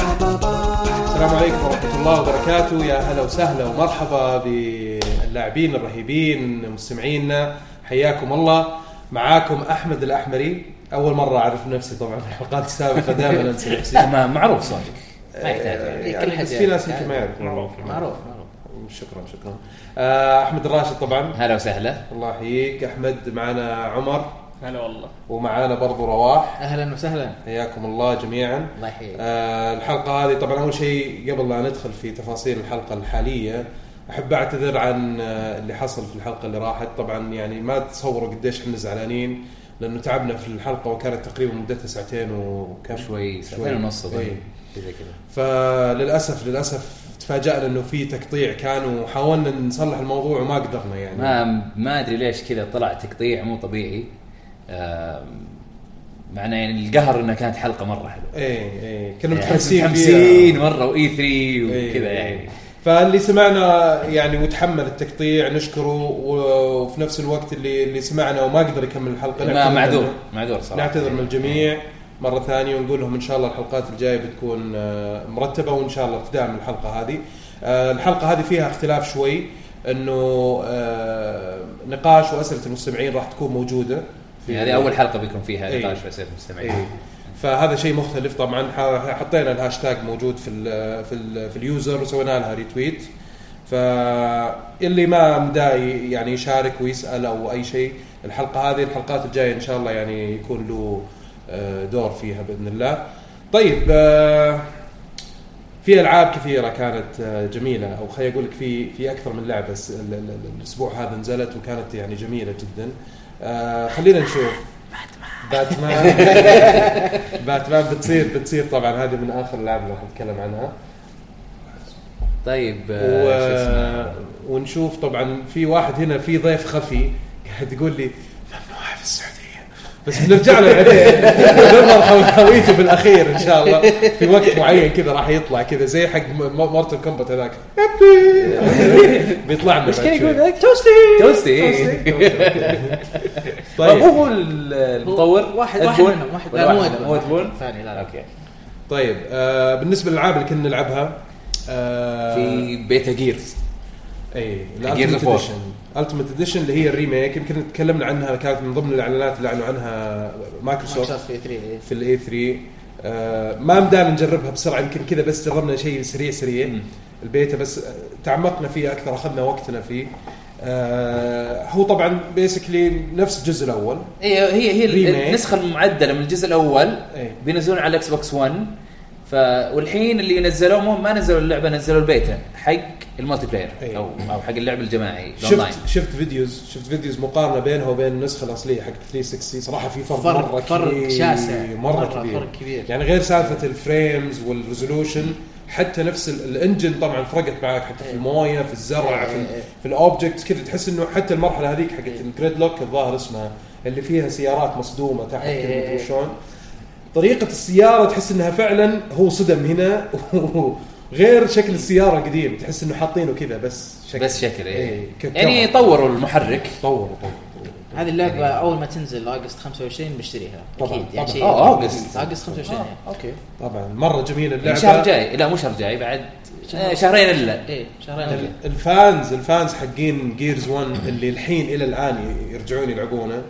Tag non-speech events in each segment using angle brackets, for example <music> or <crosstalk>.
السلام عليكم ورحمة الله وبركاته يا هلا وسهلا ومرحبا باللاعبين الرهيبين مستمعينا حياكم الله معاكم أحمد الأحمري أول مرة أعرف نفسي طبعا في الحلقات السابقة دائما أنسى <laughs> نفسي ما معروف صادق ما يحتاج يعني. كل يعني حد بس في يعرف. ناس يمكن ما يعرفون معروف. معروف معروف شكرا شكرا آه، أحمد الراشد طبعا هلا وسهلا الله يحييك أحمد معنا عمر هلا والله ومعانا برضو رواح اهلا وسهلا حياكم الله جميعا الله يحييك آه، الحلقة هذه طبعا أول شيء قبل لا ندخل في تفاصيل الحلقة الحالية أحب أعتذر عن آه، اللي حصل في الحلقة اللي راحت طبعا يعني ما تصوروا قديش احنا زعلانين لأنه تعبنا في الحلقة وكانت تقريبا مدتها ساعتين وكم شوي ساعتين ونص شوي. أظن. شيء زي طيب، كذا فللأسف للأسف تفاجأنا أنه في تقطيع كان وحاولنا نصلح الموضوع وما قدرنا يعني ما ما ادري ليش كذا طلع تقطيع مو طبيعي آم، معناه يعني القهر انها كانت حلقه مره حلوه ايه ايه كنا يعني متحمسين متحمسين فيها. مره واي 3 إيه، وكذا إيه. يعني فاللي سمعنا يعني وتحمل التقطيع نشكره و- وفي نفس الوقت اللي اللي سمعنا وما قدر يكمل الحلقه ما نعتذر معذور منه. معذور صراحه نعتذر من الجميع مره ثانيه ونقول لهم ان شاء الله الحلقات الجايه بتكون آه، مرتبه وان شاء الله بتدعم الحلقه هذه. آه، الحلقه هذه فيها اختلاف شوي انه آه، نقاش واسئله المستمعين راح تكون موجوده يعني هذه اول حلقه بيكون فيها إيه. نقاش في اسئله المستمعين إيه. فهذا شيء مختلف طبعا ح- حطينا الهاشتاج موجود في ال في ال في اليوزر وسوينا لها ريتويت فاللي ما مداي يعني يشارك ويسال او اي شيء الحلقه هذه الحلقات الجايه ان شاء الله يعني يكون له آه، دور فيها باذن الله طيب آه، في العاب كثيره كانت آه، جميله او خليني اقول لك في في اكثر من لعبه الس- ال- ال- ال- الاسبوع هذا نزلت وكانت يعني جميله جدا آه، خلينا نشوف <laughs> باتمان باتمان بتصير بتصير طبعا هذه من اخر لعبه راح نتكلم عنها طيب آه، و... شو اسمه؟ ونشوف طبعا في واحد هنا في ضيف خفي قاعد يقول لي ممنوعه في السعوديه بس بنرجع له يعني. بعدين بنظهر حو- هويته بالاخير ان شاء الله في وقت معين كذا راح يطلع كذا زي حق مارتن كومبات هذاك بيطلع لنا مش كذا بعد شوي. يقول لك توستي توستي إيه. طيب طيب هو ال- المطور واحد- أدبون؟ واحد منهم، واحد. ولا لا، مو واحد؟ أدبون. مو ادبون ثاني لا اوكي طيب آه بالنسبه للالعاب اللي كنا نلعبها آه في بيتا جيرز اي Gears الالتيميت of War. اديشن الالتيميت اديشن اللي هي الريميك يمكن تكلمنا عنها كانت من ضمن الاعلانات اللي اعلنوا عنها مايكروسوفت مايكروسوفت في 3 إيه. في الاي 3 آه ما مدانا نجربها بسرعه يمكن كذا بس جربنا شيء سريع سريع مم. البيتا بس آه، تعمقنا فيه اكثر اخذنا وقتنا فيه آه هو طبعا بيسكلي نفس الجزء الاول هي إيه، هي هي Remake. إيه. ال- النسخه المعدله من الجزء الاول اي بينزلون على الاكس بوكس 1 ف والحين اللي نزلوه مو- ما نزلوا اللعبه نزلوا البيتا حق المالتي بلاير إيه. او او حق اللعب الجماعي الاونلاين شفت شفت فيديوز شفت فيديوز مقارنه بينها وبين النسخه الاصليه حق 360 صراحه في فرق فرق مره فرق كبير شاسع مره, مرة كبير فرق كبير يعني غير سالفه الفريمز والريزولوشن حتى نفس ال- الانجن طبعا فرقت معك حتى في إيه. المويه في الزرع في ال- إيه. في الاوبجكتس كذا تحس انه حتى المرحله هذيك حقت إيه. الجريد لوك الظاهر اسمها اللي فيها سيارات مصدومه تحت إيه. كذا مدري إيه. شلون طريقه السياره تحس انها فعلا هو صدم هنا غير إيه. شكل السياره القديم تحس انه حاطينه كذا بس شكل بس شكل إيه. ككرة. يعني طوروا المحرك طوروا طوروا هذه اللعبه اول ما تنزل اغسطس 25 بشتريها طبعاً، اكيد يعني طبعاً. شيء آه، أوغست. اغسطس 25 إيه. اوكي طبعا مره جميله يعني اللعبه الشهر الجاي لا مو يعني شهر جاي بعد شهر. آه، شهرين الا ايه شهرين ال- قبل الفانز الفانز حقين جيرز 1 اللي الحين الى الان يرجعون يلعبونه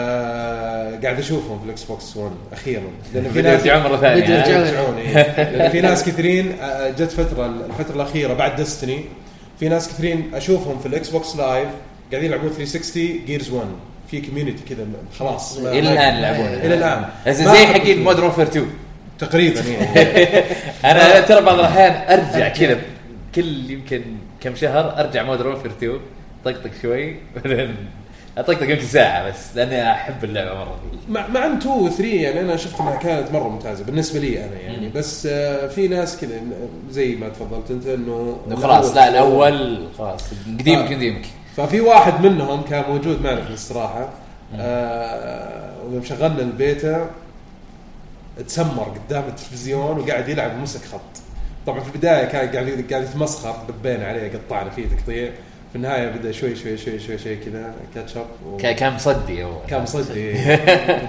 آه قاعد اشوفهم في الاكس بوكس 1 اخيرا لان في بدأوا ناس يرجعون مره ثانيه بدأوا ها؟ يرجعون. يرجعون إيه. لان في ناس كثيرين آه، جت فتره الفتره الاخيره بعد ديستني في ناس كثيرين اشوفهم في الاكس بوكس لايف قاعدين يلعبون 360 جيرز 1 في كوميونتي كذا خلاص ما- الى ما- الان يلعبون الى الان زي ما- زي حقين مود وورفير 2 تقريبا يعني انا أنا ترى بعض الاحيان ارجع كذا كل يمكن كم شهر ارجع مود وورفير 2 طقطق شوي بعدين اطقطق يمكن ساعه بس لاني احب اللعبه مره مع مع ان 2 و 3 يعني انا شفت انها كانت مره ممتازه بالنسبه لي انا يعني مم. بس آه، في ناس كذا زي ما تفضلت انت انه إنه خلاص لا الاول خلاص قديمك آه. قديمك ففي واحد منهم كان موجود معنا في الاستراحه آه، ويوم شغلنا البيتا تسمر قدام التلفزيون وقاعد يلعب مسك خط طبعا في البدايه كان قاعد قاعد يتمسخر دبينا عليه قطعنا فيه تقطيع في النهايه بدا شوي شوي شوي شوي شوي كذا كاتشب و... ك- كان مصدي هو كان مصدي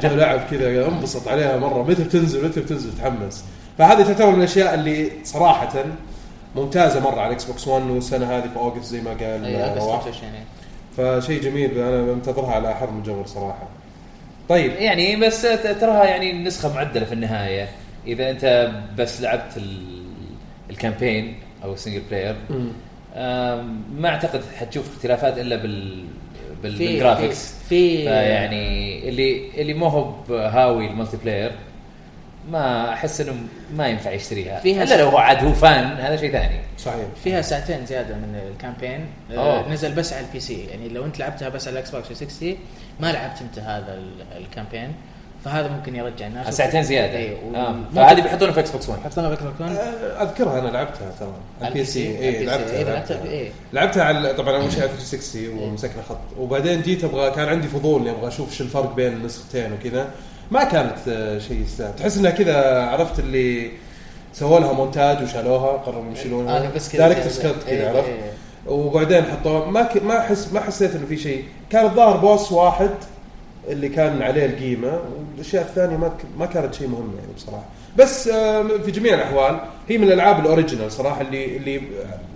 جاء لعب كذا انبسط عليها مره متى بتنزل متى بتنزل تحمس فهذه تعتبر من الاشياء اللي صراحه ممتازه مره على الاكس بوكس 1 والسنه هذه في اوجست زي ما قال اي اقصد رواح. 25 يعني. فشيء جميل انا منتظرها على حر من جمر صراحه طيب يعني بس ت- تراها يعني نسخه معدله في النهايه اذا انت بس لعبت ال... الكامبين او السنجل بلاير آم، ما اعتقد حتشوف اختلافات الا بال بال- في- بالجرافيكس في فيعني اللي اللي ما هو هاوي الملتي بلاير ما احس انه ما ينفع يشتريها فيها الا لو شيء. هو عاد هو فان هذا شيء ثاني صحيح فيها ساعتين زياده من الكامبين أوه. آه نزل بس على البي سي يعني لو انت لعبتها بس على الاكس بوكس 360 ما لعبت انت هذا ال- الكامبين فهذا ممكن يرجع الناس ساعتين زياده اي و- آه. ممكن- فهذه بيحطونها في اكس بوكس 1 حطينا باك أه، اذكرها انا لعبتها ترى على البي سي اي إيه، لعبتها لعبتها. اي لعبتها على طبعا اول إيه. شيء على 360 ومسكنا خط وبعدين جيت ابغى كان عندي فضول اني ابغى اشوف شو الفرق بين النسختين وكذا ما كانت آه، شيء يستاهل تحس انها كذا عرفت اللي سووا لها مونتاج وشالوها قرروا يشيلونها انا إيه. بس كذا دايركترز كات إيه، كذا عرفت إيه. وبعدين حطوه ما ك... ما حس ما حسيت انه في شيء كان الظاهر بوس واحد اللي كان عليه القيمه والاشياء الثانيه ما ك... ما كانت شيء مهم يعني بصراحه بس آم، في جميع الاحوال هي من الالعاب الاوريجينال صراحه اللي اللي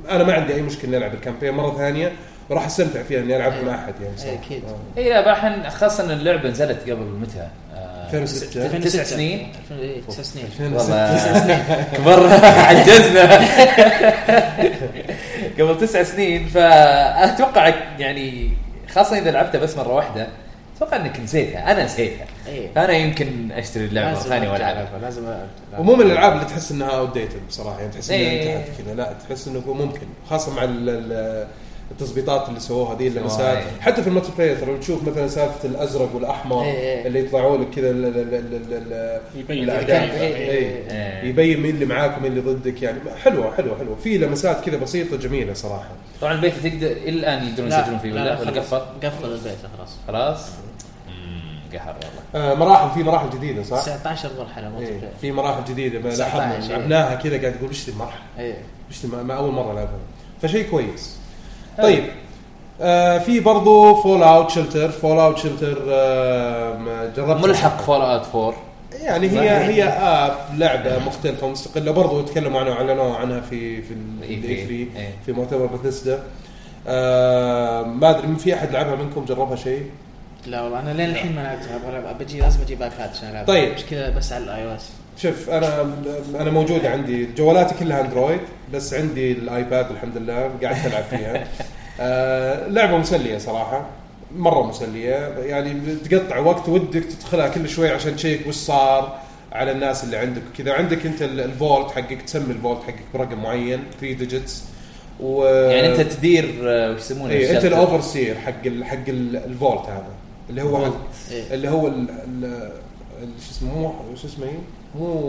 انا ما عندي اي مشكله اني العب الكامبين مره ثانيه وراح استمتع فيها اني العبها مع احد يعني صراحه إيه، أكيد. آه. اي لا بحن خاصه ان اللعبه نزلت قبل متى؟ آه، 2006. تسع- 2006. تسع سنين إيه، تسع سنين <laughs> والله كبرنا عجزنا <laughs> قبل تسع سنين فاتوقع يعني خاصه اذا لعبتها بس مره واحده اتوقع انك نسيتها انا نسيتها إيه. فانا يمكن اشتري اللعبه مره لازم ثانيه أرجع والعبها ألعبها، لازم ألعبها. ومو من الالعاب اللي تحس انها اوت ديتد بصراحه يعني تحس انها إيه. انتهت كذا لا تحس انه هو ممكن خاصه مع ال- ال- التظبيطات اللي سووها ذي اللي سووها، مسات إيه. حتى في الملتي بلاير ترى تشوف مثلا سالفه الازرق والاحمر إيه، إيه. اللي يطلعوا لك كذا ال- ال- ال- ال- ال- يبين الأعداء. الكامب، إيه، إيه، إيه. إيه. يبين مين اللي معاك ومين اللي ضدك يعني حلوه حلوه حلوه في لمسات كذا بسيطه جميله صراحه طبعا البيت تقدر الى الان يقدرون لا، يسجلون فيه لا، ولا لا، ولا خلاص. قفل قفل البيت خلاص خلاص مم، قهر والله آه مراحل في مراحل جديده صح؟ 19 مرحله ملتي إيه. بلاير. في مراحل جديده ما 19 لاحظنا إيه. لعبناها كذا قاعد تقول ايش ذي المرحله؟ ايه مش ما ما اول مره العبها فشيء كويس طيب آه في برضو فول اوت شلتر فول اوت شلتر آه جربت ملحق فول اوت 4 يعني هي هي آه، اب لعبه مختلفه مستقله برضو تكلموا عنها واعلنوا عنها في في إي الاي في- 3 إي. في مؤتمر بثيسدا آه ما ادري من في احد لعبها منكم جربها شيء لا والله انا لين الحين ما لعبتها ابغى العبها بجي لازم اجيب ايباد عشان العبها طيب. مش كذا بس على الاي او اس شوف انا انا موجوده عندي جوالاتي كلها اندرويد بس عندي الايباد الحمد لله قاعد العب <laughs> فيها آه لعبه مسليه صراحه مره مسليه يعني تقطع وقت ودك تدخلها كل شوي عشان تشيك وش صار على الناس اللي عندك وكذا عندك انت ال- الفولت حقك تسمي الفولت حقك برقم معين 3 ديجيتس و يعني انت تدير آه، وش يسمونه ايه انت الشابتر. الاوفر سير حق ال حق ال- الفولت هذا اللي هو إيه. اللي هو ال- ال- ال- شو اسمه مو شو اسمه إيه؟ مو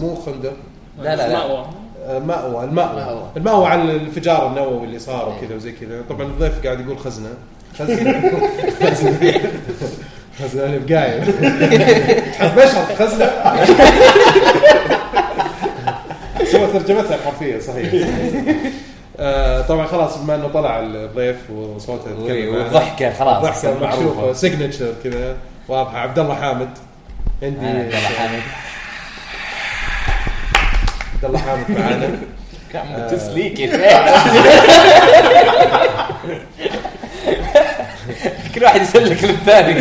مو خندق لا لا لا مأوى. آه، مأوى المأوى مأوى. المأوى على الانفجار النووي اللي صار إيه. وكذا وزي كذا طبعا الضيف قاعد يقول خزنه خزنه خزنه خزنه بقايل تحب مشهد خزنه سوى ترجمتها حرفيه صحيح آه طبعا خلاص بما انه طلع الضيف وصوته وي- يتكلم معنا. والضحكه خلاص الضحكه معروفه معروفه سيجنتشر كذا واضحه عبد الله حامد عندي أنا عبد الله حامد عبد الله حامد معانا آه. كم <laughs> تسليك يا شيخ <laughs> كل واحد <laughs> يسلك للثاني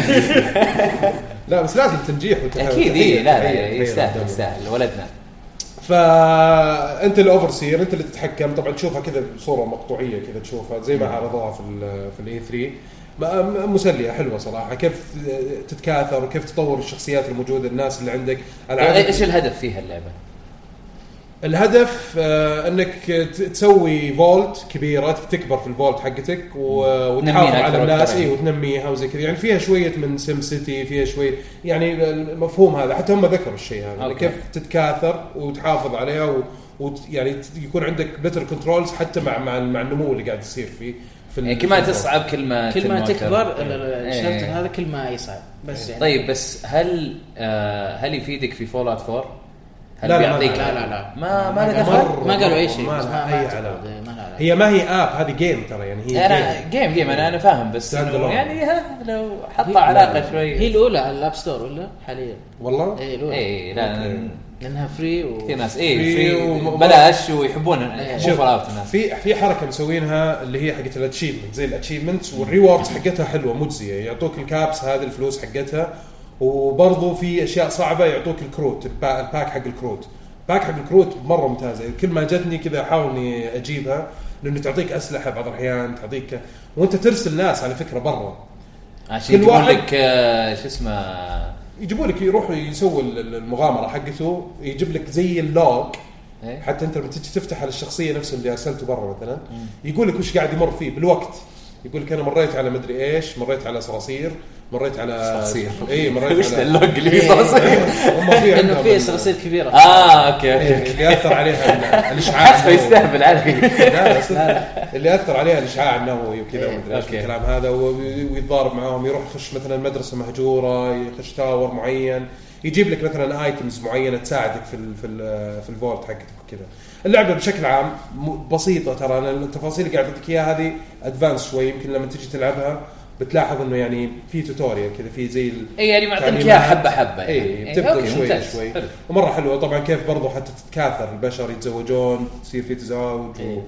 لا بس لازم تنجيح وتهاوي. اكيد اي إيه، لا لا تخيل- تخيل يستاهل قدامه. يستاهل ولدنا فانت الاوفر سير انت اللي تتحكم طبعا تشوفها كذا بصوره مقطوعيه كذا تشوفها زي ما عرضوها في ال في الاي 3 ما- م- مسليه حلوه صراحه كيف تتكاثر وكيف تطور الشخصيات الموجوده الناس اللي عندك إيه- ايش العادة الهدف فيها اللعبه؟ الهدف آه، انك ت- تسوي فولت كبيره تكبر في الفولت حقتك و- وتحافظ تنميها على أكثر الناس وأكثر. اي وتنميها وزي كذا يعني فيها شويه من سم سيتي فيها شويه يعني المفهوم هذا حتى هم ذكروا الشيء هذا يعني أوكي. كيف تتكاثر وتحافظ عليها و... وت... يعني ت- يكون عندك بيتر كنترولز حتى مع مع, مع النمو اللي قاعد يصير فيه في ال- يعني كل ما في الفولت. تصعب كل ما كل تنمو ما أكثر. تكبر ال- إيه. ال- الشلتر هذا كل ما يصعب بس يعني طيب بس هل آه هل يفيدك في فول اوت 4؟ هل لا، لا، بيعطيك لا، لا لا لا ما ما له لا، دخل مرة. ما قالوا اي شيء ما بس لها ما- أي ما أعتقد، علاقة. ما لها علاقة. هي ما هي اب هذه جيم ترى يعني هي انا جيم جيم جيم انا انا فاهم بس Stand إنه alone. يعني ها لو حط هي- علاقه هي شوي الاولى على الاب ستور ولا إيه، حاليا؟ إيه. والله اي الاولى اي لا أوكي. لانها فري و كثير ناس في اي فري وم- بلاش ويحبون يحبون شوف. فول اوت الناس في في حركه مسوينها اللي هي حقت الاتشيفمنت زي الاتشيفمنت والريوردز حقتها حلوه مجزيه يعطوك الكابس هذه الفلوس حقتها وبرضه في اشياء صعبه يعطوك الكروت البا- الباك حق الكروت باك حق الكروت مره ممتازه كل ما جتني كذا احاول اني اجيبها لانه تعطيك اسلحه بعض الاحيان تعطيك وانت ترسل ناس على فكره برا عشان كل يجيبون واحد- لك آه، شو اسمه يجيبوا لك يروحوا يسووا ال- ال- المغامره حقته يجيب لك زي اللوج إيه؟ حتى انت لما تجي تفتح على الشخصيه نفسه اللي ارسلته برا مثلا يقول لك وش قاعد يمر فيه بالوقت يقول لك انا مريت على مدري ايش مريت على صراصير مريت على <laughs> صراصير. اي <laughs> آه، وش إيه، مريت <laughs> ذا على إيه، اللوج اللي في <laughs> صراصير؟ هم في لانه عندهم في ال- صراصير كبيره اه اوكي إيه، اوكي اللي اثر عليها ال- الاشعاع حسب النووي. يستهبل عادي لا، بس اللي اثر عليها الاشعاع النووي وكذا إيه، ومدري ايش أوكي. الكلام هذا و- ويتضارب معاهم يروح يخش مثلا مدرسه مهجوره يخش تاور معين يجيب لك مثلا ايتمز معينه تساعدك في ال في ال في الفولت حقتك وكذا اللعبه بشكل عام م- بسيطه ترى انا التفاصيل اللي قاعد اعطيك اياها هذه ادفانس شوي يمكن لما تجي تلعبها بتلاحظ انه يعني في توتوريال كذا في زي ال- اي يعني معطينك تعليمات. اياها حبه حبه يعني اي إيه، بتبدا أوكي، شوي ممتاز. شوي حلو. ومره حلوه طبعا كيف برضو حتى تتكاثر البشر يتزوجون تصير في تزاوج و... إيه.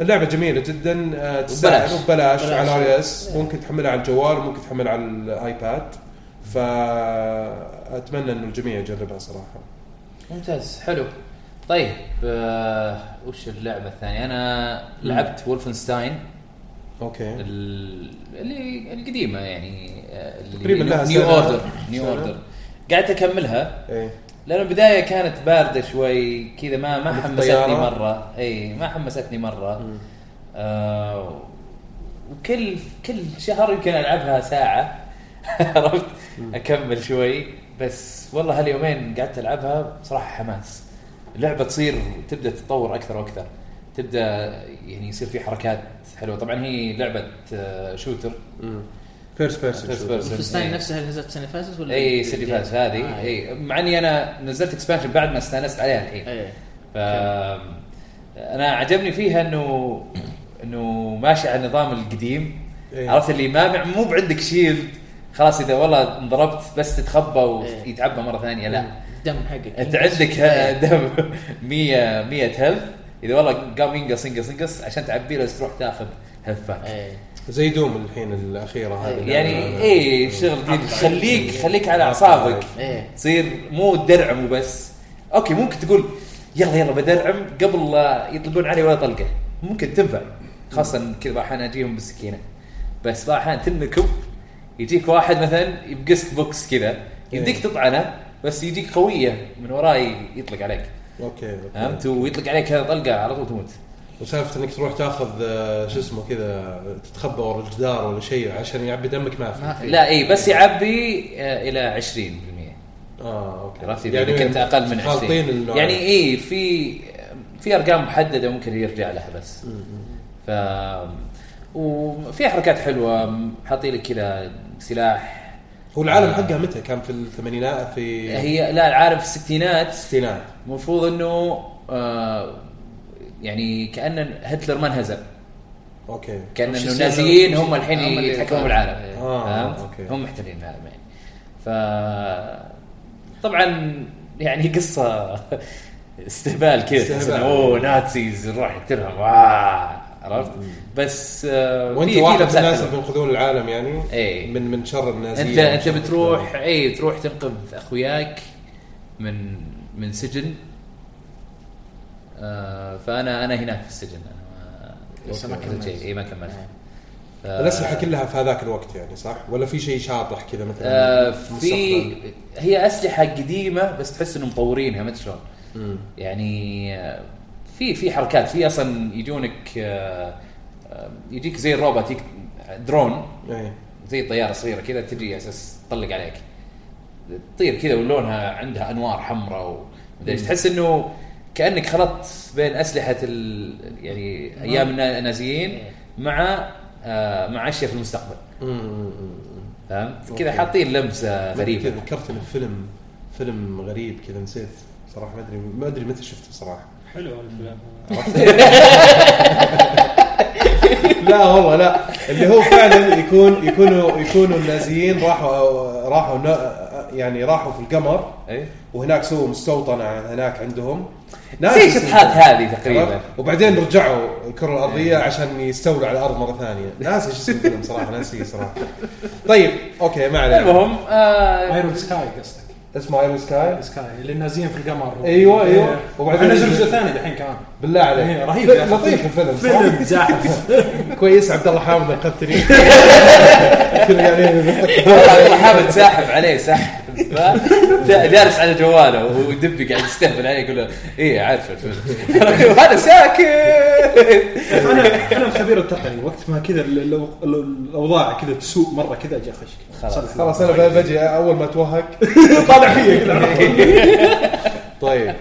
اللعبة جميلة جدا آه، تستاهل وببلاش. وببلاش ببلاش. على اي اس ممكن تحملها على الجوال وممكن تحملها على الايباد فاتمنى انه الجميع يجربها صراحة ممتاز حلو طيب آه وش اللعبه الثانيه انا لعبت وولفنستاين اوكي ال- اللي القديمه يعني آه، اللي- تقريباً لها نيو سنة. اوردر نيو سنة. اوردر قعدت اكملها ايه لانه البدايه كانت بارده شوي كذا ما ما في حمستني الطيارة؟ مره اي ما حمستني مره مم. آه وكل كل شهر يمكن العبها ساعه <laughs> عرفت اكمل شوي بس والله هاليومين قعدت العبها بصراحه حماس اللعبه تصير تبدا تتطور اكثر واكثر تبدا يعني يصير في حركات حلوه طبعا هي لعبه آه، شوتر فيرست بيرسون First person. فستاين نفسها اللي نزلت السنه اللي فاتت ولا إيه؟ اي سيتي فاز هذه آه، اي مع اني انا نزلت اكسبانشن بعد ما استانست عليها الحين اي ف انا عجبني فيها انه انه ماشي على النظام القديم إيه. عرفت اللي ما بع- مو بعندك شيلد خلاص اذا والله انضربت بس تتخبى إيه. ويتعبى مره ثانيه لا الدم حقك انت عندك ها- دم <laughs> 100 100 هيلث اذا والله قام ينقص ينقص ينقص عشان تعبيه لازم تروح تاخذ هيلثات إيه. زي دوم الحين الاخيرة هذه يعني اي شغل جديد. خليك خليك على اعصابك ايه تصير مو درعم وبس اوكي ممكن تقول يلا يلا بدرعم قبل لا يطلقون علي ولا طلقه ممكن تنفع خاصه كذا بعض احيانا اجيهم بالسكينه بس بعض احيانا تنكب يجيك واحد مثلا يبقست بوكس كذا يديك تطعنه بس يجيك قويه من وراي يطلق عليك اوكي أوكي. فهمت ويطلق عليك كذا طلقه على طول تموت وسالفة انك تروح تاخذ آه، شو اسمه كذا تتخبى ورا الجدار ولا شيء عشان يعبي دمك ما في ما في لا اي بس يعبي آه، الى 20% اه اوكي عرفت اذا يعني كنت اقل من 20 خالطين النوعين. يعني اي في في ارقام محدده ممكن يرجع لها بس ف وفي حركات حلوه حاطين لك كذا سلاح آه، هو العالم حقها متى كان في الثمانينات في هي لا العالم في الستينات الستينات المفروض انه آه، يعني كان هتلر ما انهزم اوكي كان وش انه يصير لو- النازيين هم الحين هم اللي إيه. يتحكمون يتحكموا. بالعالم آه، أوكي. فهمت؟ هم محتلين العالم يعني ف طبعا يعني قصه استهبال كذا تحس استهبال. إنه اوه ناتسيز نروح نقتلهم آه، عرفت بس آه، وانت في- في واحد من لمسات الناس حلوة. اللي بينقذون العالم يعني إيه. من من شر انت النازيين انت بتروح اي تروح تنقذ اخوياك من من سجن آه، فانا انا هناك في السجن انا ما لسه ما كملت. اي ما كملت ف- الاسلحه آه. كلها في هذاك الوقت يعني صح ولا في شيء شاطح كذا مثلا آه، في المستقبل؟ هي اسلحه قديمه بس تحس انهم مطورينها ما أدري شلون مم. يعني آه، في في حركات في اصلا يجونك آه، آه، يجيك زي الروبوت يك- درون ايه زي طياره صغيره كذا تجي اساس تطلق عليك تطير كذا ولونها عندها انوار حمراء ومدري ايش تحس انه كانك خلطت بين اسلحه ال يعني ايام النا- النازيين مع آه مع عشيه في المستقبل فهمت؟ كذا أوكي. حاطين لمسه غريب غريبه ذكرتني بفيلم فيلم غريب كذا نسيت صراحه ما ادري ما ادري متى شفته صراحه حلو الفيلم <laughs> لا والله لا اللي هو فعلا يكون يكونوا يكونوا النازيين راحوا راحوا نا- يعني راحوا في القمر اي وهناك سووا مستوطنه هناك عندهم زي الشطحات هذه تقريبا تمام؟ وبعدين رجعوا الكره الارضيه عشان يستولوا على الارض مره ثانيه ناسي ايش اسم الفيلم صراحه ناسي صراحه طيب اوكي ما علينا المهم <laughs> آه ايرون سكاي قصدك اسمه ايرون سكاي سكاي اللي نازلين في القمر أيوة، أيوة. وبعدين- وبعدين نزل جزء ثاني الحين كمان بالله عليك إيه، رهيب يا أخي. لطيف الفيلم صراحة. فيلم <laughs> زاحف كويس عبد الله حامد <laughs> انقذتني كنا قاعدين نضحك. حامد ساحب عليه سحب ف- جالس على جواله ودبي قاعد يستهبل عليه يقول له ايه عارف الفيلم <laughs> هذا ساكت انا انا الخبير التقني وقت ما كذا ال- ال- ال- الاوضاع كذا تسوء مره كذا اجي اخش خلاص. صلح لي. خلاص انا بجي اول ما اتوهق طالع فيا <laughs> كذا على طول. طيب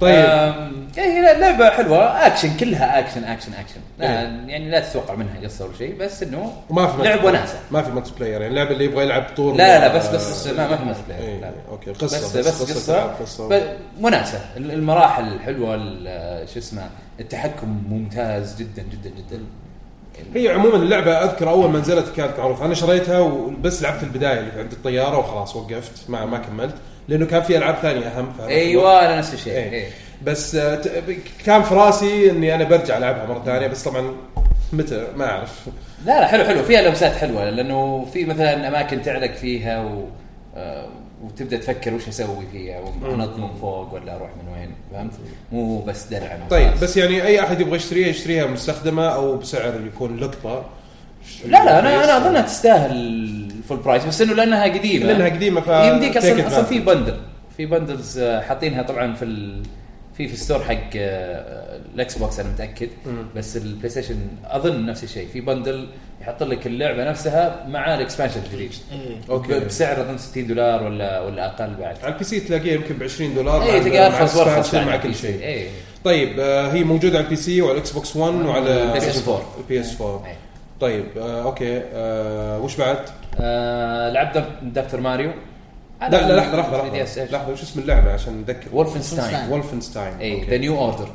طيب آم، يعني لا- لعبه حلوه اكشن كلها اكشن اكشن اكشن لا إيه. يعني لا تتوقع منها قصه ولا شيء بس انه وما في لعب وناسه ما في ماتش بلاير يعني اللعبه اللي يبغى يلعب طور لا لا بس بس ما ما في ماتش بلاير. إيه، لا لا. اوكي بس قصه بس تلعب قصه ب- وناسه ال- المراحل الحلوه ال- شو اسمه التحكم ممتاز جدا جدا جدا هي عموما اللعبه اذكر اول ما نزلت كانت معروفه انا شريتها وبس لعبت البدايه اللي عند الطياره وخلاص وقفت ما ما كملت لانه كان في العاب ثانيه اهم في هذا الوقت. ايوه انا نفس الشيء إيه. إيه. بس آه، ت- ب- كان في راسي اني انا برجع العبها مره ثانيه بس طبعا متى ما اعرف لا لا حلو حلو فيها لمسات حلوه لانه في مثلا اماكن تعلق فيها و آه، وتبدا تفكر وش اسوي فيها وانط من فوق ولا اروح من وين فهمت؟ مو بس درع أنا طيب وخلاص. بس يعني اي احد يبغى يشتريها يشتريها مستخدمه او بسعر يكون لقطه لا لا انا انا اظنها تستاهل الفول برايس بس انه لانها قديمه لانها قديمه ف يمديك take اصلا advantage. اصلا في بندل في بندلز آه، حاطينها طبعا في ال... في في ستور حق آه، آه، الاكس بوكس انا متاكد مم. بس البلاي ستيشن اظن نفس الشيء في بندل يحط لك اللعبه نفسها مع الاكسبانشن الجديد إيه. أوكي. بسعر اظن 60 دولار ولا ولا اقل بعد إيه، على البي سي تلاقيها يمكن ب 20 دولار اي مع- تلقى مع ارخص وارخص expansion عن مع البي كل سي. شيء اي طيب آه، هي موجوده على البي سي وعلى الاكس بوكس 1 وعلى نعم. PS 4. البي اس 4 إيه. طيب آه، اوكي آه، وش بعد؟ آه، لعبت دك- دكتور ماريو لا لا لحظه لحظه لحظه لحظه وش اسم اللعبه عشان نتذكر وولفنستاين وولفنستاين اي أوكي. ذا نيو اوردر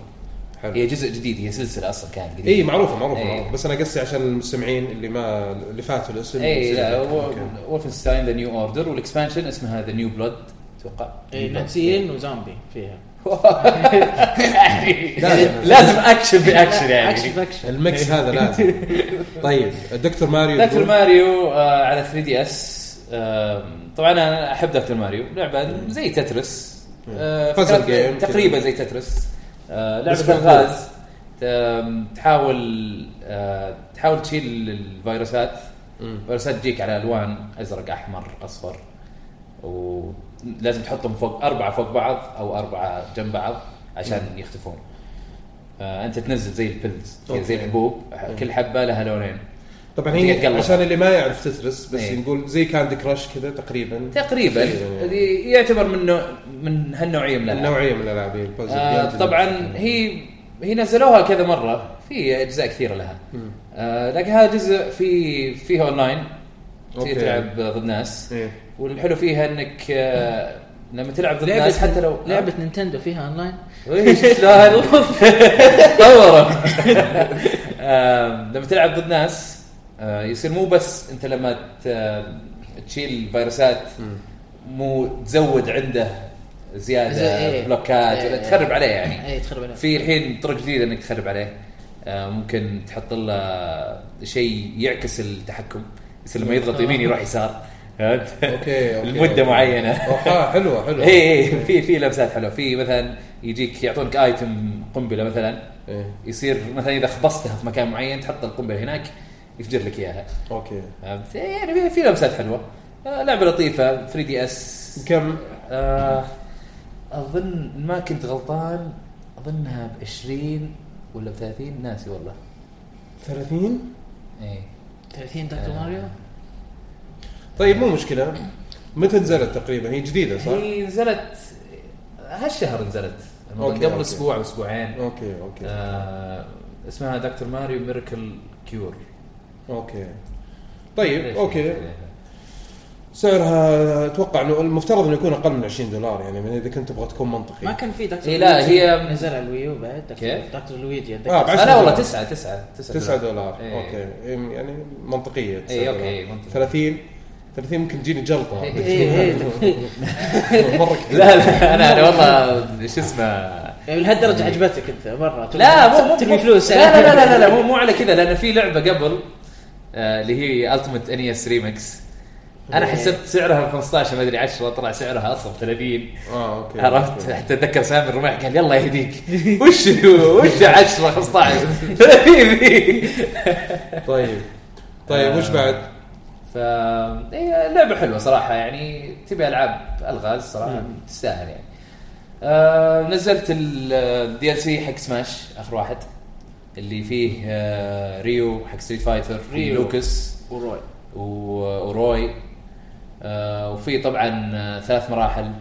حلو. هي جزء جديد هي سلسله اصلا كانت قديمه اي معروفه معروفه إيه. معروفه بس انا قصدي عشان المستمعين اللي ما اللي فاتوا الاسم اي إيه، لا أوكي. وولفنستاين ذا نيو اوردر والاكسبانشن اسمها ذا نيو بلود اتوقع إيه، نازيين وزومبي فيها لازم- <laughs> لازم اكشن باكشن اكشن يعني باكشن المكس هذا <laughs> لازم طيب دكتور ماريو دكتور دكتور ماريو آه، على 3 دي اس طبعا انا احب دكتور ماريو لعبه زي تترس آه، Puzzle فكرة- game تقريبا زي تترس آه، بس لعبه الغاز آم، تحاول آه، تحاول تشيل الفيروسات فيروسات تجيك على الوان ازرق احمر اصفر ولازم تحطهم فوق اربعه فوق بعض او اربعه جنب بعض عشان يختفون آه انت تنزل زي البلز كذا زي أوكي. الحبوب كل حبه لها لونين طبعا هي تقلب. عشان اللي ما يعرف تترس بس إيه. نقول زي كاندي كراش كذا تقريبا تقريبا تقريباً. هذه يعتبر من نوع من هالنوعيه من الالعاب النوعيه من الالعاب هي البازل آه جيم. طبعا هي هي نزلوها كذا مره في اجزاء كثيره لها مم. آه لكن هذا جزء في فيها اونلاين أوكي. تلعب ضد ناس إيه. <laughs> والحلو فيها انك آه، لما تلعب ضد لعبة ناس حتى لو لعبة نينتندو فيها اونلاين إيه، شلون طوره آم، لما تلعب ضد ناس آه، يصير مو بس انت لما ت- تشيل فيروسات مم. مو تزود عنده زي- زياده إيه. بلوكات ولا إيه. تخرب عليه يعني اي تخرب عليها في الحين طرق جديده انك تخرب عليه آه، ممكن تحط له شيء يعكس التحكم يصير لما آه. يضغط يمين يروح يسار فهمت؟ اوكي أوكي، لمده أوكي. معينه اوه حلوه حلوه اي اي إيه، في في لمسات حلوه في مثلا يجيك يعطونك ايتم قنبله مثلا إيه. يصير مثلا اذا خبصتها في مكان معين تحط القنبله هناك يفجر لك اياها اوكي فهمت؟ يعني في- في لمسات حلوه آه، لعبه لطيفه 3 دي اس كم آه، اظن إن ما كنت غلطان اظنها ب 20 ولا ب 30 ناسي والله إيه. 30 اي 30 دكتور ماريو طيب مو مشكله متى نزلت تقريبا هي جديده صح هي نزلت هالشهر نزلت الموضوع أوكي، قبل أوكي. اسبوع اسبوعين اوكي اوكي آه، اسمها دكتور ماريو ميركل كيور طيب، إيه. اوكي طيب اوكي سعرها اتوقع انه المفترض انه يكون اقل من 20 دولار يعني من اذا كنت تبغى تكون ما منطقي كان في دكتور إيه، لا، لويجي هي- نزل على الويو بعد دكتور- كيف؟ دكتور لويجي آه، اتذكر بعد- آه، 10 لا والله دولار. 9 9 9 دولار إيه. اوكي يعني منطقيه 9 إيه، دولار أوكي، منطقي. 30 30 ممكن تجيني جلطه إيه، إيه، <laughs> مره كثير لا لا انا <laughs> انا والله شو اسمه يعني لهالدرجه عجبتك انت مره لا مو مو تبي مو- فلوس لا لا لا لا, <laughs> لا مو مو على كذا لان في لعبه قبل آه، اللي هي E التيمت انيس ريمكس انا إيه. حسبت سعرها 15 ما ادري 10 طلع سعرها اصلا 30 اه اوكي عرفت حتى اتذكر سامي الرمح قال يلا <laughs> يهديك وش هو؟ وش إيه، 10 <laughs> 15 30 طيب طيب آه. وش بعد؟ ف إيه، هي لعبه حلوه صراحه يعني تبي العاب الغاز صراحه تستاهل يعني آه نزلت الدي ال سي حق سماش اخر واحد اللي فيه آه ريو حق ستريت فايتر ريو. ريو لوكس وروي و- وروي آه وفي طبعا آه، ثلاث مراحل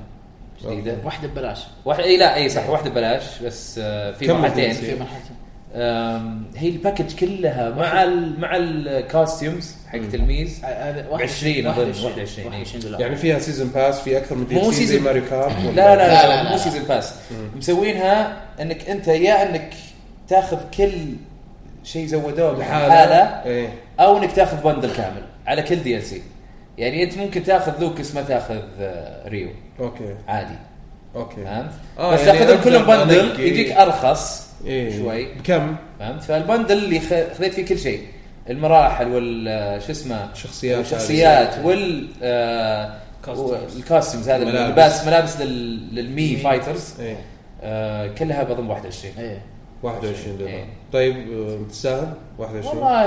جديده واحده ببلاش واحد اي لا اي صح واحده ببلاش بس آه في كمل مرحلتين DLC. في مرحلتين آم، هي الباكج كلها مع ال مع الكاستيومز حق تلميذ هذا 20 أظن، 21. 21 دولار يعني فيها سيزون باس في اكثر من دي مو إل سي زي season- ماريو كارت لا ولا- لا لا، لا، لا, لا. مو سيزون باس مسوينها انك انت يا انك تاخذ كل شيء زودوه بحاله ايه او انك تاخذ بندل كامل على كل دي ال سي يعني انت ممكن تاخذ لوكس ما تاخذ آه، ريو اوكي عادي اوكي فهمت؟ آه، بس يعني تاخذهم كلهم أقدر بندل أنقي- يجيك ارخص ايه شوي بكم فهمت فالبندل اللي خ- خذيت فيه كل شيء المراحل وال آه، شو اسمه شخصيات والشخصيات وال آه، Customs. الكاستمز هذا ملابس. الملابس ملابس لل- للمي فايترز ايه آه، كلها بظن 21 ايه 21 دولار إيه. طيب آه، تستاهل 21 والله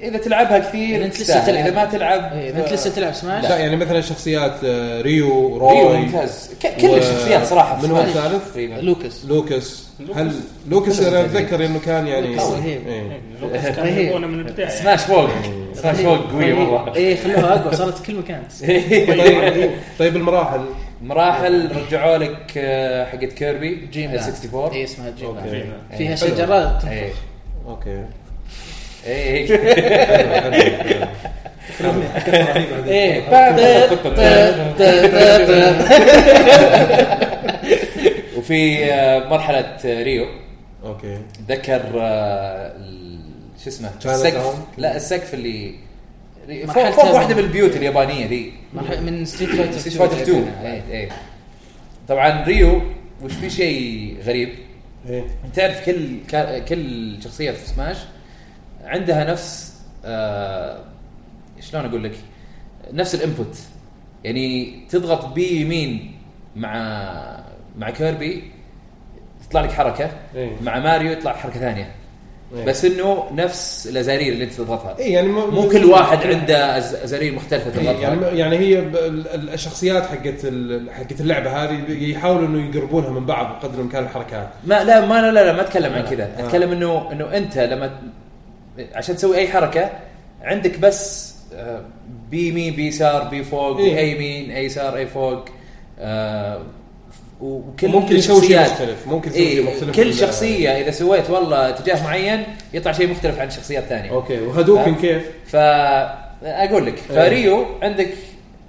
اذا تلعبها إذا كثير أنت لسه تستاهل. اذا تلعب. ما تلعب آه، إيه، اذا انت لسه تلعب سماش لا يعني مثلا شخصيات آه، ريو ريو روي ممتاز ك- كل الشخصيات صراحه من هو في- الثالث؟ تقريبا لوكس لوكس هل لوكس انا اتذكر انه كان يعني لوكس رهيب. ايه إيه. كانوا رهيب. يبونه من <laughs> البدايه سماش <laughs> فوق سماش فوق قويه والله ايه خلوها اقوى صارت في كل مكان طيب طيب المراحل مراحل رجعوا لك آه، حقت كيربي جيم 64 اي إيه، اسمها جيم أوكي. مان. جيم فيها إيه. شجرات <laughs> ايه اوكي ايه إيه. ايه إيه. <laughs> إيه. <laughs> وفي آه، مرحله آه، ريو اوكي ذكر آه، ال- شو اسمه Chinatown. السقف لا السقف اللي اللي فوق مرحلة فوق هذا. واحده من البيوت اليابانيه ذي مرحلة- من ستريت فايتر ستريت فايتر 2 إيه. ايه ايه طبعا ريو وش في شيء غريب ايه تعرف كل كا- كل شخصيه في سماش عندها نفس آه شلون اقول لك نفس الانبوت يعني تضغط بي يمين مع مع كيربي تطلع لك حركه إيه. مع ماريو يطلع حركه ثانيه إيه. بس انه نفس الازارير اللي انت تضغطها ايه يعني مو كل واحد عنده أز- ازارير مختلفه يعني تضغطها يعني هي ب- ال- ال- الشخصيات حقت ال- حقت اللعبه هذه يحاولوا انه يقربونها من بعض بقدر الامكان الحركات ما لا ما لا لا, لا ما اتكلم عن كذا آه. اتكلم انه انه انت لما ت- عشان تسوي اي حركه عندك بس آه، بي يمين بي يسار بي فوق إيه. اي يمين اي يسار اي فوق آه، و- وكل ممكن يسوي شيء الشخصيات- مختلف ممكن يسوي شيء إيه مختلف كل بال- شخصيه اذا سويت والله اتجاه معين يطلع شيء مختلف عن الشخصيات الثانيه اوكي وهدوكن آه. كيف؟ فاقول لك إيه. فريو عندك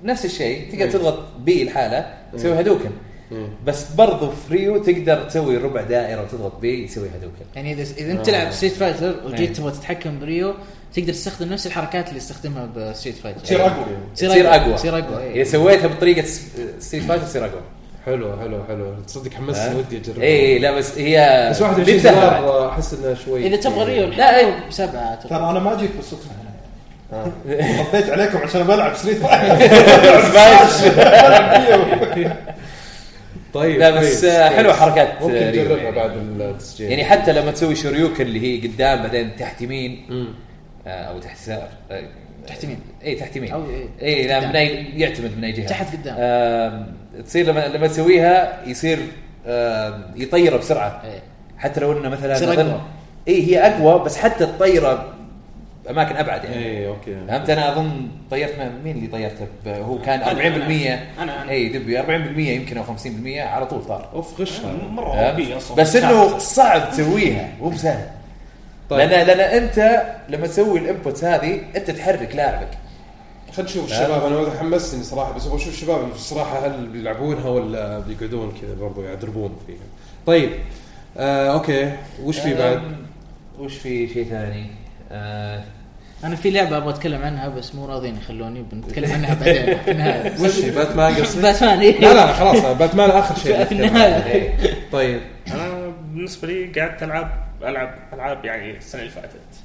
نفس الشيء إيه. تقدر تضغط بي الحاله تسوي هدوكن إيه. بس برضو فريو تقدر تسوي ربع دائره وتضغط بي يسوي هدوكن يعني اذا اذا انت تلعب ستريت آه. فايتر إيه. وجيت تبغى تتحكم بريو تقدر تستخدم نفس الحركات اللي استخدمها بستريت فايتر تصير اقوى تصير اقوى تصير اقوى اذا إيه. سويتها بطريقه س- ستريت فايتر تصير اقوى حلو حلو حلو تصدق ها؟ إيه، حمسني ودي اجرب اي لا بس هي بس 21 بنتهى <laughs> بعد. دولار احس انه شوي يعني. اذا تبغى ريو لا، إيه. لا بسبعه أتوقع. ترى انا ما جيت بالصدفه هنا آه. <laughs> غطيت عليكم عشان بلعب ستريت فايتر <laughs> <laughs> طيب لا بس كويس، آه، كويس. حلوه حركات آه، ممكن ريو نجربها يعني. بعد التسجيل يعني حتى لما تسوي شوريوكن اللي هي قدام بعدين تحت يمين مم. آه، او تحت يسار آه، تحت يمين. اي تحت يمين أو إيه. اي لا قدام. من اي يعتمد من اي جهه تحت قدام. آم، تصير لما لما تسويها يصير آم، يطيره بسرعه إيه. حتى لو انه مثلا تصير أظن- أقوى. اي هي اقوى بس حتى الطيره اماكن ابعد يعني إيه. اي اوكي فهمت انا اظن طيرت من- مين اللي طيرته ب- هو كان 40% أنا- أنا. اي دبي 40% يمكن او 50% على طول طار اوف غشها مره فهمت؟ غبي اصلا آه. بس انه صعب تسويها مو بسهل طيب. لان لان انت لما تسوي الانبوتس هذه انت تحرك لاعبك خلينا نشوف الشباب انا والله حمستني صراحه بس ابغى اشوف الشباب الصراحه هل بيلعبونها ولا بيقعدون كذا برضو يعدربون فيها طيب آه اوكي وش في بعد؟ أم، وش في شيء ثاني؟ <laughs> آه، انا في لعبه ابغى اتكلم عنها بس مو راضين يخلوني بنتكلم <laughs> عنها بعدين في النهايه وش في باتمان <laughs> قصدي؟ باتمان إيه. لا لا خلاص باتمان اخر في شيء النهايه إيه. طيب انا بالنسبه لي قعدت العب العب العاب يعني السنه اللي فاتت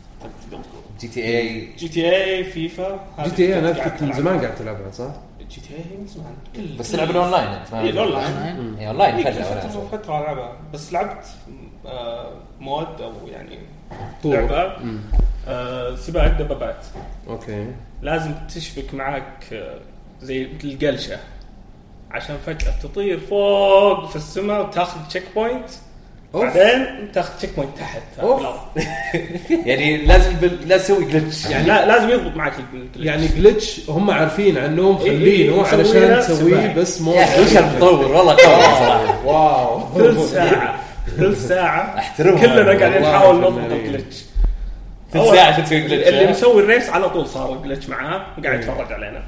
جي تي إيه. اي جي تي اي فيفا جي تي اي انا أذكر كنت من زمان قاعد تلعبها صح؟ جي تي اي من زمان كل بس تلعب الاونلاين انت ما إيه، الأونلاين. أونلاين. اي اونلاين إيه، فجاه كل فتره ولا- وفتره العبها بس لعبت آه، مود او يعني طور. لعبه مم. آه، سباق الدبابات اوكي لازم تشبك معاك آه، زي مثل القلشه عشان فجاه تطير فوق في السماء وتاخذ تشيك بوينت أوف. بعدين تاخذ تشيك بوينت تحت في أوف. الأرض. يعني لازم بال... لا تسوي جلتش <laughs> يعني لا لازم يضبط معك ال- ال- يعني جلتش هم عارفين عنهم إيه، إيه، خلينه مسوينه علشان تسويه سباق. بس مو يعني يا اخي وش المطور والله آه. قوي صراحه واو <laughs> ثلث ساعه ثلث ساعه احترمها كلنا قاعدين والله نحاول نضبط فنانين. الجلتش ثلث ساعة إيه. عشان تسوي جلتش، اللي ها؟ مسوي الريس على طول صار جلتش معاه إيه. وقاعد يتفرج علينا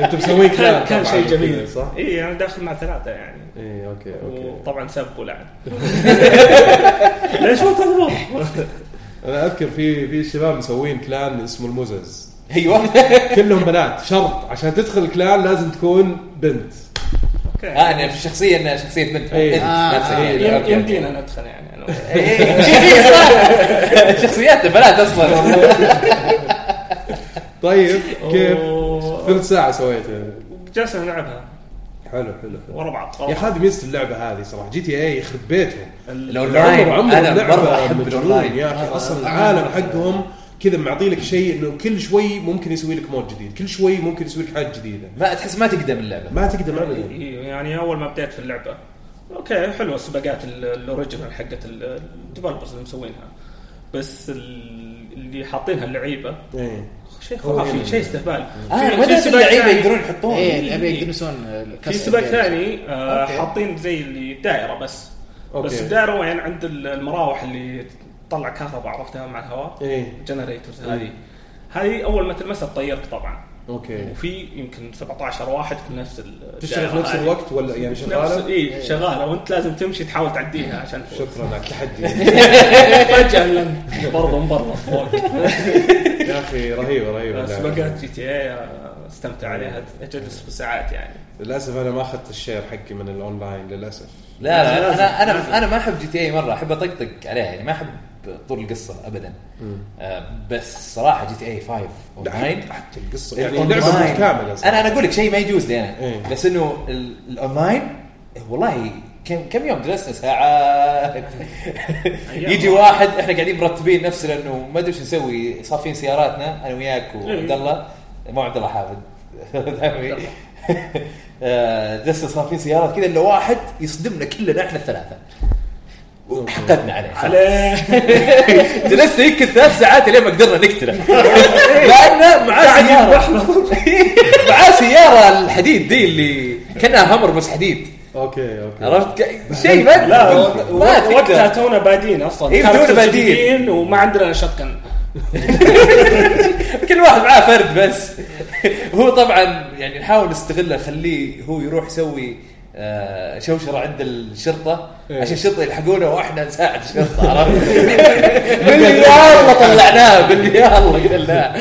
انتم مسوين كان كلام كان طبعاً شيء جميل صح؟ اي انا إيه، داخل مع ثلاثه يعني ايه اوكي اوكي وطبعا سب <laughs> ولعن ليش ما تضبط؟ انا اذكر في في شباب مسوين كلان اسمه المزز ايوه كلهم بنات شرط عشان تدخل الكلان لازم تكون بنت اوكي آه، انا في الشخصيه انها شخصيه بنت إيه. انت آه، نفسك. إيه. أوكي، أوكي. يمدينا ندخل يعني أنا إيه، إيه، صح. إيه. <laughs> شخصيات بنات <laughs> اصلا طيب كيف؟ و- ثلث ساعة سويتها جلسنا نلعبها حلو حلو حلو ورا بعض يا اخي هذه ميزة اللعبة هذه صراحة جي تي اي يخرب بيتهم الاونلاين عمر- عمر انا اللعبة مره احب مجنون الاونلاين يا اخي اصلا العالم حقهم كذا معطي لك شيء انه كل شوي ممكن يسوي لك مود جديد، كل شوي ممكن يسوي لك حاجة جديدة، ما تحس ما تقدم اللعبه ما تقدر ابدا إيه، يعني اول ما بديت في اللعبه اوكي حلوه السباقات ال- الاوريجنال حقت ال- الديفلوبرز اللي مسوينها بس ال- اللي حاطينها اللعيبه ايه شيء أوه. خرافي شيء استهبال اه آه، في- ما في دام سباق اللعيبه ثاني- إيه، يقدرون يحطون ايه اللعبه يقدرون يسوون الكسر. في سباق <laughs> ثاني آه، أوكي. حاطين زي اللي دائره بس أوكي. بس الدائره وين عند ال- المراوح اللي تطلع كهرباء عرفتها مع الهواء ايه الجنريتورز هذه هذه اول ما تلمسها تطيرك طبعا اوكي وفي يمكن 17 واحد في نفس ال- تشتغل إيه. في الدائرة نفس هذه. الوقت ولا يعني شغاله شغالة؟ اي شغاله وانت إيه، لازم تمشي تحاول تعديها عشان تفوز. شكرا على <laughs> التحدي فجاه لن- برضه مبرر فوق يا اخي رهيبه رهيبه اللعبة. سباقات جي تي اي استمتع عليها اجلس بالساعات يعني للاسف انا ما اخذت الشير حقي من الاونلاين للاسف لا لا لازم- انا لازم. انا انا ما احب جي تي إيه اي مره احب اطقطق عليها يعني ما احب طول القصه ابدا آه بس صراحه جي تي إيه اي 5 اونلاين حتى القصه يعني الأونلاين. اللعبه متكامله انا انا اقول لك شيء ما يجوز لي انا إيه. بس انه ال- الاونلاين والله كم كم يوم جلسنا <laughs> ساعات يجي واحد احنا قاعدين مرتبين نفسنا انه ما ادري ايش نسوي صافين سياراتنا انا إيه. وياك وعبد الله مو عبد الله حامد دعمي. <laughs> آه، جلسنا صافين سيارات كذا الا واحد يصدمنا كلنا احنا الثلاثه وحقدنا عليه <laughs> عليه جلسنا يمكن ثلاث ساعات لين ما قدرنا <laughs> نقتله لانه معاه سياره <laughs> معاه سياره الحديد دي اللي كانها همر بس حديد اوكي اوكي عرفت ك- شيء ما لا و- ما و- تقدر وقتها تونا بادين اصلا إيه، كانوا تونا بادين. مستجدين وما عندنا شكن كل واحد معاه فرد بس هو طبعا يعني نحاول نستغله نخليه هو يروح يسوي آه، شوشره عند الشرطه إيه. عشان الشرطه يلحقونه واحنا نساعد <laughs> الشرطه عرفت؟ باللي يلا طلعناه <laughs> باللي يلا قلناه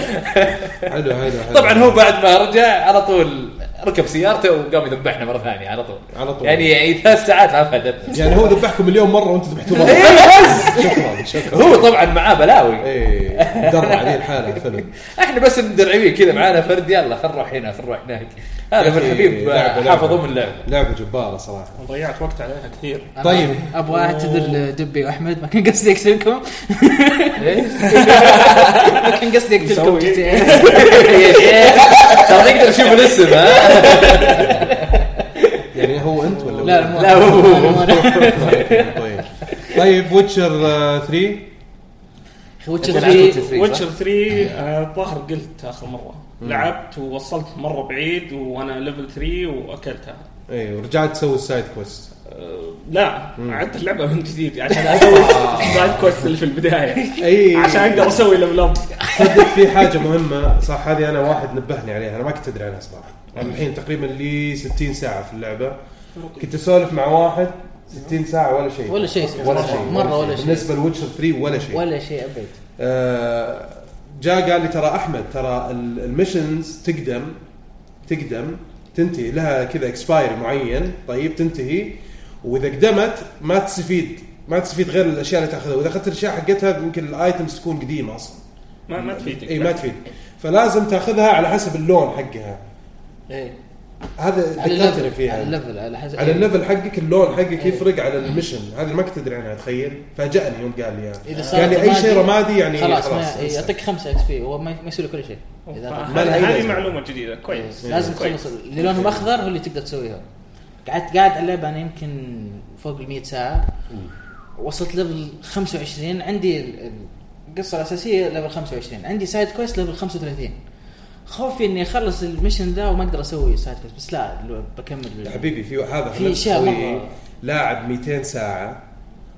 حلو حلو حلو. طبعا هو بعد ما رجع على طول ركب سيارته وقام يذبحنا مره ثانيه على طول على طول. يعني يعني ثلاث ساعات ما <laughs> فادتنا يعني هو ذبحكم مليون مره وانتم ذبحتوه مرة. شكرا شكرا هو طبعا معاه بلاوي <laughs> ايه درع عليه الحاله فيلم احنا بس مدرعين كذا معانا فرد يلا خل نروح هنا خل نروح هناك هذا ابو يا أخي، الحبيب لعبة- لعبة. حافظ ام اللعبه لعبه جباره صراحه ضيعت وقت عليها كثير أنا طيب. ابغى اعتذر لدبي واحمد ما كان قصدي اقتلكم إيه؟ ما كان قصدي اقتلكم مسوي. <laughs> GTA. <laughs> ترى نقدر نشوف الاسم ها يعني هو انت ولا لا مو لا، هو- هو- هو. <laughs> طيب <laughs> طيب طيب ويتشر 3 ويتشر أنت لعبت Witcher 3 3 صح؟ إيه. ويتشر 3 آه، الظاهر قلت اخر مره لعبت ووصلت مره بعيد وانا ليفل 3 واكلتها ايه ورجعت تسوي السايد كويست آه، لا عدت يعني. <laughs> اللعبه من جديد عشان اسوي السايد كويست اللي في البدايه اي إيه. عشان اقدر اسوي ليفل اب تصدق في حاجه مهمه صح هذه انا واحد نبهني عليها انا ما كنت ادري عنها صراحه انا الحين تقريبا لي 60 ساعه في اللعبه كنت اسولف مع واحد 60 ساعه ولا شيء ولا شيء ولا شيء مره ولا شيء بالنسبه لويتشر 3 ولا شيء ولا شيء ابد آه، جاء قال لي ترى احمد ترى ال- المشنز تقدم تقدم تنتهي لها كذا اكسباير معين طيب تنتهي واذا قدمت ما تستفيد ما تستفيد غير الاشياء اللي تاخذها واذا اخذت الاشياء حقتها يمكن الايتمز تكون قديمه اصلا ما ما إيه، تفيدك إيه، اي ما تفيد فلازم تاخذها على حسب اللون حقها ايه هذا على دكاتره الليفل فيها على الليفل على حسب على الليفل حقك اللون حقك إيه. يفرق على المشن هذه ما كنت ادري عنها تخيل فاجأني يوم قال لي اياها اذا صار قال لي اي شيء رمادي رمادي يعني خلاص ما إيه، انسى. يعطيك خمسه اكس بي وما ما يسوي لك كل شيء إذا آه، أخذت- ما لها أي هذه لازمة. معلومه جديده إيه. كويس لازم كويس. تخلص اللي لونهم اخضر هو اللي تقدر تسويها قعدت قاعد على اللعبه انا يمكن فوق ال 100 ساعه وصلت ليفل 25 عندي ال- القصه الاساسيه ليفل 25 عندي سايد كويست ليفل 35 خوفي اني اخلص المشن ذا وما اقدر اسوي سايد كويست بس لا لو بكمل يا حبيبي في هذا في خلنا أشياء نسوي مرة. حبيبي لاعب 200 ساعه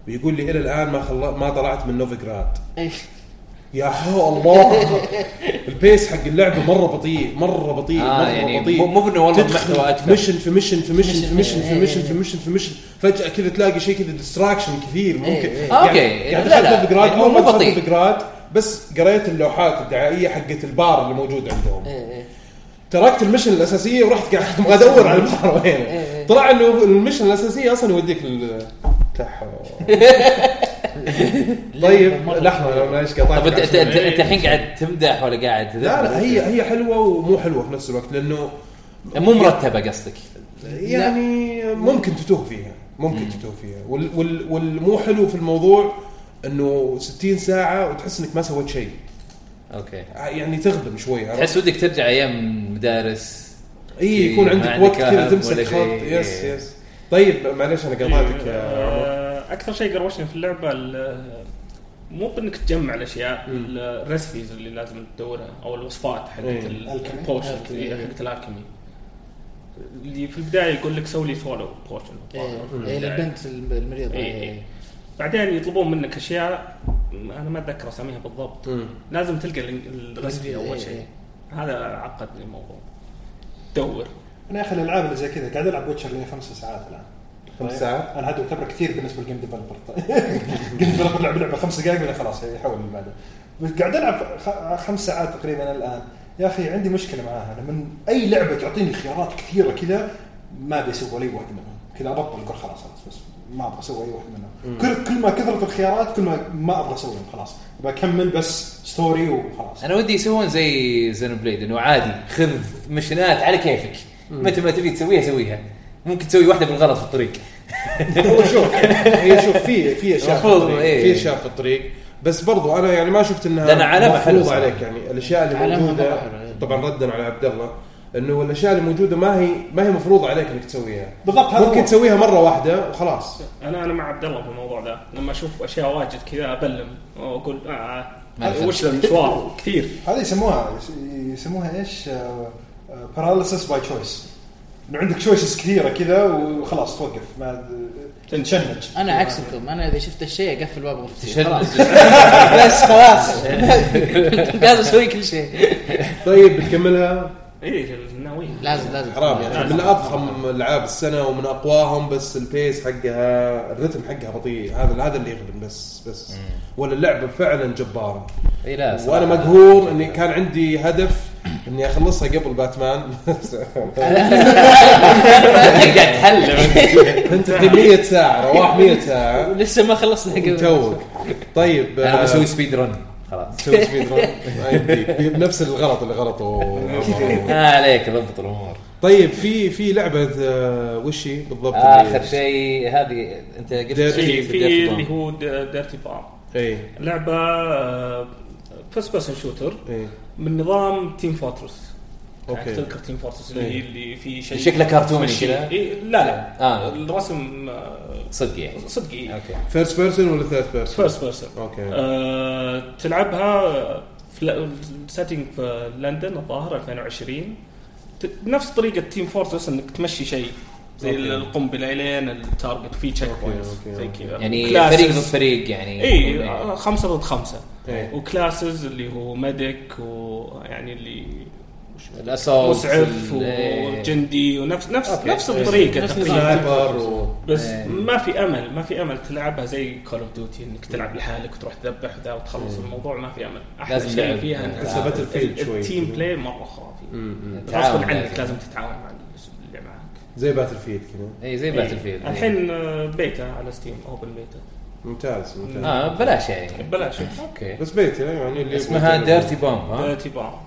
ويقول لي الى الان ما خل... ما طلعت من نوفيغراد إيه، يا هو الله <laughs> البيس حق اللعبه مره بطيء مره بطيء آه، مره يعني بطيء مو- مو بإنه والله تدخل محتوى أكثر. ميشن في ميشن في ميشن في ميشن في إيه، ميشن إيه، في ميشن في ميشن فجاه كذا تلاقي شيء كذا ديستراكشن كثير ممكن إيه، إيه. يعني- أوكي. يعني لا، دخلت لا. نوفيغراد يعني اول ما مو دخلت بطيء. نوفيغراد بس قريت اللوحات الدعائيه حقت البار اللي موجود عندهم إيه، تركت المشن الاساسيه ورحت قاعد <laughs> ابغى ادور على البحر وين إيه. طلع انه المشن الاساسيه اصلا يوديك لل لا <laughs> حول ولا قوة. طيب لحظه انا ايش قطعت طب انت انت انت أنت الحين قاعد تمدح ولا قاعد لا لا هي هي حلوه ومو حلوه في نفس الوقت لانه مو مرتبه قصدك يعني ممكن تتوه فيها ممكن تتوه فيها وال وال والمو حلو في الموضوع انه 60 ساعه وتحس انك ما سويت شيء اوكي يعني تغبن شوي عرفت؟ تحس ودك ترجع ايام مدارس اي يكون ما عندك عندك وقت كذا أهم تمسك ولا خط شيء. يس يس طيب معليش انا قطعتك يا عمر. <laughs> إيه. آه، اكثر شيء قروشني في اللعبه ال- مو بانك تجمع الاشياء مم. الريسبيز اللي لازم تدورها او الوصفات حقت إيه. ال- الكيمي. البوشن إيه، حقت الالكيمي اللي في البدايه يقول لك سوي لي سولو بوشن إيه. ايه البنت الم- المريضه يعني إيه، إيه. إيه. بعدين يطلبون منك اشياء انا ما اتذكر اساميها بالضبط مم. لازم تلقى ال- الريسبي إيه، اول إيه. شيء هذا عقد لي الموضوع دور انا يا اخي الالعاب اللي زي كذا قاعد العب ويتشر لي خمس ساعات الان خمس طيب. ساعات؟ انا هذا يعتبر كثير بالنسبه للجيم ديفلوبر <laughs> جيم ديفلوبر لعب لعبه خمس دقائق ولا خلاص يحول اللي بعده بس قاعد العب خ- خمس ساعات تقريبا الان يا اخي عندي مشكله معاها لما اي لعبه تعطيني خيارات كثيره كذا ما ابي اسوي ولا أي واحد منهم كذا ابطل اقول خلاص خلاص بس ما ابغى اسوي اي واحد منهم كل كل ما كثرت الخيارات كل ما ما ابغى اسويهم خلاص بكمل بس ستوري وخلاص انا ودي يسوون زي زينو بليد انه عادي خذ مشينات على كيفك متى ما تبي تسويها سويها ممكن تسوي واحده بالغلط في الطريق هو شوف هي شوف في في اشياء في المفروض، الطريق إيه. في اشياء في الطريق بس برضو انا يعني ما شفت انها لأن علامة مفروضة حلوة صراحة. عليك يعني الاشياء اللي علامة موجوده مرة حلوة، إيه. طبعا ردا على عبد الله انه الاشياء اللي موجوده ما هي ما هي مفروضه عليك انك تسويها بالضبط هذا ممكن هو. تسويها مره واحده وخلاص انا انا مع عبد الله في الموضوع ذا لما اشوف اشياء واجد كذا ابلم واقول آه ما آه، وش ذا المشوار كثير هذه يسموها يس- يسموها ايش؟ آه، باراليسس باي تشويس انه عندك تشويسز كثيره كذا وخلاص توقف ما تنشنج انا عكسكم انا اذا شفت الشيء اقفل باب غرفتي تشنج. خلاص <laughs> بس خلاص لازم اسوي كل شيء طيب بتكملها اي ناويين لازم لازم حرام يعني آه، لازم. من اضخم العاب السنه ومن اقواهم بس البيس حقها الرتم حقها بطيء هذا هذا اللي يغبن بس بس ولا اللعبه فعلا جباره اي لا صراحة. وانا مقهور اني كان عندي هدف اني اخلصها قبل <laughs> باتمان قاعد تحلل انت في 100 ساعه رواح 100 <laughs> ساعه لسه ما خلصنا قبل توك طيب انا آه، بسوي سبيد رن خلاص تسوي سبيد رن ما يمديك. بنفس الغلط اللي غلطه عمر. <laughs> ما عليك ضبط الامور طيب في في لعبه آه، وش هي بالضبط اخر شيء هذه انت قلت Dirty- في شيء في Dirty Bomb. اللي هو ديرتي بار اي لعبه آه، فيرست بيرسون شوتر اي من نظام تيم فورترس أوكي. اوكي تذكر تيم فورترس اللي إيه. هي اللي في شيء شكله كرتوني مشي. كذا. إيه، لا لا آه. الرسم آه، إيه. صدق يعني صدقي اوكي فيرست بيرسون ولا ثيرد بيرسون؟ فيرست بيرسون اوكي آه، تلعبها في سيتنج في لندن الظاهر 2020 ت- نفس طريقه تيم فورتس انك تمشي شيء زي أوكي. القنبله لين التارجت في تشيك بوينتس أوكي، زي أوكي. كذا يعني Classes. فريق ضد فريق يعني اي آه، خمسه ضد خمسه إيه. وكلاسز اللي هو ميديك ويعني اللي الاسولت مسعف يعني ال- إيه. وجندي ونفس نفس أوكي. نفس الطريقه نفس تقريبا النظام. سنايبر و بس إيه. ما في امل ما في امل تلعبها زي كول اوف ديوتي انك تلعب لحالك وتروح تذبح ذا وتخلص الموضوع ما في امل احلى إيه. لازم شيء لعب. فيها إنها- تحسها باتل فيلد شوي. التيم بلاي مره خرافي م- م. غصبا تعاون عنك لازم. لازم تتعاون مع اللي معك زي باتل فيلد كذا اي زي باتل فيلد الحين آه، بيتا على ستيم اوبن بيتا ممتاز ممتاز اه بلاش يعني ببلاش اوكي بس بيت يعني اللي اسمها يبغى يجرب. ديرتي بومب ها ديرتي بار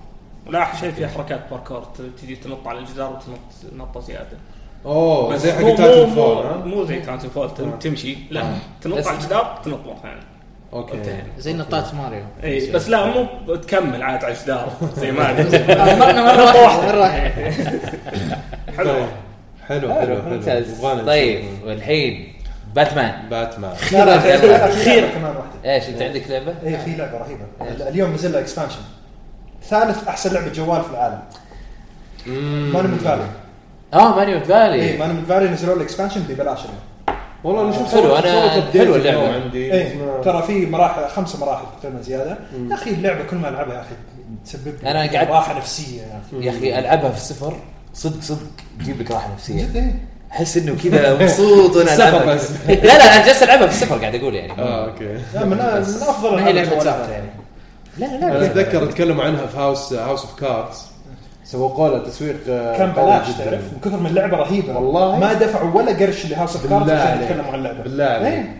ولا احلى شيء فيها حركات باركور ت- تجي تنط على الجدار وتنط نطه زياده اوه بس زي حق مو- تايتن مو- فول مو- ها آه. مو زي تايتن فول تن- تمشي لا تنط آه. بس- على الجدار تنط مره ثانيه اوكي انتهينا. زي نطات ماريو اي بس لا مو تكمل عاد على الجدار زي ما أدري. آه، مرة مرة واحدة مرة واحدة حلو طيب. حلو حلو حلو ممتاز يبغانا طيب والحين باتمان نشوف باتمان <laughs> لا لا في- لا، في لعبة كمان واحده ايش انت عندك لعبه؟ اي في لعبه رهيبه إيه. اليوم نزل لها اكسبانشن ثالث احسن لعبه جوال في العالم مانومنت فالي اه ماني اي فالي مانومنت فالي نزلوا لها اكسبانشن ببلاش اليوم والله انا شفت حلو، صورة- أنا- صورة update حلو اللعبة. اليوم عندي ايه إيه، اسمها- ترى في مراحل خمسة مراحل تقريبا زياده يا اخي اللعبه كل ما العبها يا اخي تسبب لي أنا قعدت- راحه نفسيه يا اخي يا اخي العبها في السفر صدق صدق تجيب لك راحه نفسيه جد إيه. احس انه كذا مبسوط وانا السفر العبها بس. كذا. لا لا انا جالس العبها في السفر قاعد اقول يعني اه اوكي لا، من من افضل ما هي الألعاب لعبة الجوالات. سفر يعني لا انا لا اتذكر تكلموا عنها في هاوس هاوس اوف كاردز سوقوا لها تسويق آه، كان قوي بلاش جداً. تعرف من كثر من اللعبه رهيبه والله؟ ما دفعوا ولا قرش لهاوس اوف كاردز بالله عشان عليك. يتكلموا عن اللعبه بالله عليك إيه.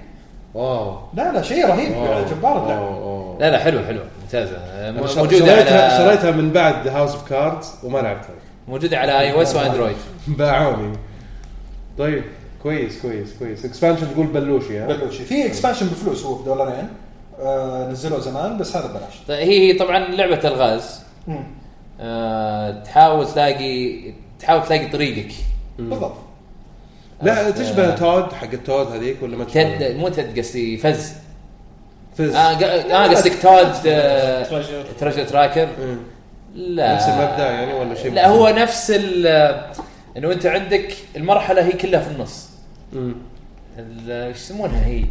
واو لا لا شيء رهيب يعني واو. إيه، جبار اللعبه واو، واو. لا لا حلوه حلوه ممتازه آه، أنا شر- موجوده شريتها على شريتها من بعد هاوس اوف كاردز وما لعبتها موجوده على اي او اس واندرويد باعوني طيب كويس كويس كويس اكسبانشن تقول بلوشي ها بلوشي في اكسبانشن بفلوس هو بدولارين آه نزلوه زمان بس هذا بلاش طيب، هي طبعا لعبه الغاز مم. آه، تحاول تلاقي تحاول تلاقي طريقك بالضبط لا آه. تشبه تود حق التود هذيك ولا ما تد تشبه؟ مو تد قصدي فز فز اه ق- آه، قصدك تود آه، تريجر تريجر تراكر مم. لا نفس المبدأ يعني ولا شيء لا هو نفس ال انه انت عندك المرحله هي كلها في النص مم. ال- ايش يسمونها هي؟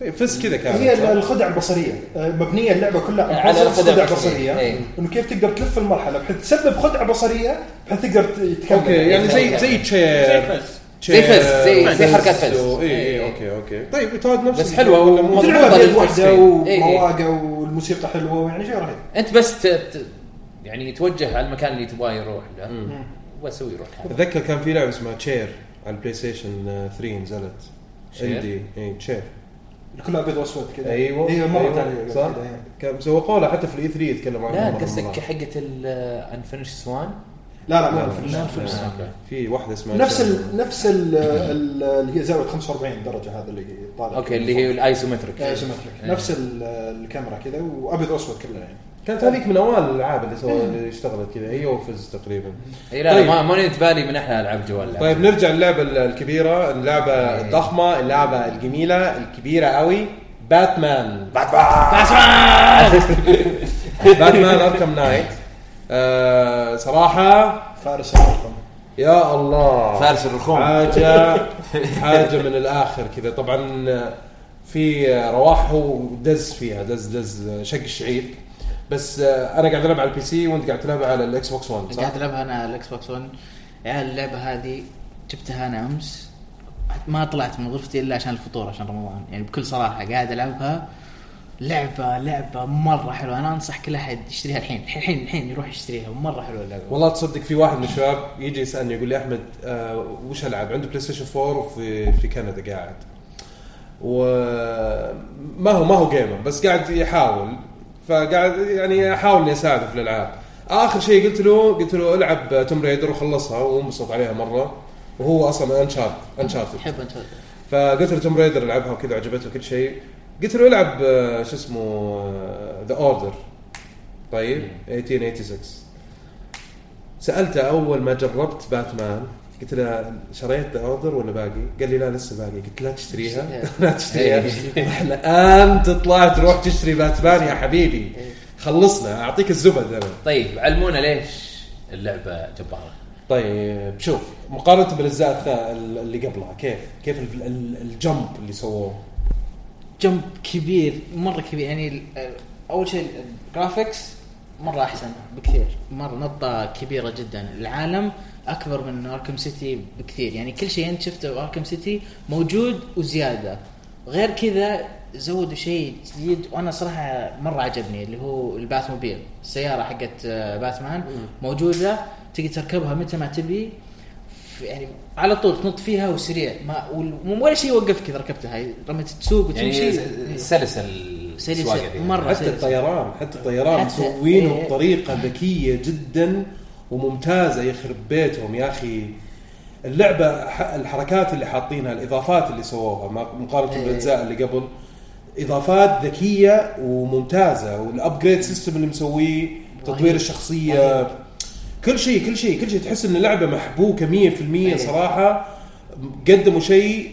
طيب فز كذا كانت هي صح؟ ال- الخدع البصريه آه، مبنيه اللعبه كلها على على الخدع خدع البصرية. بصريه إيه. انه كيف تقدر تلف المرحله بحيث تسبب خدعه بصريه بحيث تقدر ت- تكمل إيه. اوكي يعني زي زي زي تشير فز زي فز، زي- زي حركات فز. اي إيه. اي اوكي اوكي طيب تود نفس بس حلوة ولا مو- ومضبوطة. تلعبها بيد للفول واحده سكرين. إيه، إيه. ومواقع والموسيقى حلوه يعني شيء رهيب انت بس ت... ت... يعني توجه على المكان اللي تبغاه يروح له بس هو يروح لحاله. اتذكر كان في لعبه اسمها تشير على البلاي ستيشن آه، 3 نزلت Chair؟ إيه، عندي اي تشير كلها ابيض واسود كذا ايوه ايوه مره أيوة، ثانيه صح كان سوقوا لها حتى في الاي 3 يتكلموا عنها لا مرة قصدك مرة. حقه الانفنش سوان؟ لا لا ما أعرف. في واحده اسمها نفس Chair. ال نفس ال ال- اللي هي زاويه 45 درجه هذا اللي طالع اوكي اللي هي الايسومتريك إيه، سيمتريك. نفس ال- الكاميرا كذا وابيض واسود كلها يعني كانت هذيك من اوائل الالعاب اللي سوى اللي اشتغلت كذا هي وفز تقريبا اي لا طيب. ما ما نيت بالي من احلى العاب جوال طيب نرجع للعبه ال- الكبيره اللعبه الضخمه اللعبه الجميله الكبيره قوي باتمان باتمان <laughs> باتمان اركم نايت آه صراحه فارس الرقم يا الله فارس الرخوم آه، حاجه حاجه من الاخر كذا طبعا في رواح هو دز فيها دز دز شق الشعير بس آه، انا قاعد العب على البي سي وانت قاعد تلعب على الاكس بوكس 1 صح؟ قاعد العبها انا على الاكس بوكس 1 يعني اللعبه هذه جبتها انا امس ما طلعت من غرفتي الا عشان الفطور عشان رمضان يعني بكل صراحه قاعد العبها لعبه لعبه مره حلوه انا انصح كل احد يشتريها الحين الحين الحين يروح يشتريها مره حلوه يعني. اللعبه والله تصدق في واحد من الشباب يجي يسالني يقول لي احمد آه وش العب؟ عنده بلاي ستيشن 4 وفي في كندا قاعد. وما هو ما هو جيمر بس قاعد يحاول فقاعد يعني احاول اني اساعده في الالعاب. اخر شيء قلت له قلت له العب توم ريدر وخلصها وانبسط عليها مره وهو اصلا انشارت انشارتد تحب انت فقلت له توم ريدر العبها وكذا عجبته كل شيء قلت له العب آه، شو اسمه ذا اوردر طيب 1886 سالته اول ما جربت باتمان قلت له شريت ذا اوردر ولا باقي؟ قال لي لا لسه باقي قلت لا تشتريها <laughs> لا تشتريها <laughs> إيه. الان تطلع تروح تشتري باتمان يا حبيبي خلصنا اعطيك الزبد انا طيب علمونا ليش اللعبه جباره طيب شوف مقارنه بالاجزاء الثا- اللي قبلها كيف كيف ال- ال- الجمب اللي سووه جمب كبير مره كبير يعني ال- اول شيء الجرافكس مره احسن بكثير مره نطه كبيره جدا العالم اكبر من اركم سيتي بكثير يعني كل شيء انت شفته باركم سيتي موجود وزياده غير كذا زودوا شيء جديد وانا صراحه مره عجبني اللي هو الباتموبيل السياره حقت آه، باتمان موجوده تقدر تركبها متى ما تبي في- يعني على طول تنط فيها وسريع ما وال- ولا شيء يوقفك اذا ركبتها هي لما تسوق يعني وتمشي س- سلسه سلسة، السواقه فيها. مرة. حتى سلسة. الطيران حتى الطيران حتى- مسوينه إيه. بطريقه ذكيه جدا وممتازه يخرب بيتهم يا اخي اللعبه ح- الحركات اللي حاطينها الاضافات اللي سووها ما- مقارنه إيه. بالاجزاء اللي قبل اضافات ذكيه وممتازه والابجريد سيستم اللي مسويه تطوير رهيب. الشخصيه رهيب. كل شيء كل شيء كل شيء تحس ان اللعبه محبوكه 100% إيه. صراحه قدموا شيء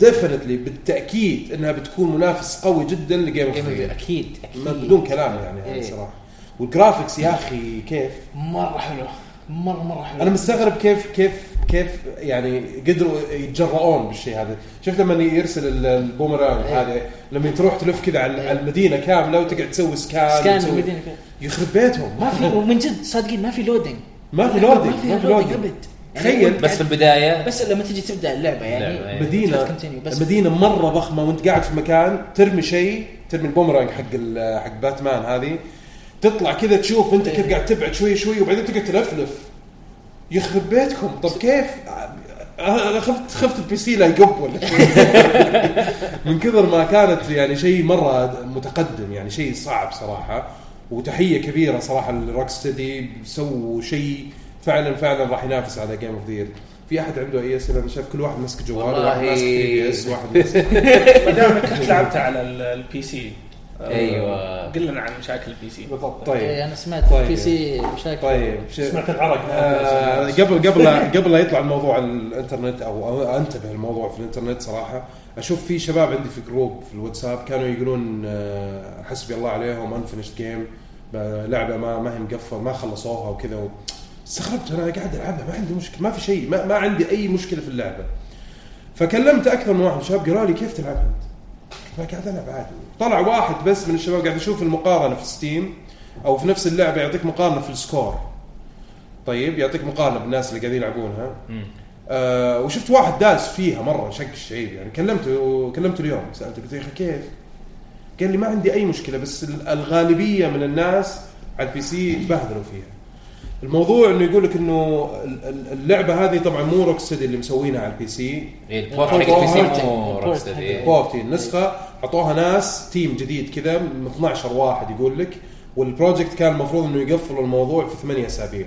ديفنتلي بالتاكيد انها بتكون منافس قوي جدا لجيم اوف Game of the Year. ثرونز اكيد اكيد بدون كلام يعني هذا إيه. صراحه والجرافكس يا اخي كيف مره حلو مره مره حلو انا مستغرب كيف كيف كيف يعني قدروا يتجرؤون بالشيء هذا شفت لما يرسل ال- البومرانج إيه. هذا لما تروح تلف كذا على إيه. على المدينه كامله وتقعد تسوي سكان سكان وتسوي- المدينه كلها. يخرب بيتهم ما في ومن جد صادقين ما في لودنج ما في loading، ما ما في في يعني لودنج loading. ابد تخيل. أنت بس في قاعد- البدايه بس لما تجي تبدا اللعبه اللعبة، يعني إيه. أيوة. مدينة continue بس. مدينة مرة ضخمة وانت قاعد في مكان ترمي شيء ترمي البومرانج حق ال- حق باتمان هذه تطلع كذا تشوف انت إيه. كيف قاعد تبعد شوي شوي وبعدين تقعد تلفلف يخرب بيتكم طب كيف؟ انا خفت خفت البي سي لا يقب ولا <laughs> شيء. من كثر ما كانت يعني شيء مره متقدم يعني شيء صعب صراحه وتحيه كبيره صراحه للروك ستدي سووا شيء فعلا فعلا راح ينافس على جيم اوف ذير في احد عنده اي اسئله انا شايف كل واحد ماسك جوال واحد والله. ماسك 3 اس واحد ماسك ما دام كنت لعبتها على ال- البي سي آه، أيوة. قل لنا عن مشاكل البي سي <laughs> بالضبط طيب إيه، انا سمعت طيب. بي سي مشاكل طيب ش- سمعت العرق آه، قبل قبل قبل لا يطلع الموضوع على الانترنت او أو انتبه الموضوع في الانترنت صراحه اشوف في شباب عندي في جروب في الواتساب كانوا يقولون آه، حسبي الله عليهم انفنشد جيم لعبه ما ما هي مقفل ما خلصوها وكذا و- استغربت انا قاعد العبها ما عندي مشكله ما في شيء ما, ما عندي اي مشكله في اللعبه فكلمت اكثر من واحد شباب قالوا لي كيف تلعبها انت؟ ما قاعد العب عادي طلع واحد بس من الشباب قاعد يشوف المقارنه في ستيم او في نفس اللعبه يعطيك مقارنه في السكور طيب يعطيك مقارنه بالناس اللي قاعدين يلعبونها آه وشفت واحد داس فيها مره شق الشعيب يعني كلمته كلمته اليوم سالته قلت له يا اخي كيف؟ قال لي ما عندي اي مشكله بس ال- الغالبيه من الناس على البي سي يتبهدلوا فيها. الموضوع انه يقول لك انه ال- ال- اللعبه هذه طبعا مو روك اللي مسوينها على البي سي إيه، البورت حق البي سي مو البورت روكستدي، حق إيه. بورتي النسخه اعطوها ناس تيم جديد كذا من 12 واحد يقول لك والبروجكت كان المفروض انه يقفلوا الموضوع في 8 اسابيع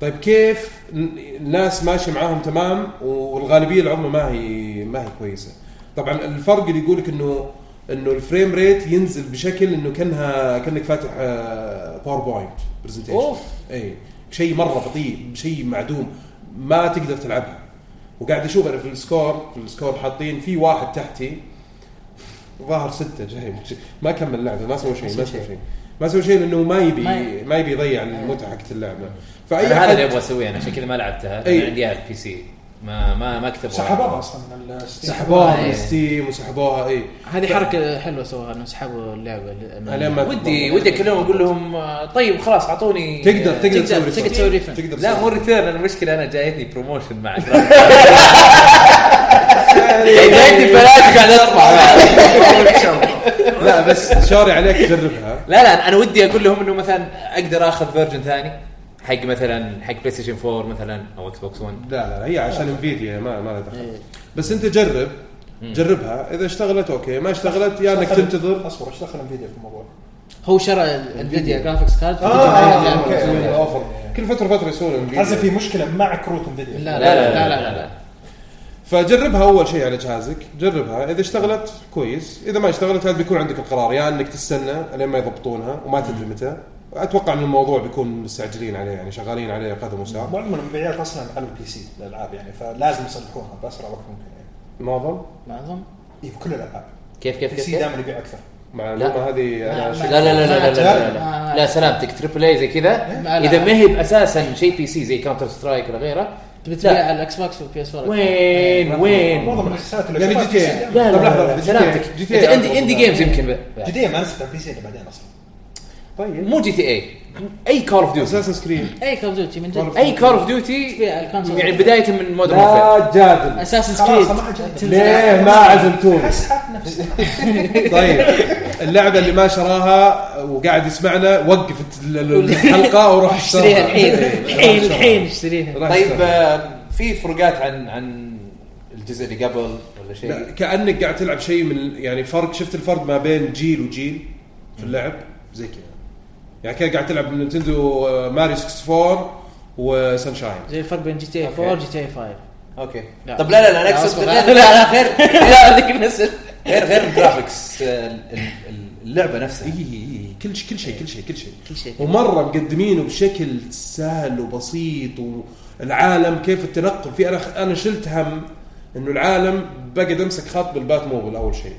طيب كيف ن- الناس ماشي معاهم تمام والغالبيه العظمى ما هي ما هي كويسه طبعا الفرق اللي يقول لك انه انه الفريم ريت ينزل بشكل انه كانها كانك فاتح آه، باوربوينت برزنتيشن أوف. اي إيه. شيء مره بطيء شيء معدوم ما تقدر تلعبها وقاعد اشوف انا في السكور في السكور حاطين في واحد تحتي ظاهر ستة جاي ما كمل لعبه ما سوى شيء ما سوى شيء ما سوى شيء لانه ما يبي ما- ما يبي يضيع المتعه حقت اللعبه أنا فاي هذا اللي احد ابغى اسويه انا عشان كذا ما لعبتها إيه. انا عندي اياها على البي سي ما ما ما كتبوا سحبوها اصلا من الستيم سحبوها من إيه. ستيم وسحبوها إيه. <laughs> اي هذه حركه حلوه سووها انه سحبوا اللعبه من- أنا طيب. ما- ودي ودي اكلمهم اقول لهم آه، طيب خلاص اعطوني تقدر آه، تقدر تقدر- تسوي refund. تقدر تسوي refund. تقدر لا مو تسوي ريتيرن المشكله انا جايتني بروموشن <laughs> مع إيه. جايتني ببلاش قاعد ادفع <laughs> refund. لا بس شاري عليك تجربها لا لا انا ودي اقول لهم انه مثلا اقدر اخذ فيرجن ثاني حق مثلا حق بلاي ستيشن 4 مثلا او اكس بوكس 1 لا لا هي عشان انفيديا ما ما لها دخل إيه. بس انت جرب جربها اذا اشتغلت اوكي ما اشتغلت يا انك تنتظر اصبر ايش دخل انفيديا في الموضوع؟ هو شرى انفيديا جرافكس كارد آه، أوكي. أوكي. يعني أوفر. كل فتره فتره يسوون Nvidia. حاسس في مشكله مع كروت انفيديا لا لا لا لا لا, فجربها اول شيء على جهازك جربها اذا اشتغلت كويس اذا ما اشتغلت هذا بيكون عندك القرار يا انك تستنى لين ما يضبطونها وما تدري متى اتوقع ان الموضوع بيكون مستعجلين عليه يعني شغالين عليه قدم وساق معظم المبيعات اصلا على البي سي الالعاب يعني فلازم يصلحوها باسرع وقت ممكن يعني معظم معظم إيه، في كل الالعاب كيف كيف البي كيف, سي كيف؟ دائما يبيع اكثر معلومه هذه لا، انا ما- شك- لا لا لا لا لا لا, ما- لا, ما- لا سلامتك تريبل اي زي كذا آه. ما- لا. اذا ما هي اساسا شيء بي سي زي كاونتر سترايك ولا غيره تبي لا. تبيع على الاكس بوكس والبي اس 4 وين وين معظم الاكسسات يعني جي تي والأكسسات- لا لا طب لحظة، لا GTA سلامتك GTA انت عندي أوصل اندي لها. جيمز يمكن بعد. جديا ما نسيت على البي سي الا بعدين اصلا طيب مو جي تي اي اي كول اوف ديوتي اساسن سكريد اي كول اوف ديوتي من جد اي كول اوف ديوتي تبيع على الكونسول يعني بدايه من مودرن وورفير لا جادل اساس خلاص ما حد جاي. سكريد ليه ما عزمتوني اسحب نفسي طيب اللعبه اللي ما شراها وقاعد يسمعنا وقف ال- ال- الحلقه وروح اشتريها إيه، الحين الحين روح الحين اشتريها. اشتريها روح طيب اشتريها. آه، في فروقات عن عن الجزء اللي قبل ولا لا، شيء كانك قاعد تلعب شيء من يعني فرق شفت الفرق ما بين جيل وجيل في اللعب زي كذا يعني كان قاعد تلعب من نينتندو آه، ماريو 64 وسانشاين زي الفرق بين جي تي اي 4 وجي تي إيه اي 5 اوكي لا. طب لا لا لا انا لا، اقصد أصبر. لا لا لا غير لا هذيك النسل غير غير الجرافكس آه، ال- ال- اللعبه اي نفسها اي كل شيء كل شيء كل شيء كل شيء كل شيء. ومره مقدمينه بشكل سهل وبسيط والعالم كيف التنقل فيه انا انا شلت هم انه العالم بقعد امسك خط بالبات موبل اول شيء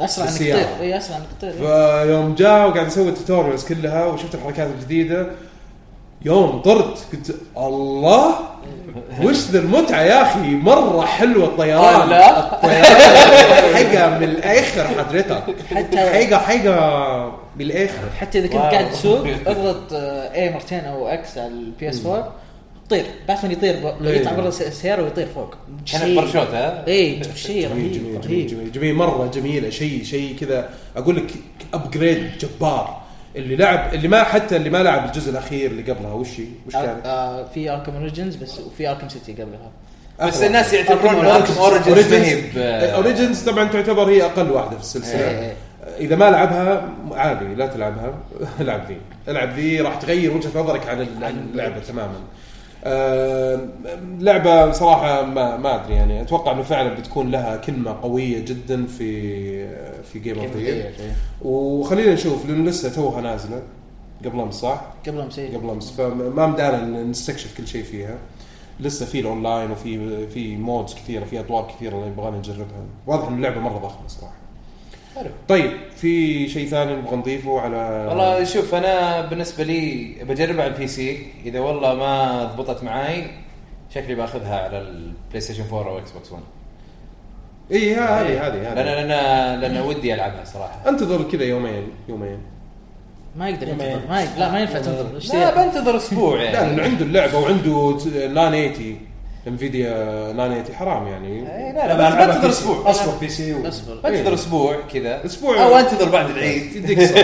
اسرع انك بالسيارة. تطير اي اسرع انك تطير فيوم جاء وقاعد اسوي التوتوريالز كلها وشفت الحركات الجديده يوم طرت قلت الله وش ذا المتعه يا اخي مره حلوه الطيران لا. الطيران حقه من الاخر حضرتك حتى حقه حقه من الاخر حتى اذا كنت واو. قاعد تسوق اضغط اي مرتين او اكس على البي اس 4 تطير باتمان يطير ب- إيه. يطلع برا الس- السياره ويطير فوق كانت برشوت ها اي إيه، شيء جميل رهيب جميل جميل, رهيب طيب. جميل, جميل مره جميله شيء شيء كذا اقول لك ابجريد جبار اللي لعب اللي ما حتى اللي ما لعب الجزء الاخير اللي قبلها وش هي؟ وش كان؟ آه، في اركم اوريجنز بس وفي اركم سيتي قبلها بس الناس يعتبرون أركم اركم اوريجنز ما هي ب- اوريجنز طبعا تعتبر هي اقل واحده في السلسله إيه. اذا ما لعبها عادي لا تلعبها <laughs> العب ذي العب ذي راح تغير وجهه نظرك عن ال- عن اللعبه تماما آه، لعبه صراحه ما ما ادري يعني اتوقع انه فعلا بتكون لها كلمه قويه جدا في في جيم اوف إيه، ذا وخلينا نشوف لانه لسه توها نازله قبل امس صح؟ قبلها مسير قبل امس فما مدانا نستكشف كل شيء فيها لسه في الاونلاين وفي في مودز كثيره في اطوار كثيره اللي يبغانا نجربها واضح ان اللعبه مره ضخمه صراحه حلو. طيب في شيء ثاني نبغى نضيفه على والله شوف انا بالنسبه لي بجربها على البي سي اذا والله ما ضبطت معاي شكلي باخذها على البلاي ستيشن 4 او اكس بوكس 1 اي ها- إيه، هذه هذه لان هذه لان لان ودي العبها صراحه انتظر كذا يومين يومين ما يقدر ينتظر ما يقدر لا ما آه، ينفع تنتظر لا اشتريها. بنتظر اسبوع لا لانه يعني عنده اللعبه وعنده ت- 980 انفيديا 980 حرام يعني إيه، لا لا بس بنتظر اسبوع اصبر بي سي و- اصبر بنتظر اسبوع كذا أسبوع. او انتظر بعد العيد يديك صح.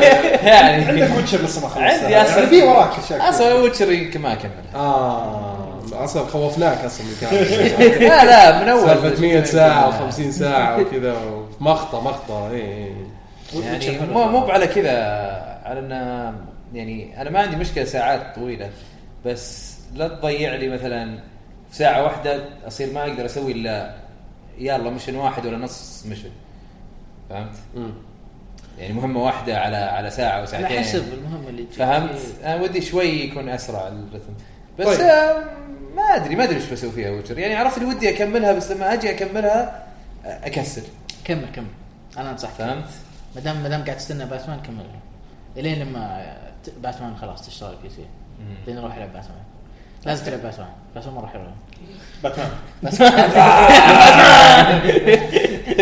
<laughs> يعني عندك ويتشر لسه ما خلصت <laughs> عندي أصلاً. يعني في وراك شكل. اصلا ويتشر يمكن ما اكملها اه اصلا خوفناك اصلا من كامل <laughs> لا لا من اول سالفه 100 <laughs> ساعه و50 ساعه وكذا إيه، مخطه مخطه اي اي يعني مو مو على كذا على ان يعني انا ما عندي مشكله ساعات طويله بس لا تضيع لي مثلا في ساعه واحده اصير ما اقدر اسوي الا يلا مشن واحد ولا نص مشن فهمت؟ مم. يعني مهمه واحده على على ساعه او على ساعتين حسب المهمه اللي تجيك. فهمت؟ إيه. انا ودي شوي يكون اسرع الرتم بس طيب. طيب. آه ما ادري ما ادري ايش بسوي فيها ويتشر يعني عرفت اللي ودي اكملها بس لما اجي اكملها آه، اكسل كمل كمل انا انصحك فهمت؟ ما دام ما دام قاعد تستنى باتمان كمل الين لما ت- باتمان خلاص تشتغل بي سي لين روح العب باتمان لازم تلعب باتمان باتمان مره حلو باتمان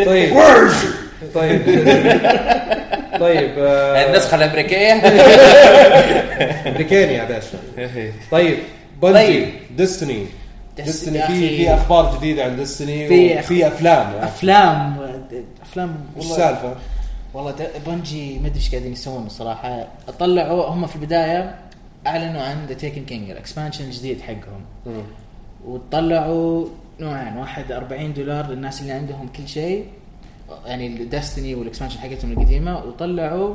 طيب طيب طيب آه، النسخه <laughs> الامريكيه بريكاني يا باشا طيب بنجي طيب. ديستني إيه، Destiny ديستني يا في أخي. في اخبار جديده عن ديستني في وفي افلام يا أخي. افلام افلام وش والله- السالفه؟ والله د- بنجي ما ادري ايش قاعدين يسوون الصراحه طلعوا هم في البدايه اعلنوا عن ذا تيكن كينج الاكسبانشن الجديد حقهم مم. وطلعوا نوعين واحد 40 دولار للناس اللي عندهم كل شيء يعني الدستني والاكسبانشن حقتهم القديمه وطلعوا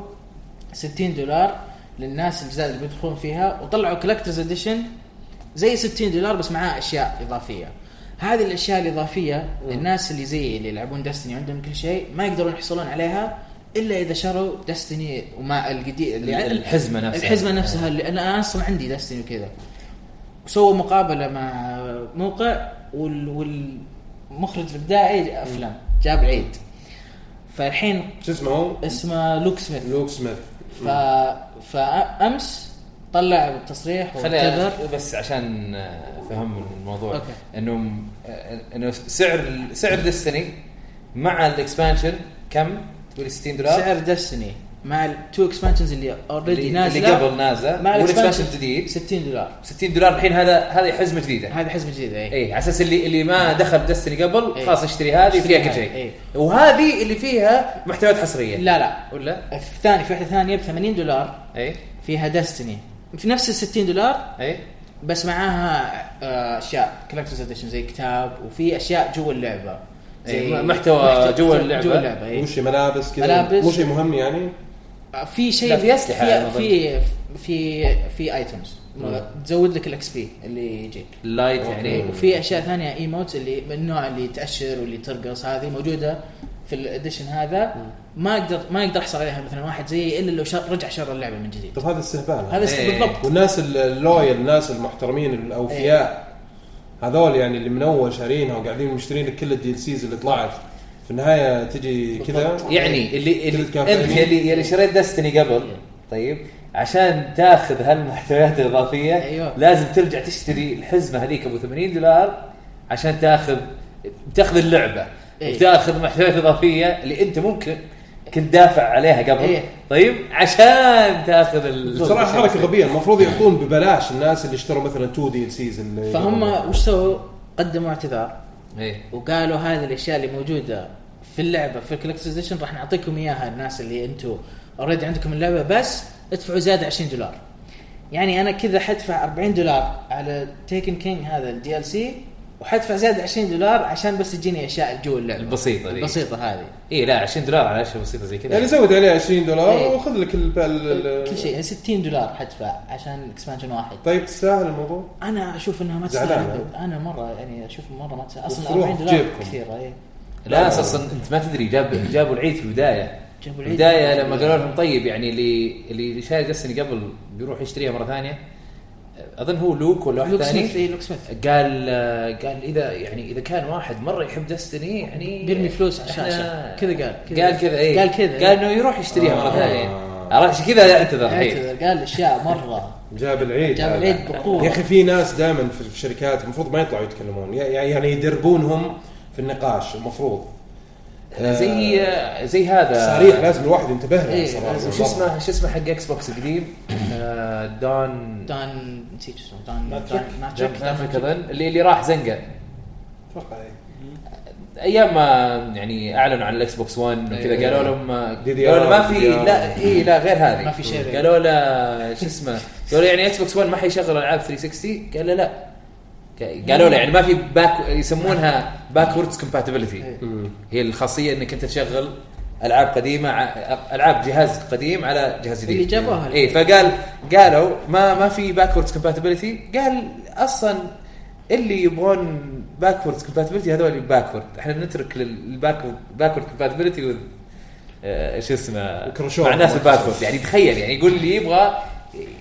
60 دولار للناس الجداد اللي بيدخلون فيها وطلعوا كولكترز اديشن زي 60 دولار بس معاه اشياء اضافيه هذه الاشياء الاضافيه الناس اللي زي اللي يلعبون دستني عندهم كل شيء ما يقدرون يحصلون عليها الا اذا شروا دستني وما القديم اللي- الحزمة نفسها. الحزمه نفسها اللي انا اصلا عندي دستني وكذا سووا مقابله مع موقع وال والمخرج الابداعي افلام جاب العيد فالحين شو اسمه هو؟ اسمه لوك سميث لوك سميث إيه. ف... فامس طلع بالتصريح خلينا وتذر بس عشان آه، فهم الموضوع أوكي. انه م- آه، انه سعر سعر ديستني مع الاكسبانشن كم؟ تقول 60 دولار سعر دستني مع التو اكسبانشنز اللي اوريدي اللي, نازله اللي قبل نازله مع والاكسبانشن الاكسبانشن الجديد 60 دولار 60 دولار الحين هذا هذه حزمه جديده هذه إيه. حسبه جديده اي اي على اساس اللي اللي ما دخل دستني قبل إيه. خلاص اشتري هذه اشتري فيها كل هذه، شيء إيه. وهذه اللي فيها محتويات حصريه لا لا ولا إيه؟ الثاني في واحده ثانيه ب 80 دولار اي فيها دستني في نفس ال 60 دولار اي بس معاها آه، اشياء كولكترز اديشن زي كتاب وفي اشياء جوا اللعبه إيه، محتوى جوا اللعبة. جوا اللعبه إيه. وش ملابس كذا ملابس. مو شيء مهم يعني في شيء لا، في أسلحة أنا في أظن. في في, في ايتمز تزود لك الاكس بي اللي يجيك لايت يعني يعني وفي اشياء ثانيه ايموت اللي من النوع اللي تاشر واللي ترقص هذه موجوده في الاديشن هذا ما اقدر ما اقدر احصل عليها مثلا واحد زيي الا لو شر رجع شر اللعبه من جديد طب طيب، هذا استهبال هذا است- إيه. بالضبط والناس اللويال الناس المحترمين الاوفياء هذول يعني اللي من اول شارينها وقاعدين مشترين لك كل الديل سيز اللي طلعت في النهايه تجي كذا طيب. يعني اللي اللي كل كافة انت يعني. اللي اللي شريت دستني إيه. قبل طيب عشان تاخذ هالمحتويات الاضافيه أيوة. لازم ترجع تشتري الحزمه هذيك ابو 80 دولار عشان تاخذ تاخذ اللعبه إيه. وتاخذ محتويات اضافيه اللي انت ممكن كنت دافع عليها قبل إيه. طيب عشان تاخذ ال- بصراحه حركه غبيه المفروض يعطون ببلاش الناس اللي اشتروا مثلا 2 ديل سيز اللي فهم وش سووا؟ قدموا اعتذار إيه. وقالوا هذه الاشياء اللي موجوده في اللعبه في الكولكترزيشن راح نعطيكم اياها الناس اللي انتم اوريدي عندكم اللعبه بس ادفعوا زياده 20 دولار يعني انا كذا حدفع 40 دولار على تيكن كينج هذا الدي ال سي وحدفع زياده 20 دولار عشان بس تجيني اشياء جوا اللعبه البسيطه دي البسيطه هذه اي لا 20 دولار على اشياء بسيطه زي كذا يعني زود عليه 20 دولار إيه. وخذ لك ال- ال- ال- كل شيء يعني 60 دولار حدفع عشان اكسبانشن واحد طيب تستاهل الموضوع انا اشوف انها ما زعلان تستاهل أنت. أبد. انا مره يعني اشوف مره ما تستاهل اصلا وفروح 40 دولار إيه. بجيبكم. كثيره اي لا اساسا انت ما تدري جاب جابوا العيد في البدايه جابوا العيد. البدايه لما قالوا لهم طيب يعني اللي اللي شاري دستني قبل بيروح يشتريها مره ثانيه اظن هو لوك ولا واحد لوك سميث ثاني اي لوك سميث قال قال اذا يعني اذا كان واحد مره يحب دستني يعني بيرمي فلوس على إحنا- الشاشه كذا قال قال كذا اي قال كذا إيه. آه. قال انه يروح يشتريها مره آه. ثانيه عرفت عشان كذا إيه. اعتذر الحين اعتذر قال اشياء مره جاب العيد جاب هذا. العيد بقوه يا اخي في ناس دائما في في شركات المفروض ما يطلعوا يتكلمون يع- يع- يعني يدربونهم في النقاش المفروض زي زي هذا صريح لازم الواحد ينتبه له آه. إيه، صراحه لازم. وش اسمه شو اسمه حق اكس بوكس القديم آه، دون دان نسيت شو اسمه دان ماتشك. دان- ماتشك جاب دان نافك اظن اللي اللي راح زنقه اتوقع إيه. ايام ما يعني اعلنوا عن الاكس بوكس 1 وكذا أيوة. قالوا لهم آه، دي دي قالوا له ما آر، في دي آر. لا اي لا غير هذه ما في شيء. قالوا له شو اسمه قالوا يعني اكس بوكس 1 ما حيشغل العاب 360 قال له لا ق- قالوا له يعني ما في باك يسمونها باكوردز كومباتيبلتي إيه. هي الخاصيه انك انت تشغل العاب قديمه ع- العاب جهاز قديم على جهاز جديد اللي جابوها. اي إيه، فقال قالوا ما ما في باكوردز كومباتيبلتي قال اصلا اللي يبغون باكوردز كومباتيبلتي هذول باكورد احنا نترك للباكورد كومباتيبلتي آه، شو اسمه وكرشوه. مع الناس الباكورد يعني تخيل يعني يقول اللي يبغى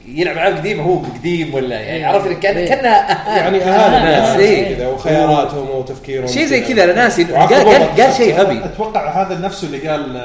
يلعب العاب قديمه هو قديم ولا يعني إيه. عرفت كان <laughs> إيه. كانها يعني آه، اهانه ناس، الناس إيه. كذا وخياراتهم وتفكيرهم شيء زي كذا انا ناسي قال وعقبوهم قال, قال شيء غبي اتوقع هذا نفسه اللي قال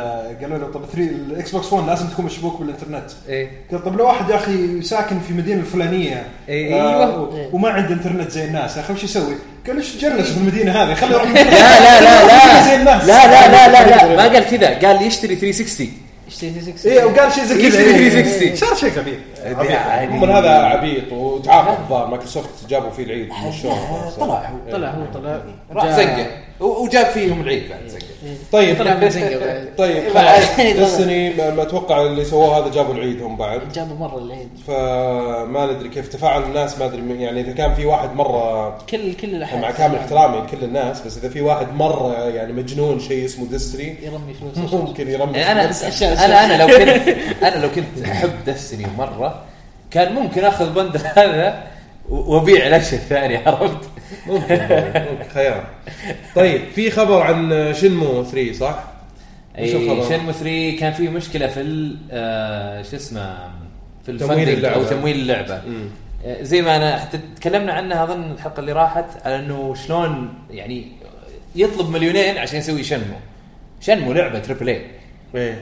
قالوا له طب 3 الاكس بوكس 1 لازم تكون مشبوك بالانترنت إيه. ايه قال طب لو واحد يا اخي ساكن في مدينه الفلانيه إيه، أيوة. و- وما عنده انترنت زي الناس يا اخي وش يسوي؟ قال ايش جلس في المدينه هذه خليه <laughs> يروح لا لا لا <laughs> زي لا الناس. لا لا لا لا <laughs> لا ما قال كذا قال يشتري 360 اشتري 360 ايه وقال شيء زي كذا يشتري إيه. 360. صار شيء غبي يعني- آه. من هذا عبيط وتعاقد الظاهر مايكروسوفت جابوا فيه العيد من الشهر طلع هو طلع هو طلع راح جاء- زنقه آه، و- وجاب فيهم العيد بعد زنقه طيب طلع من زنقه بعد. <laughs> طيب طلع. خلاص يعني ديستني ما ما اتوقع اللي سووه هذا جابوا العيد هم بعد جابوا مره العيد فما ندري كيف تفاعل الناس ما ادري من- يعني اذا كان في واحد مره كل كل الاحد مع كامل احترامي لكل الناس بس اذا في واحد مره يعني مجنون شيء اسمه ديستري يرمي فلوس ممكن يرمي يعني انا أشياء- انا انا لو كنت انا لو كنت احب دستني مره كان ممكن اخذ بند هذا و- وابيع الاشياء الثانيه عرفت؟ ممكن <laughs> ممكن خيار طيب في خبر عن شنمو 3 صح؟ وش اي الخبر؟ شنمو 3 كان في مشكله في ال- آه، شو اسمه في تمويل الفندنج او اللعبة. تمويل اللعبه مم. آه، زي ما انا حتى تكلمنا عنها اظن الحلقه اللي راحت على انه شلون يعني يطلب مليونين عشان يسوي شنمو شنمو لعبه تريبل اي ايه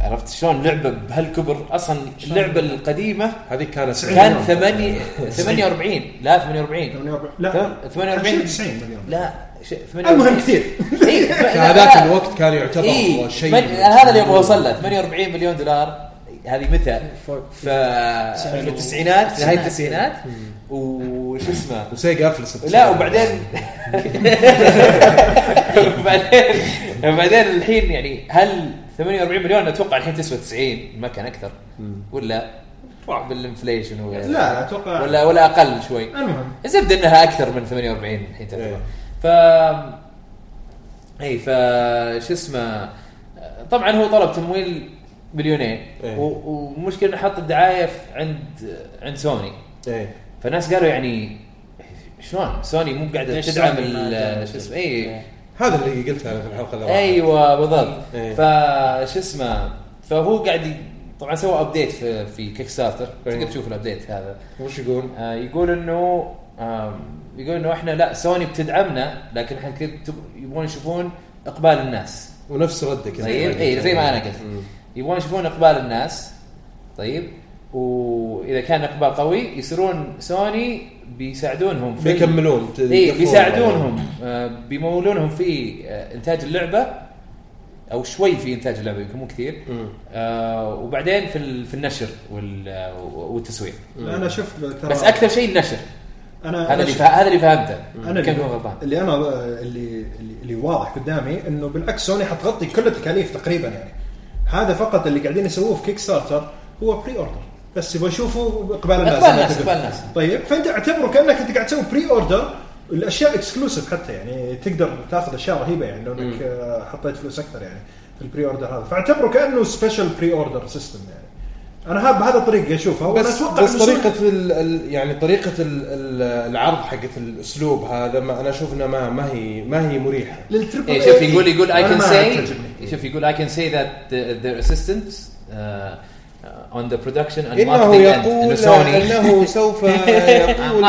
عرفت شلون لعبه بهالكبر اصلا اللعبه القديمه هذه كانت كان 8 48 لا 48 لا تمام؟ 48 90 مليون لا ش- 48 المهم <laughs> كثير <laughs> اي في هذاك الوقت كان يعتبر هو اي شيء إيه، من- هذا اللي ابغى اوصل له 48 مليون دولار هذه متى؟ ف... في التسعينات نهايه التسعينات وش اسمه وسيجا افلست لا وبعدين <laughs> وبعدين وبعدين الحين يعني هل 48 مليون اتوقع الحين تسوى 90 ما كان اكثر ولا بالانفليشن وغيره لا اتوقع ولا ولا اقل شوي المهم الزبده انها اكثر من 48 الحين تعتبر إيه. ف اي ف شو اسمه طبعا هو طلب تمويل مليونين إيه. و- ومشكله انه حط الدعايه في- عند عند سوني ايه فالناس قالوا يعني شلون سوني مو قاعده ليش تدعم سوني ما ال- دعمت؟ شو اسمه إيه. إيه. اي هذا اللي قلته انا في الحلقه اللي راحت. ايوه بالضبط إيه. فش اسمه فهو قاعد ي- طبعا سوى ابديت في, في كيك ستارتر إيه. تقدر تشوف الابديت هذا وش يقول؟ آه، يقول انه آم، يقول انه احنا لا سوني بتدعمنا لكن احنا كت- تب- يبغون يشوفون اقبال الناس ونفس ردك زي ما طيب قلت. اي زي ما انا قلت مم. يبغون يشوفون اقبال الناس طيب واذا كان اقبال قوي يصيرون سوني بيساعدونهم في بيكملون اي يكفون. إيه، بيساعدونهم آه، بيمولونهم في آه، انتاج اللعبه او شوي في انتاج اللعبه يمكن مو كثير مم. آه، وبعدين في ال- في النشر وال- آه، والتسويق انا شوف ترى آه، بس اكثر شيء النشر انا هذا انا اللي شوف- فا- هذا اللي فهمته أنا كم اللي- هو غلطان اللي انا اللي اللي- اللي واضح قدامي انه بالعكس سوني حتغطي كل التكاليف تقريبا يعني هذا فقط اللي قاعدين يسووه في كيك ستارتر هو بري اوردر بس يبغى يشوفوا اقبال الناس أقبال زي ما الناس، تقول. أقبال الناس. طيب فانت اعتبره كانك انت قاعد تسوي بري اوردر الاشياء اكسكلوسيف حتى يعني تقدر تاخذ اشياء رهيبه يعني لو انك آه، حطيت فلوس اكثر يعني في البري اوردر هذا فاعتبره كانه سبيشل بري اوردر سيستم يعني انا هذا بهذا الطريق اشوفها وأنا بس أتوقع بس إنه سوني- طريقة ال ال يعني طريقة ال ال العرض حقت الاسلوب هذا ما انا اشوف انها ما ما هي ما هي مريحة للتريبل إيه، اي شوف يقول يقول اي أنا كان ما سي تعجبني. شوف يقول اي كان سي ذات ذير اسيستنتس اون ذا برودكشن اند انه ماركتنج اند انه يقول سوني انه <laughs> سوف يقول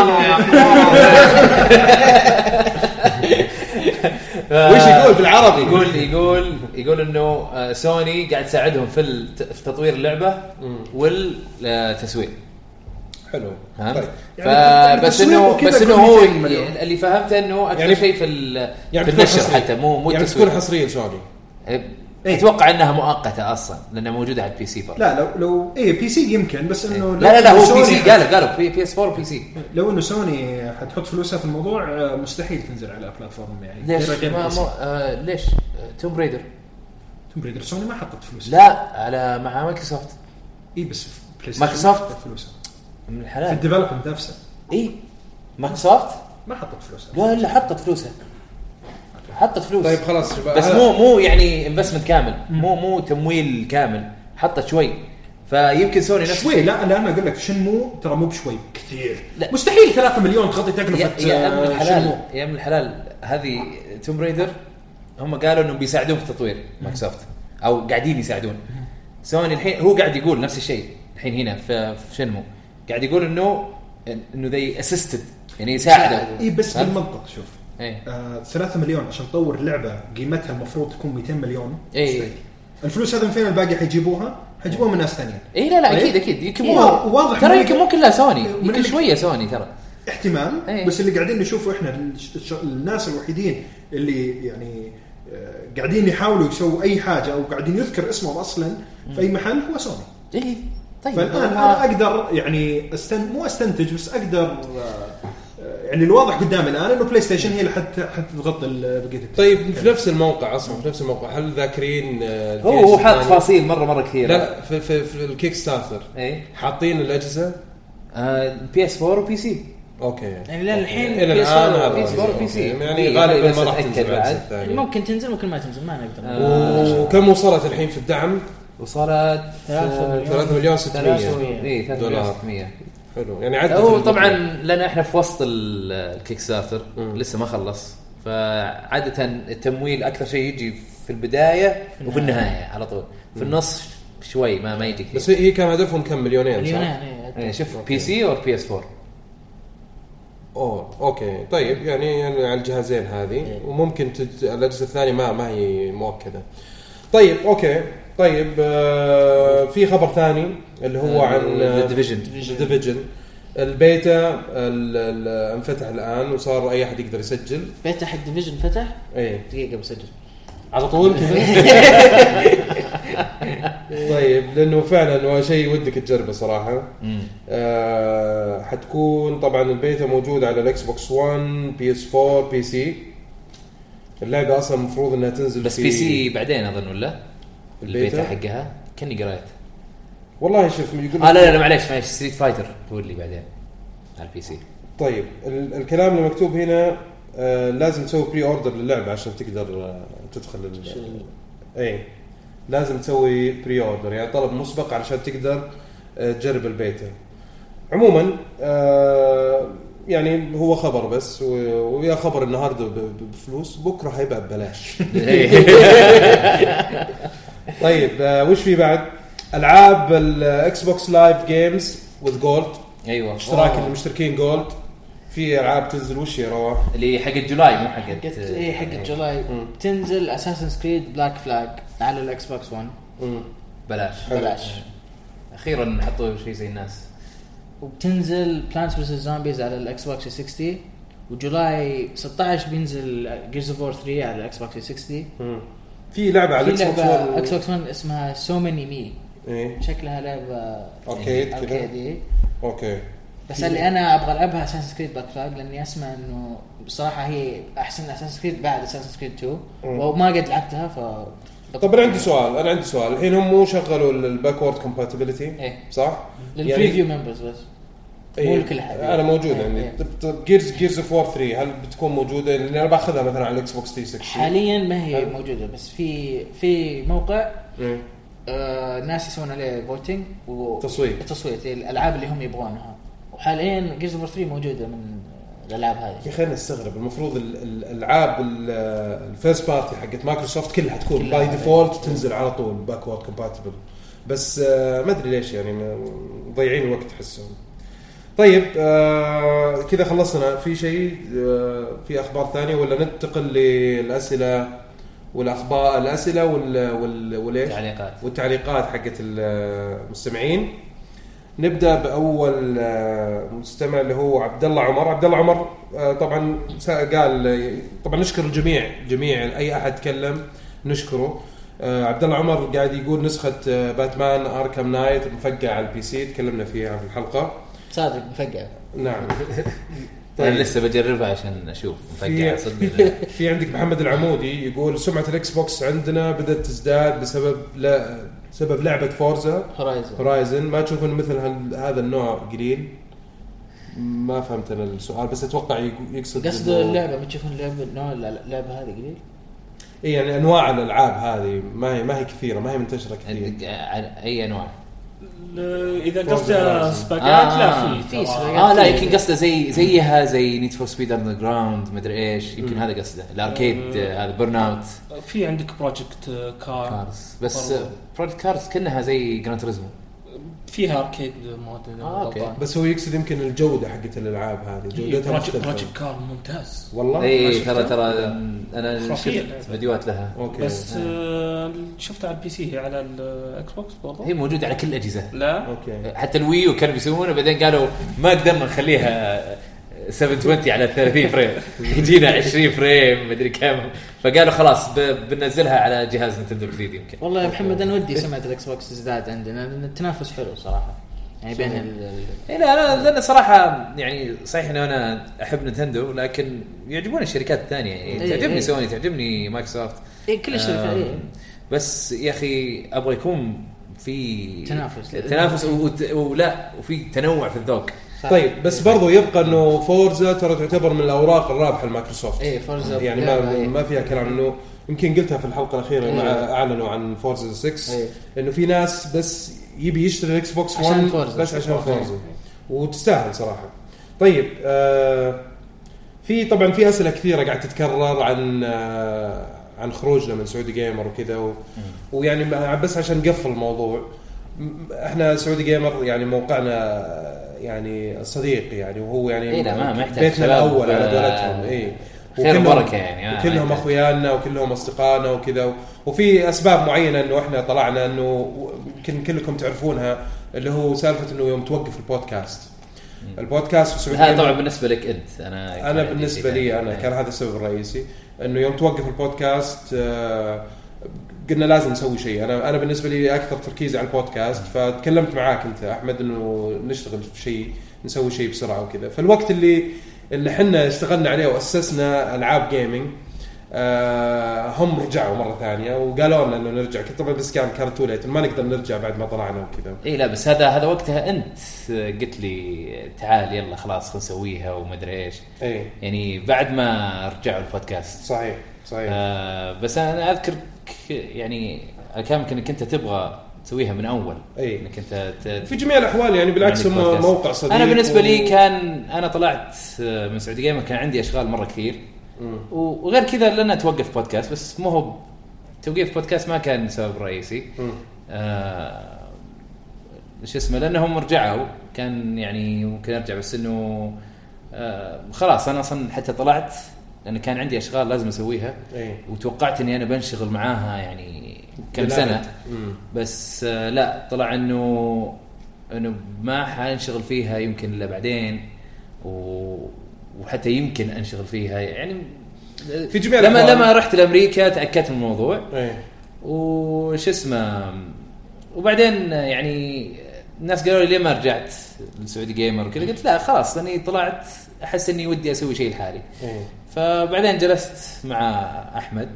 وش يقول بالعربي؟ يقول يقول يقول انه آه، سوني قاعد تساعدهم في الت- في تطوير اللعبه والتسويق حلو طيب. فهمت؟ يعني فبس التسويق انه وكذا بس انه كل هو شيء مليون. اللي فهمته انه اكثر يعني- شيء في ال- يعني في بتكون النشر حصرية. حتى مو مو يعني التسويق. بتكون حصريه سوني إيه. اتوقع انها مؤقته اصلا لانها موجوده على البي سي برضه لا لو لو اي بي سي يمكن بس انه لا إيه. لا لا لو هو بي سوني- يعني. سي قالوا قالوا بي, بي اس 4 وبي سي لو انه سوني حتحط فلوسها في الموضوع آه، مستحيل تنزل على بلاتفورم يعني ليش؟ غير ما غير ما آه ليش؟ توم بريدر توم بريدر سوني ما حطت فلوس لا على مع مايكروسوفت اي بس في بلاي مايكروسوفت؟ حطت فلوسها من في الحلال الديفلوبمنت نفسه اي مايكروسوفت ما حطت فلوسها لا لا حطت فلوسها حطت فلوس طيب خلاص شباب بس هذا- مو مو يعني انفستمنت كامل مو مو تمويل كامل حطت شوي فيمكن سوني نفس يعني شوي لا لا انا اقول لك شنمو ترى مو بشوي كثير لا. مستحيل 3 مليون تغطي يا تكلفه يا ابن آه، الحلال شنمو. يا ابن الحلال هذه توم ريدر هم قالوا انهم بيساعدون في التطوير مايكروسوفت او قاعدين يساعدون سوني الحين هو قاعد يقول نفس الشيء الحين هنا في في شنمو قاعد يقول انه انه ذي اسيستد يعني يساعدوا اي إيه، بس ها؟ بالمنطق شوف إيه. آه 3 مليون عشان تطور لعبه قيمتها المفروض تكون 200 مليون اي الفلوس هذا من فين الباقي حيجيبوها؟ حيجيبوها من ناس ثانيين اي إيه، لا لا طيب. اكيد اكيد يمكن إيه، مو واضح ترى من- يمكن مو كلها سوني من يمكن اللي- شويه سوني ترى احتمال إيه. بس اللي قاعدين نشوفه احنا الش- الش- الناس الوحيدين اللي يعني آه، قاعدين يحاولوا يسووا اي حاجه او قاعدين يذكر اسمهم اصلا في اي محل هو سوني اي طيب فالان آه، انا اقدر يعني استن مو استنتج بس اقدر آه، آه، يعني الواضح قدامي الان انه بلاي ستيشن هي اللي حت حتغطي ال- أيوه. بقيه الت- طيب في نفس الموقع اصلا في نفس الموقع هل ذاكرين آه، هو الجيش هو حاط الثاني؟ تفاصيل مره مره لا كثيره لا في في, في الكيك ستارتر اي حاطين الاجهزه بي اس 4 وبي سي اوكي يعني يعني لين الحين الى PS4 الان هذا وبي PS4 أوكي. وبي سي. يعني إيه، غالبا بس ما راح أتأكد تنزل بعد. الأجهزة الثانية ممكن تنزل ممكن ما تنزل ما E, نقدر آه. وكم وصلت الحين في الدعم؟ وصارت ثلاثة مليون. 3 مليون 600 300. اي 3 دولار. مليون 600 حلو يعني عدت هو الموقع. طبعا لان احنا في وسط ال- الكيك ستارتر مم. لسه ما خلص فعاده التمويل اكثر شيء يجي في البدايه وفي النهايه على طول في النص شوي ما ما يجي بس كثير هي- E, هي كان هدفهم كم مليونين صح؟ مليونين إيه. يعني شوف بي سي او بي اس 4 اوه اوكي طيب يعني على الجهازين هذه إيه. وممكن تج... الاجهزه الثانيه ما ما هي مؤكده طيب اوكي طيب آه في خبر ثاني اللي هو عن ديفيجن ديفيجن البيتا ال- ال- انفتح الان وصار اي احد يقدر يسجل إيه. بيتا حق ديفيجن فتح اي دقيقه بسجل على طول <laughs> طيب لانه فعلا هو شيء ودك تجربه صراحه آه حتكون طبعا البيتا موجود على الاكس بوكس 1 بي اس 4 بي سي اللعبه اصلا المفروض انها تنزل بس في- بي سي بعدين اظن ولا؟ البيتا البيتا؟ حقها كاني <laughs> قريت والله شوف يقول اه لا لا, لا معليش معليش ستريت فايتر هو اللي بعدين على البي سي طيب ال- الكلام اللي مكتوب هنا آه لازم تسوي بري اوردر للعبه عشان تقدر آه تدخل ال- اي لازم تسوي بري اوردر يعني طلب مسبق علشان تقدر آه تجرب البيتا عموما آه يعني هو خبر بس و- ويا خبر النهارده ب- ب- بفلوس بكره هيبقى ببلاش طيب آه وش في بعد العاب الاكس بوكس لايف جيمز وذ جولد <laughs> ايوه اشتراك المشتركين جولد في العاب تنزل وش يا رواح اللي حقت جولاي مو حقت آه، حقت اي حقت جولاي تنزل اساسن كريد بلاك فلاج على الاكس بوكس 1 بلاش بلاش اخيرا حطوا شيء زي الناس وبتنزل بلانس vs زومبيز على الاكس بوكس 60 وجولاي 16 بينزل جيرز اوف 3 على الاكس بوكس 60 في لعبه على الاكس في بوكس لعبه اكس One. بوكس 1 اسمها سو ماني مي ايه شكلها لعبه أركيد كذا. أركيدي. اوكي بس اللي انا ابغى العبها اساسن كريد باك فلاج لاني اسمع انه بصراحه هي احسن اساسن كريد بعد اساسن كريد 2 وما قد لعبتها ف طب انا طيب، عندي سؤال انا عندي سؤال الحين هم شغلوا الباكورد كومباتيبلتي إيه. صح؟ للبريفيو ممبرز بس يعني إيه. مو لكل أحد. انا موجود إيه. عندي طيب، إيه. جيرز جيرز اوف وور 3 هل بتكون موجوده؟ لان انا باخذها مثلا على الاكس بوكس 360 حاليا ما هي حلو. موجوده بس في في موقع إيه. آه ناس يسوون عليه فوتنج و... تصويت. تصويت إيه، الالعاب اللي هم يبغونها وحاليا جيرز اوف 3 موجوده من الالعاب هذه يا اخي انا استغرب المفروض ال- ال- الالعاب ال- الفيرست بارتي حقت مايكروسوفت كلها تكون كلها. باي ديفولت تنزل على طول باكورد كومباتبل بس آه، ما ادري ليش يعني ما- مضيعين الوقت احسهم طيب آه، كذا خلصنا في شيء آه، في اخبار ثانيه ولا ننتقل للاسئله والاخبار الاسئله وال وال والايش؟ تعليقات والتعليقات حقت المستمعين نبدا باول آه، مستمع اللي هو عبد الله عمر عبد الله عمر آه، طبعا سا- قال طبعا نشكر الجميع جميع اي احد تكلم نشكره آه، عبد الله عمر قاعد يقول نسخه آه، باتمان اركم نايت مفقعه على البي سي تكلمنا فيها في الحلقه صادق مفقع <laughs> نعم طيب. انا لسه بجربها عشان اشوف مفقع في- صدق ولا لا. <laughs> في عندك محمد العمودي يقول سمعه الاكس بوكس عندنا بدات تزداد بسبب لا بسبب لعبه فورزا هورايزن هورايزن ما تشوف ان مثل هال- هذا النوع قليل ما فهمت انا السؤال بس اتوقع يق- يقصد قصده إنه- اللعبه ما تشوفون اللعبه نوع الل- اللعبه هذه قليل اي يعني انواع الالعاب هذه ما هي ما هي كثيره ما هي منتشره كثير عندك آه، عن- اي انواع ل- اذا فوز قصده الرازي. سباقات آه، لا في في في سباقات. اه لا يمكن قصده زي زيها زي نيد فور سبيد اندر جراوند مدري ايش يمكن هذا قصده الاركيد آه، هذا بيرن اوت في عندك بروجكت كار كارز بس آه، برضو. برودكت كارز كانها زي جراند تريزمو فيها اركيد مود إذا آه، أوكي. غلطان. بس هو يقصد يمكن الجوده حقت الالعاب هذه إيه، جودتها بروجكت مختلفه بروجكت كار ممتاز والله اي شفتها. إيه، ترى ترى انا خرافية شفت اللعبة. فيديوهات لها اوكي بس آه، شفتها على البي سي هي على الاكس بوكس برضه هي موجوده على كل الاجهزه لا اوكي حتى الويو كانوا بيسوونه بعدين قالوا ما قدرنا نخليها 720 على 30 فريم <laughs> يجينا 20 فريم مدري كم فقالوا خلاص ب- بننزلها على جهاز نتندو الجديد يمكن والله يا محمد انا ودي سمعه الاكس بوكس تزداد عندنا لان التنافس حلو صراحه يعني بين ال- ال- اي إيه، لا انا لان صراحه يعني صحيح انه انا احب نتندو لكن يعجبوني الشركات الثانيه يعني إي، تعجبني إي. سوني تعجبني مايكروسوفت إيه، كل الشركات آم، إيه. بس يا اخي ابغى يكون في تنافس. تنافس وت- ولا وفي تنوع في الذوق صح. طيب بس برضو يبقى انه فورزا ترى تعتبر من الاوراق الرابحه لمايكروسوفت إيه، فورزا يعني لعبة، ما إيه. ما فيها كلام انه يمكن قلتها في الحلقه الاخيره لما إيه. اعلنوا عن فورزا 6 إيه. انه في ناس بس يبي يشتري الاكس بوكس عشان 1 Forza. بس عشان Forza. فورزا وتستاهل صراحه طيب آه في طبعا في اسئله كثيره قاعد تتكرر عن آه عن خروجنا من سعودي جيمر وكذا و... ويعني ما- بس عشان نقفل الموضوع م- احنا سعودي جيمر يعني موقعنا يعني صديق يعني وهو يعني إيه لا، ما- ما يحتاج بيتنا شباب، الاول على إيه. آه، قولتهم اي خير وبركة يعني، آه، ما كلهم يحتاج. اخويانا وكلهم اصدقائنا وكذا و- وفي اسباب معينه انه احنا طلعنا انه يمكن كلكم تعرفونها اللي هو سالفه انه يوم توقف البودكاست البودكاست في السعوديه هذا طبعا بالنسبه لك انت انا كان انا عندي إيه. بالنسبه شيء لي ثاني. انا كان هذا السبب الرئيسي انه يوم توقف البودكاست آه، قلنا لازم نسوي شيء انا انا بالنسبه لي اكثر تركيزي على البودكاست فتكلمت معاك انت احمد انه نشتغل في شيء نسوي شيء بسرعه وكذا فالوقت اللي اللي احنا اشتغلنا عليه واسسنا العاب جيمنج آه هم رجعوا مره ثانيه وقالوا لنا انه نرجع كنت طبعا بس كان كرتوليت ما نقدر نرجع بعد ما طلعنا وكذا اي إيه، لا بس هذا هذا وقتها انت قلت لي تعال يلا خلاص خلينا نسويها وما ادري ايش اي يعني بعد ما رجعوا البودكاست إيه، صحيح صحيح آه بس انا اذكر ك- يعني كان انك انت تبغى تسويها من اول إي. انك انت ت- في جميع الاحوال يعني بالعكس عندك هم بودكاست. موقع صديق انا بالنسبه لي و- كان انا طلعت آه، من سعودي جيمر كان عندي اشغال مره كثير مم. و- وغير كذا لنا توقف بودكاست بس مو هو توقيف بودكاست ما كان سبب رئيسي مم. آه، شو اسمه لانهم رجعوا كان يعني ممكن ارجع بس انه آه، خلاص انا اصلا حتى طلعت لان كان عندي اشغال لازم اسويها اي وتوقعت اني انا بنشغل معاها يعني كم بالأبد. سنه مم. بس آه، لا طلع انه انه ما حنشغل فيها يمكن الا بعدين و... وحتى يمكن انشغل فيها يعني في جميع لما الأحوال. لما رحت لامريكا تاكدت من الموضوع ايه وش اسمه وبعدين يعني الناس قالوا لي ليه ما رجعت لسعودي جيمر وكذا قلت لا خلاص لاني طلعت احس اني ودي اسوي شيء لحالي ايه فبعدين جلست مع احمد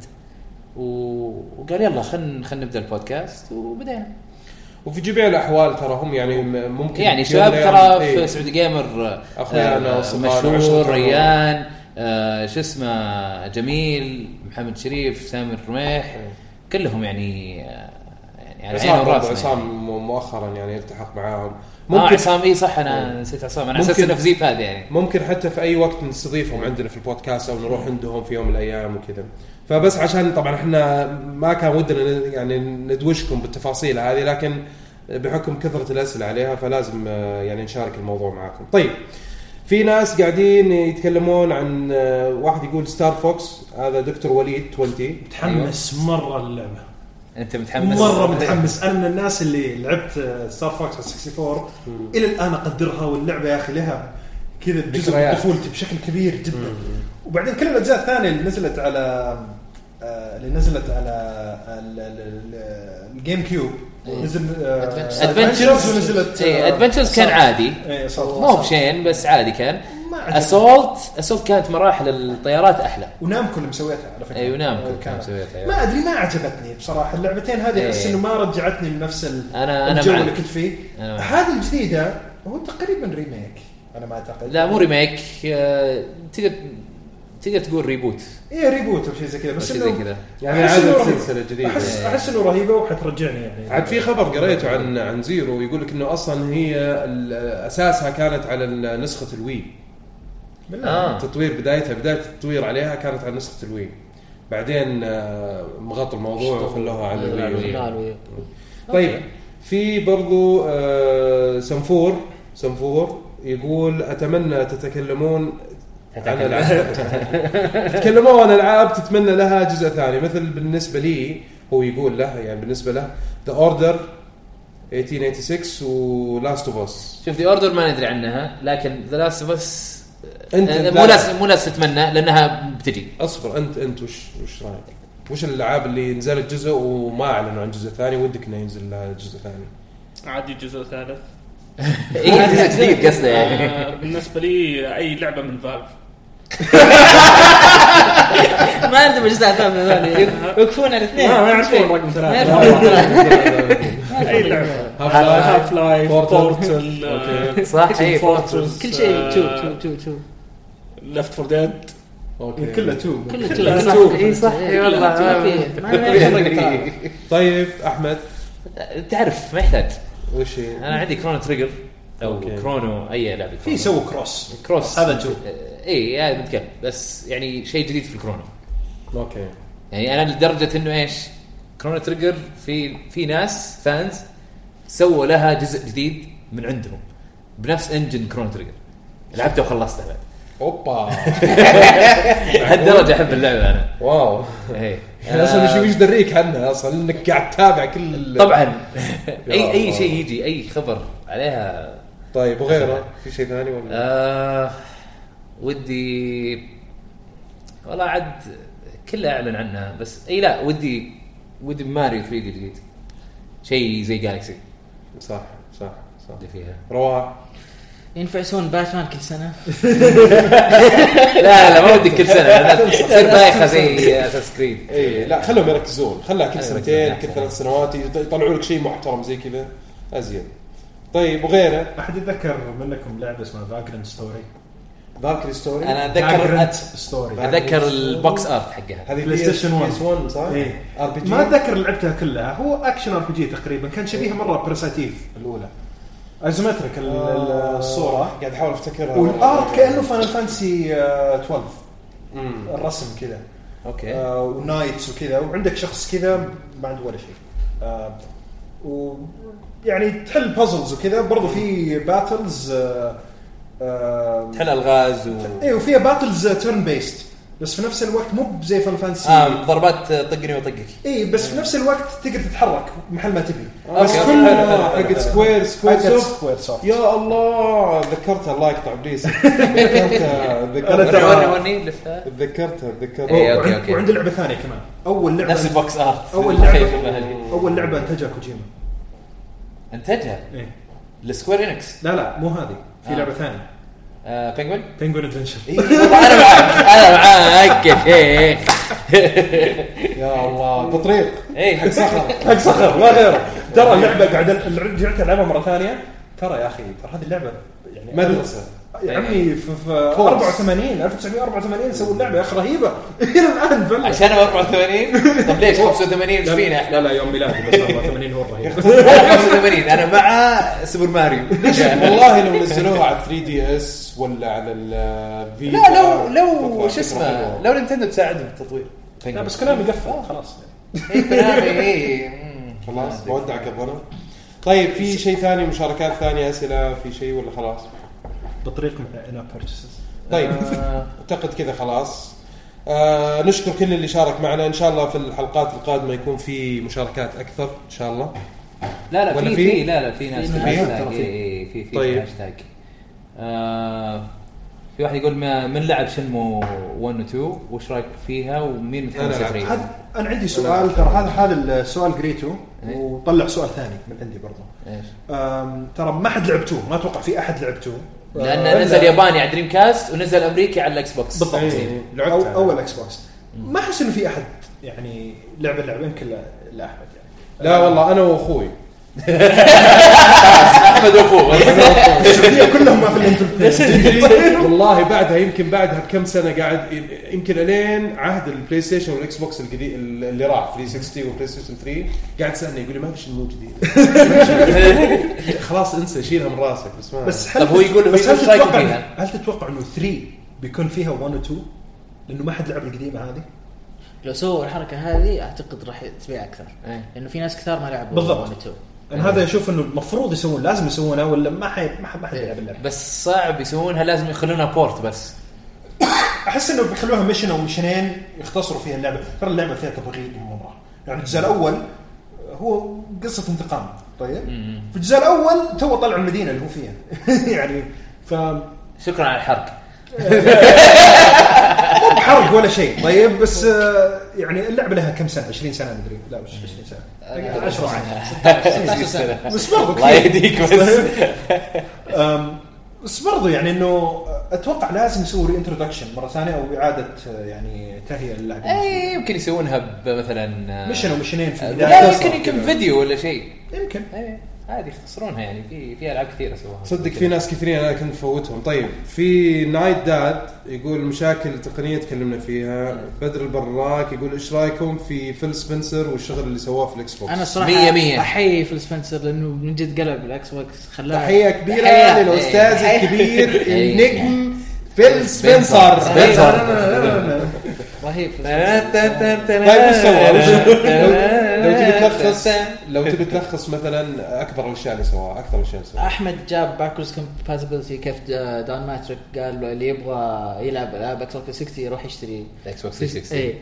و- وقال يلا خلينا خلينا نبدا البودكاست وبدينا وفي جميع الاحوال ترى هم يعني م- ممكن يعني في يوم شباب من ترى الأيام- في إيه. سعودي جيمر أخويانا آه، وأصدقاء مشهور وعشرة ريان آه، شو اسمه جميل محمد شريف سامر رميح كلهم يعني آه، يعني على عيني إيه. عصام برضه، وراسنا عصام يعني. م- مؤخرا يعني التحق معاهم ممكن آه ممكن إيه. عصام اي صح انا نسيت عصام انا على اساس ممكن- انه في زيب هذا يعني ممكن حتى في اي وقت نستضيفهم عندنا في البودكاست او نروح عندهم في يوم من الايام وكذا فبس عشان طبعا احنا ما كان ودنا ن- يعني ندوشكم بالتفاصيل هذه لكن بحكم كثره الاسئله عليها فلازم آه، يعني نشارك الموضوع معاكم. طيب في ناس قاعدين يتكلمون عن آه، واحد يقول ستار فوكس هذا دكتور وليد 20 متحمس مره اللعبه انت متحمس مره متحمس انا من الناس اللي لعبت آه، ستار فوكس على 64 الى الان اقدرها واللعبه يا اخي لها كذا جزء من ذكريات. طفولتي بشكل كبير جدا وبعدين كل الاجزاء الثانيه اللي نزلت على آه، اللي نزلت على آه، ال- ال- ال- الجيم كيوب نزل Adventures. ادفنتشرز ونزلت آه، إيه، ادفنتشرز إيه، كان عادي اي ما هو بشين بس عادي كان ما عجبني. اسولت اسولت كانت مراحل الطيارات احلى ونامكو اللي مسويتها على فكره اي ونامكو آه، كان كانت. إيه، مسويتها، أيوة. ما ادري ما عجبتني بصراحه اللعبتين هذه احس إيه. انه ما رجعتني لنفس ال- أنا- أنا الجو معك. اللي كنت فيه أنا معك. هذه الجديده هو تقريبا ريميك انا ما اعتقد لا مو ريميك آه، تقدر تقدر تقول ريبوت اي ريبوت او إيه، شيء زي كذا او بس شيء زي انه كذا إيه. يعني أحس إنه عادة رهيب. سلسله جديده احس احس انه رهيبه وحترجعني يعني عاد في خبر قريته عن عن زيرو يقول لك انه اصلا هي ال- اساسها كانت على ال- نسخه الوي بالله. اه تطوير بدايتها بدايه التطوير عليها كانت على نسخه الوي بعدين آه، مغطوا الموضوع وخلوها آه، على الوي لا، الوي. طيب في برضو آه، سنفور سنفور يقول اتمنى تتكلمون عن العاب تتكلموا عن العاب تتمنى لها جزء ثاني مثل بالنسبه لي هو يقول له يعني بالنسبه له ذا اوردر 1886 ولاست اوف اس شوف ذا اوردر ما ندري عنها لكن ذا لاست اوف اس أنت آه، مو لا- ناس مو ناس تتمنى لانها <laughs> بتجي اصبر انت انت وش وش رايك؟ وش الالعاب اللي نزلت جزء وما اعلنوا عن جزء ثاني ودك انه ينزل لها جزء ثاني؟ عادي جزء ثالث إيه، جزء جديد قصده يعني آه، بالنسبه لي اي لعبه من فالف ما عندهم اجزاء ثامنه <laughs> هذول يوقفون الاثنين ما- ما يعرفون رقم ما ثلاثة يعرفون. اي لعبه هاف هاف لايف Portal. بورتل صح، أي، كل شيء شوف شوف شوف شوف لفت فور ديد اوكي كله تو كله كلها تو. تو. اي إيه، صح اي والله ما في ما يعرفون طيب احمد آه، تعرف ما يحتاج وش هي؟ انا عندي كرونو تريجر او أوكي. كرونو اي لعبه في سووا كروس كروس هذا تو. اي هذا بتكلم إيه، بس يعني شيء جديد في الكرونو اوكي يعني انا لدرجه انه ايش؟ كرونو تريجر في في ناس فانز سووا لها جزء جديد من عندهم بنفس انجن كرون تريجر لعبته وخلصته بعد اوبا لهالدرجه احب اللعبه انا واو إيه. يعني اصلا شو ايش دريك عنها اصلا انك قاعد تتابع كل ال- طبعا اي اي الله. شيء يجي اي خبر عليها طيب وغيره في شيء ثاني ولا آه ودي والله عاد كلها اعلن عنها بس اي لا ودي ودي ماريو 3 دي جديد شيء زي جالكسي صح صح صح اللي فيها رواح ينفع يسوون باتمان كل سنه لا لا ما ودي كل سنه <laughs> لأن تصير بايخه زي اساس كريد اي إيه، لا خلهم يركزون خلها كل أيوة، سنتين أحسن. كل ثلاث سنوات يط- يطلعوا لك شيء محترم زي كذا ازين طيب وغيره احد يتذكر منكم لعبه اسمها فاجرنت ستوري ذاكري ستوري انا اتذكر ستوري اتذكر البوكس ارت حقها هذه بلاي ستيشن 1. بي اس 1 صح؟ إيه. ار بي جي ما اتذكر لعبتها كلها هو اكشن ار بي جي تقريبا كان شبيهه مره برساتيف الاولى ازمترك ال- ال- الصوره قاعد احاول افتكرها والارت كانه فاينل فانسي 12 أمم. آه، الرسم كذا اوكي آه، ونايتس وكذا وعندك شخص كذا ما عنده ولا شيء آه، و يعني تحل بازلز وكذا برضو في باتلز آه، آه، إيه، تحل الغاز و <laughs> اي وفيها باتلز تيرن بيست آه، بس في نفس الوقت مو زي فان فانسي آه ضربات طقني وطقك اي بس في نفس الوقت تقدر تتحرك محل ما تبي بس أوكي، كل حلو، حلو، حلو. حقت سكوير سكوير حقت سوفت سكوير سوفت يا الله طيب، ذكرتها الله يقطع <laughs> ابليس ذكرتها ذكرتها ورني ورني أنا ترى- ورني لفها تذكرتها إيه، تذكرتها أوكي، وعند- أوكي. وعند لعبه ثانيه كمان اول لعبه نفس البوكس ارت اول الخيف المهلي. لعبه اول لعبه انتجها كوجيما انتجها إيه. السكوير انكس لا لا مو هذه في آه. لعبه ثانيه آه <laughs> بينجوين بينجوين ادفنشر والله انا معاك انا معاك يا شيخ يا الله بطريق اي إيه، حق صخر حق صخر ما غيره ترى اللعبه قاعد رجعت العبها مره ثانيه ترى يا اخي ترى هذه اللعبه يعني مدرسة. يا عمي في, في كورس. 84 1984 سووا اللعبه يا اخي رهيبه <laughs> الى الان بلش عشان أنا 84 طب ليش 85 ايش فينا احنا لا لا يوم ميلادي بس 84 هو الرهيب 85 انا مع سوبر <laughs> ماريو <laughs> إيه، والله لو نزلوها على 3 دي اس ولا على الفي لا لو لو شو اسمه لو نينتندو تساعدهم بالتطوير لا بس كلامي قفل آه، خلاص اي كلامي إيه. اي مم. خلاص بودعك ابو أنا. طيب في شيء ثاني مشاركات ثانيه اسئله في شيء ولا خلاص؟ بطريق من انا بيرتشز طيب <laughs> آه. اعتقد كذا خلاص آه نشكر كل اللي شارك معنا ان شاء الله في الحلقات القادمه يكون في مشاركات اكثر ان شاء الله لا لا ولا في في؟ في لا لا في ناس في في ناس، هاشتاج ترى في. إي، إي، إيه، في في طيب. هاشتاج آه، في واحد يقول ما- من لعب شنمو 1 و 2 وش رايك فيها ومين متحمس أنا لعبت. لفريق؟ هذا انا عندي سؤال ترى هذا هذا السؤال قريته إيه. وطلع سؤال ثاني من عندي برضه إيش؟ <laughs> أم، ترى ما حد لعبتوه ما اتوقع في احد لعبتوه لانه نزل ياباني على دريم كاست ونزل امريكي على الاكس بوكس بالضبط إيه، لعبت أو أنا. اول اكس بوكس ما احس انه في احد يعني لعب اللعبه يمكن لا- لا احمد يعني لا <laughs> والله انا واخوي احمد اخوه السعوديه كلهم ما في الانتربريز <laughs> والله بعدها يمكن بعدها بكم سنه قاعد يمكن الين عهد البلاي ستيشن والاكس بوكس القديم اللي راح 360 والبلاي ستيشن 3 قاعد يسالني يقول لي ما في شنو جديد خلاص انسى شيلها من راسك بس ما بس طب هو يقول- بس هو هل يقول إيش رأيكم تتوقع فيها؟ هل تتوقع انه 3 بيكون فيها 1 و 2 لانه ما حد لعب القديمه هذه لو سووا الحركه هذه اعتقد راح تبيع اكثر لانه في ناس كثار ما لعبوا بالضبط. One and Two. انا هذا اشوف انه المفروض يسوون لازم يسوونها ولا ما حي ما حد ما حد يلعب اللعبه بس صعب يسوونها لازم يخلونها بورت بس احس انه بيخلوها ميشن او ميشنين يختصروا فيها اللعبه ترى اللعبه فيها تبغيض مره يعني الجزء الاول هو قصه انتقام طيب في الجزء الاول تو طلع المدينه اللي هو فيها <laughs> يعني ف شكرا على <laughs> الحرق مو بحرق ولا شيء طيب بس آه، يعني اللعبه لها كم سنه 20 سنه مدري لا مش 20 سنه 10 <laughs> سنة. بس برضو الله كثير. <laughs> يهديك بس أم، بس برضو يعني انه اتوقع لازم يسووا ري انتروداكشن مره ثانيه او اعاده آه، يعني تهيئه للاعبين اي إيه، يمكن يسوونها بمثلا ميشن او ميشنين في آه، لا يعني البدايه يمكن يمكن فيديو ولا شيء يمكن ايه عادي يختصرونها يعني في في العاب كثيره سووها صدق في ناس كثيرين انا كنت مفوتهم طيب في نايت داد يقول مشاكل تقنيه تكلمنا فيها بدر البراك يقول ايش رايكم في فيل سبنسر والشغل اللي سواه في الاكس بوكس انا الصراحه مية مية. احيي فيل سبنسر لانه من جد قلب الاكس بوكس خلاه تحيه كبيره تحية. للاستاذ إيه. الكبير <laughs> إيه. النجم فيل سبنسر سبنسر. إيه. رهيب Phil Spencer. طيب <laughs> طيب ايش سوى؟ لو تبي <laughs> تلخص لو تبي تلخص مثلا اكبر الاشياء اللي سواها اكثر الاشياء اللي سواها احمد جاب باكورز كومباتبلتي كيف دون ماتريك قال له اللي يبغى يلعب آه، العاب اكثر من 60 يروح يشتري اكس بوكس 360 اي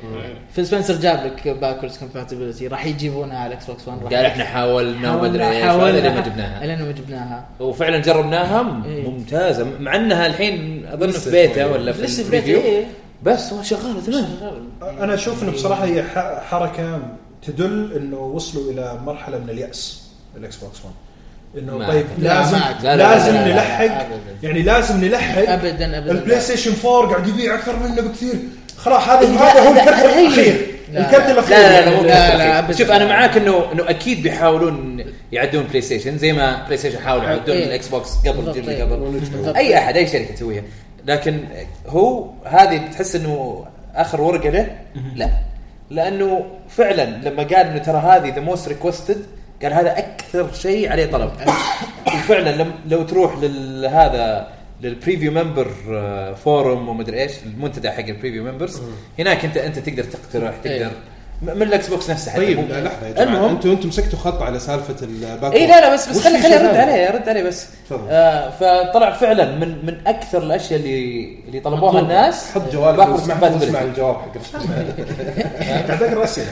فيل سبنسر جاب لك باكورز كومباتبلتي راح يجيبونها على الاكس بوكس قال 1 احنا حاولنا وما ادري ايش حاولنا- هذا اللي ما جبناها لين ما جبناها وفعلا جربناها إيه. ممتازه مع انها الحين اظن لسه في بيتا شوي. ولا في لسه في بيت البريفيو. إيه. بس هو شغاله تمام انا اشوف انه بصراحه هي ح- حركه تدل انه وصلوا الى مرحله من الياس الاكس بوكس 1 ما انه طيب أعتقد. لازم لا، ما أعتقد. لا، لا، لا، لازم لا، لا، لا، نلحق أبداً. يعني لازم نلحق ابدا ابدا البلاي لا. ستيشن 4 قاعد يبيع اكثر منه بكثير خلاص هذا لا، هذا هو لا، الكرت لا، الاخير لا، لا. الكرت الاخير لا لا لا, يعني. مو لا، لا, لا، لا أبداً. شوف انا معاك انه انه اكيد بيحاولون يعدون بلاي ستيشن زي ما بلاي ستيشن حاولوا يعدون إيه. الاكس بوكس قبل بالضبط، الجيل إيه. اللي قبل بالضبط. اي احد اي شركه تسويها لكن هو هذه تحس انه اخر ورقه له لا لانه فعلا لما قال انه ترى هذه ذا موست ريكوستد قال هذا اكثر شيء عليه <coughs> طلب وفعلا لم لو تروح لهذا للبريفيو ممبر آه، فورم ومدري ايش المنتدى حق البريفيو ممبرز هناك انت انت تقدر تقترح تقدر إيه. من الاكس بوكس نفسه حتى طيب مو- لا، لحظه يا جماعه المهم. انتم انتم مسكتوا خط على سالفه الباك اي لا لا بس بس وش خلي في خلي شيء ارد ثاني؟ عليه ارد عليه بس تفضل. آه فطلع فعلا من من اكثر الاشياء اللي اللي طلبوها مطلوبة. <laughs> الناس حط جوالك باكورد واسمع compatibility. واسمع الجواب <laughs> حق قاعد اقرا اسئله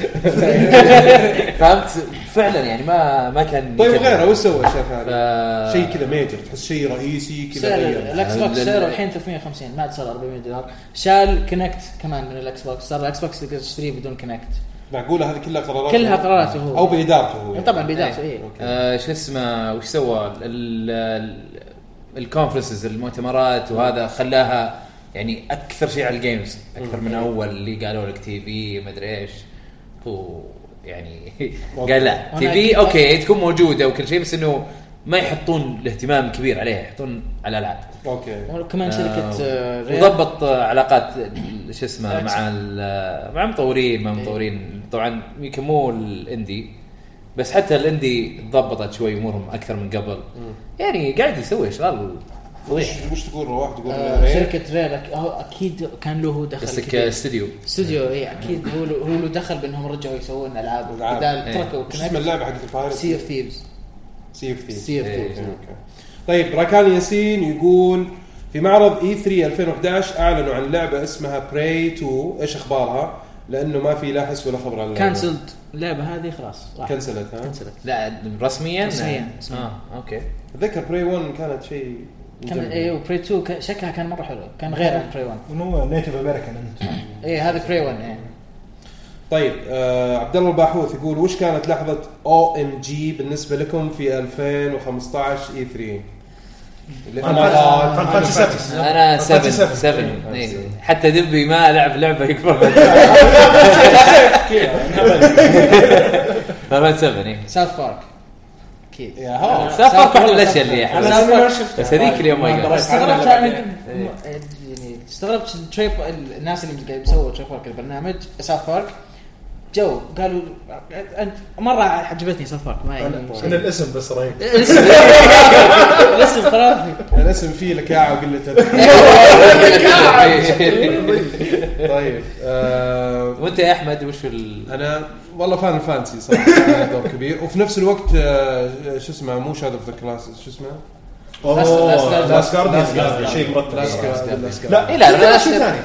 فهمت فعلا يعني ما ما كان طيب يكلم. وغيره وش سوى الشيخ هذا؟ ف- شيء كذا ميجر تحس شيء رئيسي كذا سعر غير الاكس بوكس لل- سعره الحين 350 ما عاد صار 400 دولار شال كونكت كمان من الاكس بوكس صار الاكس بوكس تقدر تشتريه بدون كونكت معقوله هذه كلها قرارات كلها قراراته هو او بادارته هو يعني. طبعا بدايته إيه. اي آه، شو اسمه وش سوى الكونفرنسز المؤتمرات وهذا خلاها يعني اكثر شيء على الجيمز اكثر من اول اللي قالوا لك تي في ما ادري ايش هو <laughs> يعني قال لا تي وأنا في أكيد- اوكي تكون موجوده وكل شيء بس انه ما يحطون الاهتمام الكبير عليها يحطون على الالعاب اوكي وكمان شركه آه، ريال. وضبط آه، علاقات ال- شو اسمه Xbox. مع ال- آه، مع مطورين إيه. مع مطورين طبعا يمكن مو الاندي بس حتى الاندي ضبطت شوي امورهم اكثر من قبل يعني قاعد يسوي اشغال فضيح وش- وش تقول رواح تقول إيه. آه، ريال؟ شركه ريال أك- هو اكيد كان له هو دخل قصدك كبير. استديو استوديو اي اكيد هو له- هو له دخل بانهم رجعوا يسوون العاب ألعاب. بدال إيه. تركوا وش اسم كونكت اللعبه حقت الفايرس؟ سي اوف ثيفز سي اوف سي اوف إيه. ثيفز اوكي طيب راكان ياسين يقول في معرض E اي 3 2011 اعلنوا عن لعبه اسمها براي 2 ايش اخبارها؟ لانه ما في لا حس ولا خبر عن اللعبه كانسلد اللعبه هذه خلاص راحت. كنسلت ها؟ كانسلت لا رسميا رسمياً، رسمياً. اه اوكي اتذكر براي 1 كانت شيء كان إيه. مجمع. اي وبري 2 كان- شكلها كان مره حلو كان غير عن بري 1 انه نيتف امريكان انت اي هذا إيه. بري 1 اي طيب آه عبد الله الباحوث يقول وش كانت لحظه او ام جي بالنسبه لكم في E 2015 اي 3 فان فانتسي 7 انا فانتسي 7 7. 7 إيه. حتى دبي ما لعب لعبه <laughs> يكبر <laughs> فبات 7 اي ساوث بارك اكيد يا هو سافر كل الاشياء اللي انا حلوة. لسه ما شفتها بس هذيك اليوم ما ما يقدر. دريت عنها استغربت إلا انا بعدين. يعني استغربت التريب الناس اللي قاعد يسووا تريب بارك البرنامج ساوث بارك جو قالوا انت مره عجبتني ساوث بارك ما يعني انا الاسم بس رهيب الاسم الاسم خرافي الاسم فيه لكاعه وقله <laughs> أدب. طيب <laughs> آه وانت يا احمد وش ال انا والله فان فانسي صراحه لها دور كبير وفي نفس الوقت آه، شو اسمه مو شاد اوف ذا كلاس شو اسمه؟ لاست جارديان Guardian. Oh، شيء Last مرتب Guardian. Last Guardian. لا إيه، لا، لا لا، لا شيء لا. ثاني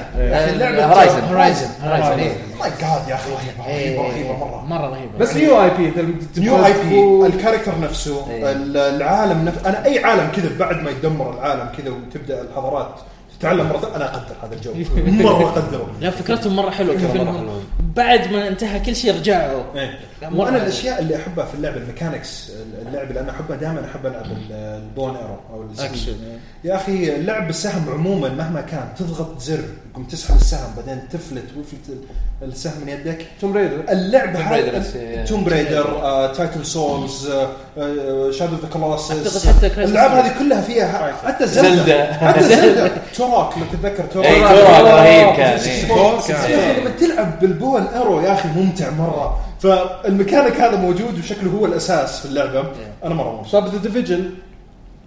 هورايزن هورايزن هورايزن إيه. ماي جاد Oh يا اخي رهيبه رهيبه رهيبه مره مره رهيبه بس نيو اي بي نيو اي بي الكاركتر نفسه إيه. ال- العالم نفسه انا اي عالم كذا بعد ما يدمر العالم كذا وتبدا الحضارات تتعلم مره ثانية، انا اقدر هذا الجو مره اقدره لا فكرتهم مره حلوه كيف مرة إنهم حلوة. بعد ما انتهى كل شيء رجعوا إيه. لا، مرة وانا حلوة. الاشياء اللي احبها في اللعبه الميكانكس اللعب اللي انا احبها دائما احب العب ال- البون ايرو او السكين يا اخي اللعب بالسهم عموما مهما كان تضغط زر تقوم تسحب السهم بعدين تفلت ويفلت ال- السهم من يدك توم ريدر اللعبه Tomb Raider نفسه، إيه. توم بريدر تايتل سولز شادو ذا كلاسس أعتقد حتى Crisis الالعاب Core. هذه كلها فيها حتى زلدة. <laughs> زلدا حتى زلدا توراك لو تتذكر اي كوره رهيب كان إيه. 64 يا كان. اخي لما تلعب بالبون ارو يا اخي ممتع مره فالميكانيك هذا موجود وشكله هو الاساس في اللعبه انا مره مبسوط طب ذا ديفيجن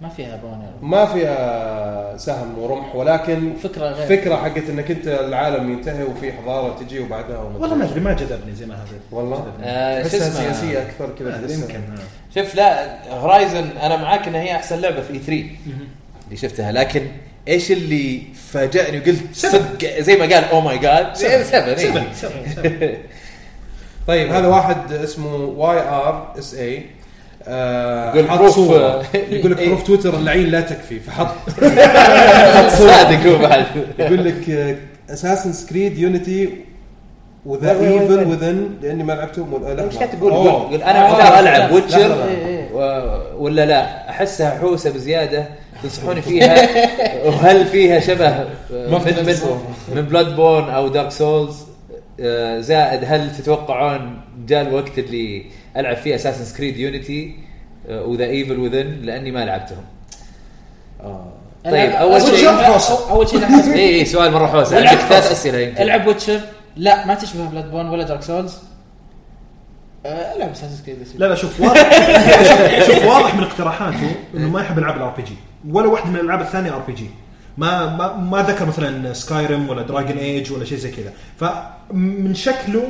ما فيها بونر ما فيها سهم ورمح ولكن فكره غير فكره حقت انك انت العالم ينتهي وفي حضاره تجي وبعدها وما والله ما أدري. ادري ما جذبني زي ما هذا والله آه، شو تحسها اسمه سياسيه اكثر كذا ما أدري، تحسها. يمكن آه. شوف لا هورايزن انا معاك انها هي احسن لعبه في اي 3 اللي شفتها لكن ايش اللي فاجأني وقلت صدق زي ما قال "Oh او ماي جاد 7 سبن سبن سبن. طيب هذا واحد اسمه واي ار اس اي يقول آه، حط proof. صوره يقول لك إيه. بروف تويتر اللعين لا تكفي فحط <laughs> صادق هو بعد يقول لك uh, اساسن كريد يونيتي وذا وين- وين- ايفل وين؟ وذن لاني ما لعبتهم ولا ايش قاعد تقول؟ قول- أوه. قول انا محتار العب لحظة. ويتشر ولا لا احسها حوسه بزياده تنصحوني فيها وهل فيها شبه آه، ما في من من, دارك من بلاد بورن او دارك سولز آه، زائد هل تتوقعون جاء الوقت اللي العب فيه اساسن سكريد يونيتي آه، وذا ايفل وذن لاني ما لعبتهم آه. طيب، أول أول شيء- أول- اول شيء <laughs> نحس اي اي سؤال مره حوسه والعب عندك ثلاث حوسة. اسئله يمكن العب ويتشر لا ما تشبه بلاد بون ولا دارك سولز آه، العب اساسن كريد لا لا شوف واضح شوف واضح من اقتراحاته انه ما يحب العاب الار بي جي ولا واحده من الالعاب الثانيه ار بي جي ما ما ما ذكر مثلا سكايرم ولا دراجون ايج ولا شيء زي كذا فمن شكله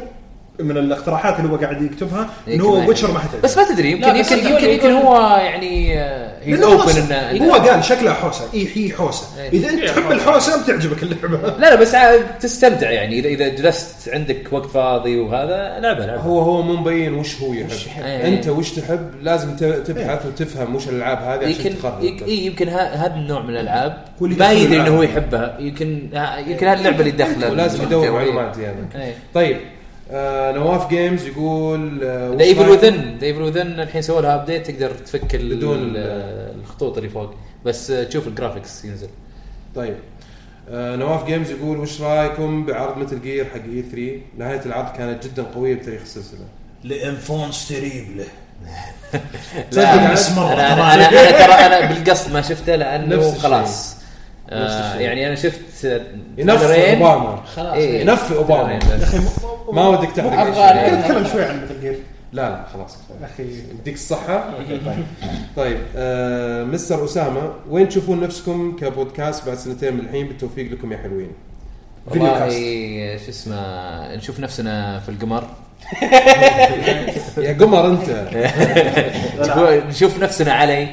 من الاقتراحات اللي هو قاعد يكتبها انه هو ويتشر ما إيه، حتعجبه يعني. بس ما تدري يمكن لا، بس يمكن اليوني يمكن, يمكن يكون- هو يعني هيز لأنه اوبن حوسة. انه هو قال شكلها حوسه اي هي حوسه إيه. اذا انت إيه، تحب حوسة. الحوسه <laughs> بتعجبك اللعبه لا لا بس عاد تستمتع يعني اذا اذا جلست عندك وقت فاضي وهذا لعبه لعبه هو هو مو مبين وش هو يحب إيه. انت وش تحب لازم ت- تبحث وتفهم وش الالعاب هذه يمكن عشان تقرر يك- إيه يمكن ها- هذا النوع من الالعاب هو اللي ما يدخل يدري انه الألعاب. هو يحبها يمكن ها- يمكن هذه اللعبه اللي تدخله ولازم يدور معلومات زياده إيه. طيب آه نواف جيمز يقول آه ذا ايفل وش رأيك- وذن ذا ايفل وذن الحين سووا لها ابديت تقدر تفك ال- بدون ال- ال- الخطوط اللي فوق بس آه، تشوف الجرافكس ينزل طيب آه نواف جيمز يقول وش رايكم بعرض متل جير حق اي 3 نهايه العرض كانت جدا قويه بتاريخ السلسله لانفونس تريبله لا تصدق انا بس مرة انا, طبعاً. أنا, أنا ترى انا بالقصد ما شفته لانه نفس الشيء. خلاص نفس آه الشيء. يعني انا شفت آه، ينفي تريلرين. اوباما خلاص إيه. ينفي اوباما تريلرين بس. ما ودك تحرق أبغى شيء. أنا- نتكلم شوي عن مثل جير لا لا خلاص اخي يديك الصحة طيب. طيب آه مستر أسامة وين تشوفون نفسكم كبودكاست بعد سنتين من الحين بالتوفيق لكم يا حلوين فيديو والله إيه، كاست. شو اسمه نشوف نفسنا في القمر يا قمر أنت <laughs> تقول- نشوف نفسنا علي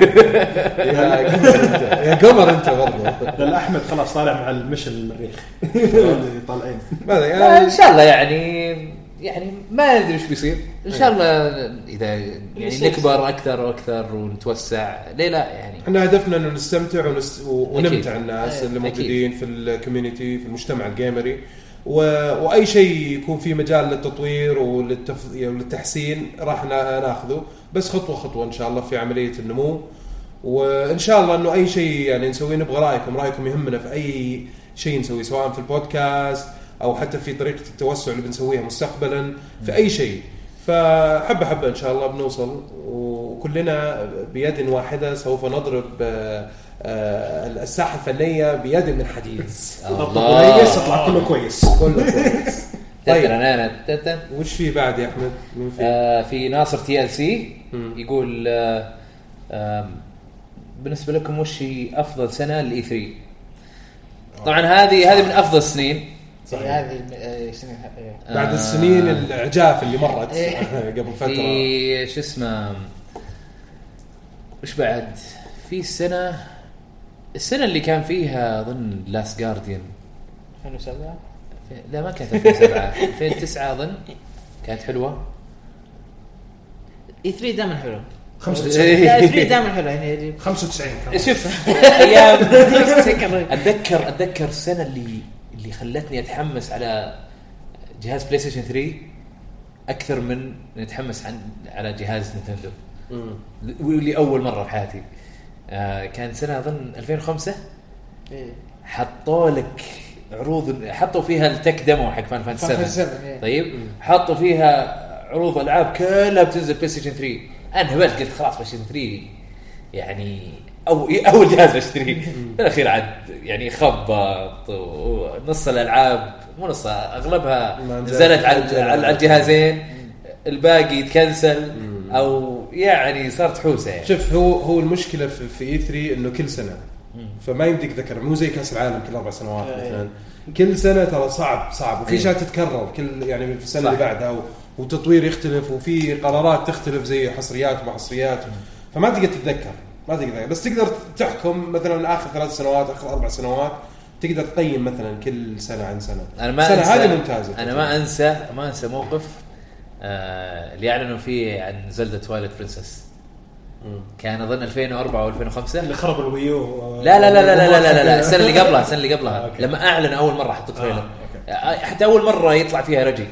يا قمر أنت يا قمر أنت برضه لا احمد خلاص طالع مع المشن المريخ اللي <laughs> طالعين ماذا لا، ان يعني شاء الله يعني يعني ما ندري ايش بيصير ان شاء الله اذا يعني يصير. نكبر اكثر واكثر ونتوسع ليه لا يعني احنا هدفنا انه نستمتع ونس... و- ونمتع أكيد. الناس أيوة. اللي موجودين في الكوميونتي في المجتمع الجيمري و... واي شيء يكون فيه مجال للتطوير وللتف... يعني وللتحسين راح نا... ناخذه بس خطوه خطوه ان شاء الله في عمليه النمو وان شاء الله انه اي شيء يعني نسويه نبغى رايكم رايكم يهمنا في اي شيء نسويه سواء في البودكاست او حتى في طريقه التوسع اللي بنسويها مستقبلا في اي شيء فحبه حبه ان شاء الله بنوصل وكلنا بيد واحده سوف نضرب آه، آه، الساحه الفنيه بيد من حديد <laughs> طبطب كويس طلع كله كويس كله كويس. طيب طيب وش في بعد يا احمد؟ مين في؟ آه، في ناصر تي ال سي مم. يقول آه، آم، بالنسبه لكم وش هي افضل سنه للاي 3 طبعا هذه هذه من افضل السنين صحيح هذه آه، سنين آه. بعد آه، إيه. السنين العجاف اللي مرت <laughs> قبل فتره في شو اسمه وش بعد في السنه السنه اللي كان فيها اظن لاست جارديان 2007 لا ما كانت 2007 2009 اظن كانت حلوه اي 3 دائما إيه، حلو 95 إيه. لا اي 3 دائما حلو يعني 95 كان <laughs> شوف ايام سكر. اتذكر اتذكر السنه اللي اللي خلتني اتحمس على جهاز بلاي ستيشن 3 اكثر من إني اتحمس عن على جهاز نينتندو مم. واللي اول مره في حياتي آه كان سنه اظن 2005 إيه. حطوا لك عروض حطوا فيها التك ديمو حق فان فانتسي 7 7 إيه. طيب حطوا فيها عروض العاب كلها بتنزل بلاي ستيشن 3 انا هبلت قلت خلاص بلاي ستيشن 3 يعني او اول جهاز بشتريه بالاخير عاد يعني خبط ونص الالعاب مو نص اغلبها ما نزلت. نزلت على على الجهازين الباقي يتكنسل او يعني صارت حوسه يعني شوف هو هو المشكله في, في اي 3 انه كل سنه فما يمديك تذكر مو زي كاس العالم كل اربع سنوات مثلا كل سنه ترى صعب صعب وفي إيه. اشياء تتكرر كل يعني في السنه صح. اللي بعدها و- وتطوير يختلف وفي قرارات تختلف زي حصريات وما حصريات فما تقدر تتذكر ما تقدر تتذكر. بس تقدر تحكم مثلا اخر ثلاث سنوات اخر اربع سنوات تقدر تقيم مثلا كل سنه عن سنه انا ما السنه انسى هذه ممتازه انا ما انسى ما انسى موقف آه اللي اعلنوا فيه عن زلدة تواليت برنسس كان اظن 2004 او 2005 اللي خرب الويو لا لا لا لا لا لا, لا, <laughs> لا السنه اللي قبلها السنه اللي قبلها لما اعلن اول مره حط تريلر آه، حتى اول مره يطلع فيها رجي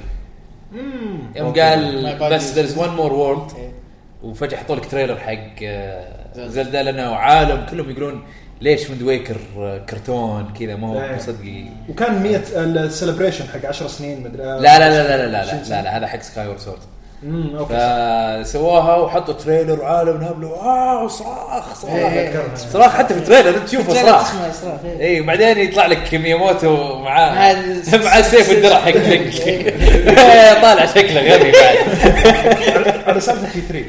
يوم قال My body بس is- there's one more world إيه. وفجاه حطوا لك تريلر حق آه، زلدة. زلدة لانه عالم كلهم يقولون ليش ويند ويكر آه، كرتون كذا ما إيه. هو مصدقي وكان 100 السليبريشن حق 10 سنين مدري آه، لا لا لا لا لا لا, لا, لا, لا هذا حق سكاي وورد سورد امم اوكي فسواها وحطوا تريلر عالم هبلوا واو صراخ إيه، آه، صراخ ذكرنا. صراخ حتى في التريلر تشوفه ترى صراخ اسمه اسراف إيه. اي وبعدين يطلع لك مياموتو معاه مع ال- مع السيف والدرع حق لك <laughs> طالع شكله غبي بعد على سالفه اخي 3 يا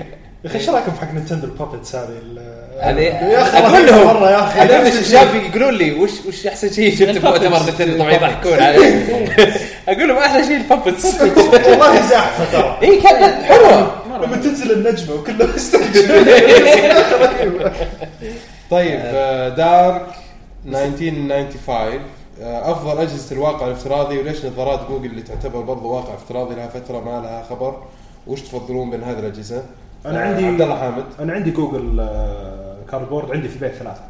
اخي ايش رايكم حق نينتندو البابتس هذه ال- هذه <laughs> يا أخي اقول رهيبة يعني لهم مره يا اخي هذول اللي شاف يقولون لي وش وش احسن شيء شفته بمؤتمر نتندو طبعا يضحكون علي <laughs> اقول لهم احلى شيء <laughs> إيه، البابتس والله زاحفه ترى اي كانت حلوه لما تنزل النجمه وكله يسترجع <laughs> طيب آه، دارك 1995 آه، افضل اجهزه الواقع الافتراضي وليش نظارات جوجل اللي تعتبر برضو واقع افتراضي لها فتره ما لها خبر وش تفضلون بين هذه الاجهزه؟ أنا آه، عندي- عبد الله حامد انا عندي جوجل آه، كاربورد عندي في البيت ثلاثه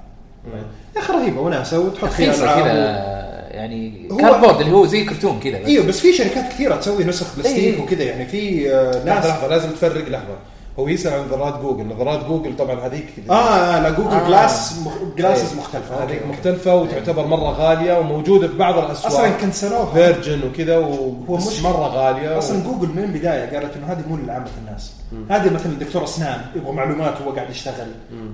يا اخي رهيبه وناسه وتحط فيها رخيصه ألعاب كذا و- يعني هو- كاربورد اللي هو زي كرتون كذا بس. ايوه بس في شركات كثيره تسوي نسخ بلاستيك إيه. وكذا يعني في آه، لحظه ناس لحظه لازم تفرق لحظه هو يسال عن نظارات جوجل نظارات جوجل طبعا هذيك اه لا جوجل آه. جلاس مخ- جلاسز إيه. مختلفه أوكي، هذيك أوكي. مختلفه وتعتبر مره غاليه وموجوده في بعض الاسواق اصلا كنسلوها فيرجن وكذا وبس مش- مره غاليه اصلا جوجل من البدايه قالت انه هذه مو لعامه الناس هذه مثلا دكتور اسنان يبغى معلومات وهو قاعد يشتغل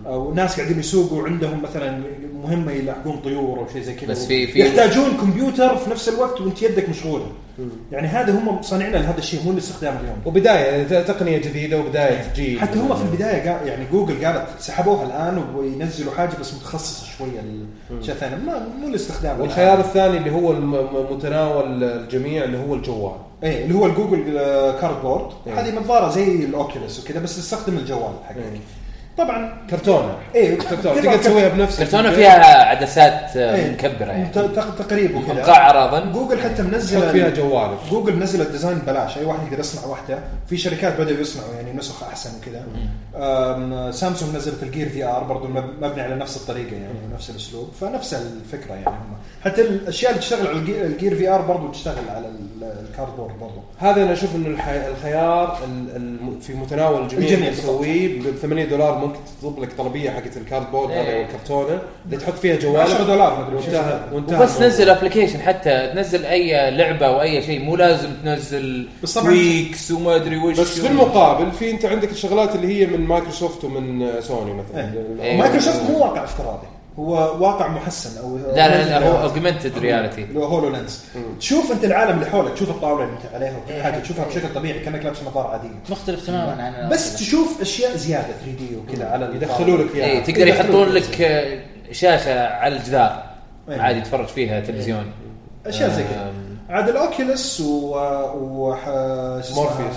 او ناس قاعدين يسوقوا عندهم مثلا مهمه يلاحقون طيور او شيء زي كذا بس في- في- يحتاجون كمبيوتر في نفس الوقت وانت يدك مشغوله يعني هذا هم صانعين لهذا الشيء مو لاستخدام اليوم وبدايه يعني ت- تقنيه جديده وبدايه جيل حتى هم في البدايه قال يعني جوجل قالت سحبوها الان وينزلوا حاجه بس متخصصه شويه لشيء ثاني ما- مو الاستخدام والخيار الثاني اللي هو الم- م- متناول الجميع اللي هو الجوال ايه اللي هو الجوجل آه، كاردبورد إيه. هذه نظاره زي الاوكيولس وكذا بس تستخدم الجوال حقك إيه. طبعا كرتونه إيه، ايه كرتونه تقدر تسويها بنفسك كرتونه فيها عدسات آه، إيه. مكبره يعني تقريبا وكذا مقعره اظن جوجل حتى تحط فيها منزله جوالك جوجل نزل الديزاين ببلاش اي واحد يقدر يصنع واحده في شركات بداوا يصنعوا يعني نسخ احسن وكذا آم، سامسونج نزلت الجير في ار برضه مبني على نفس الطريقه يعني ونفس الاسلوب فنفس الفكره يعني هم حتى الاشياء اللي تشتغل على الجي- الجير في ار برضه تشتغل على ال- الكاردبورد برضه هذا انا اشوف انه الح- الخيار ال- الم- في متناول الجميع الجميع اللي تسويه ب 8 دولار ممكن تطلب لك طلبيه حقت الكاردبورد هذا إيه. او الكرتونه اللي تحط فيها 10 جوالك دولار مدري وانتهى وش وانتهى وبس الموضوع. نزل ابلكيشن حتى تنزل اي لعبه او اي شيء مو لازم تنزل بس طبعاً- ويكس وما ادري وش بس في المقابل في انت عندك الشغلات اللي هي من مايكروسوفت ومن سوني مثلا إيه. مايكروسوفت مو واقع افتراضي هو واقع محسن او لا لا لا هو اوجمنتد رياليتي اللي هو هولو لينز تشوف انت العالم اللي حولك تشوف الطاوله اللي انت عليها وكل حاجه تشوفها بشكل طبيعي كانك لابس نظاره عاديه مختلف تماما عن بس تشوف اشياء زياده 3 دي وكذا على الطاولة. يدخلوا لك إيه، اياها تقدر يحطون لك آه، شاشه على الجدار إيه. عادي آه. تتفرج فيها تلفزيون اشياء زي كذا آم، عاد الاوكيولس و, و... ح... مورفيوس.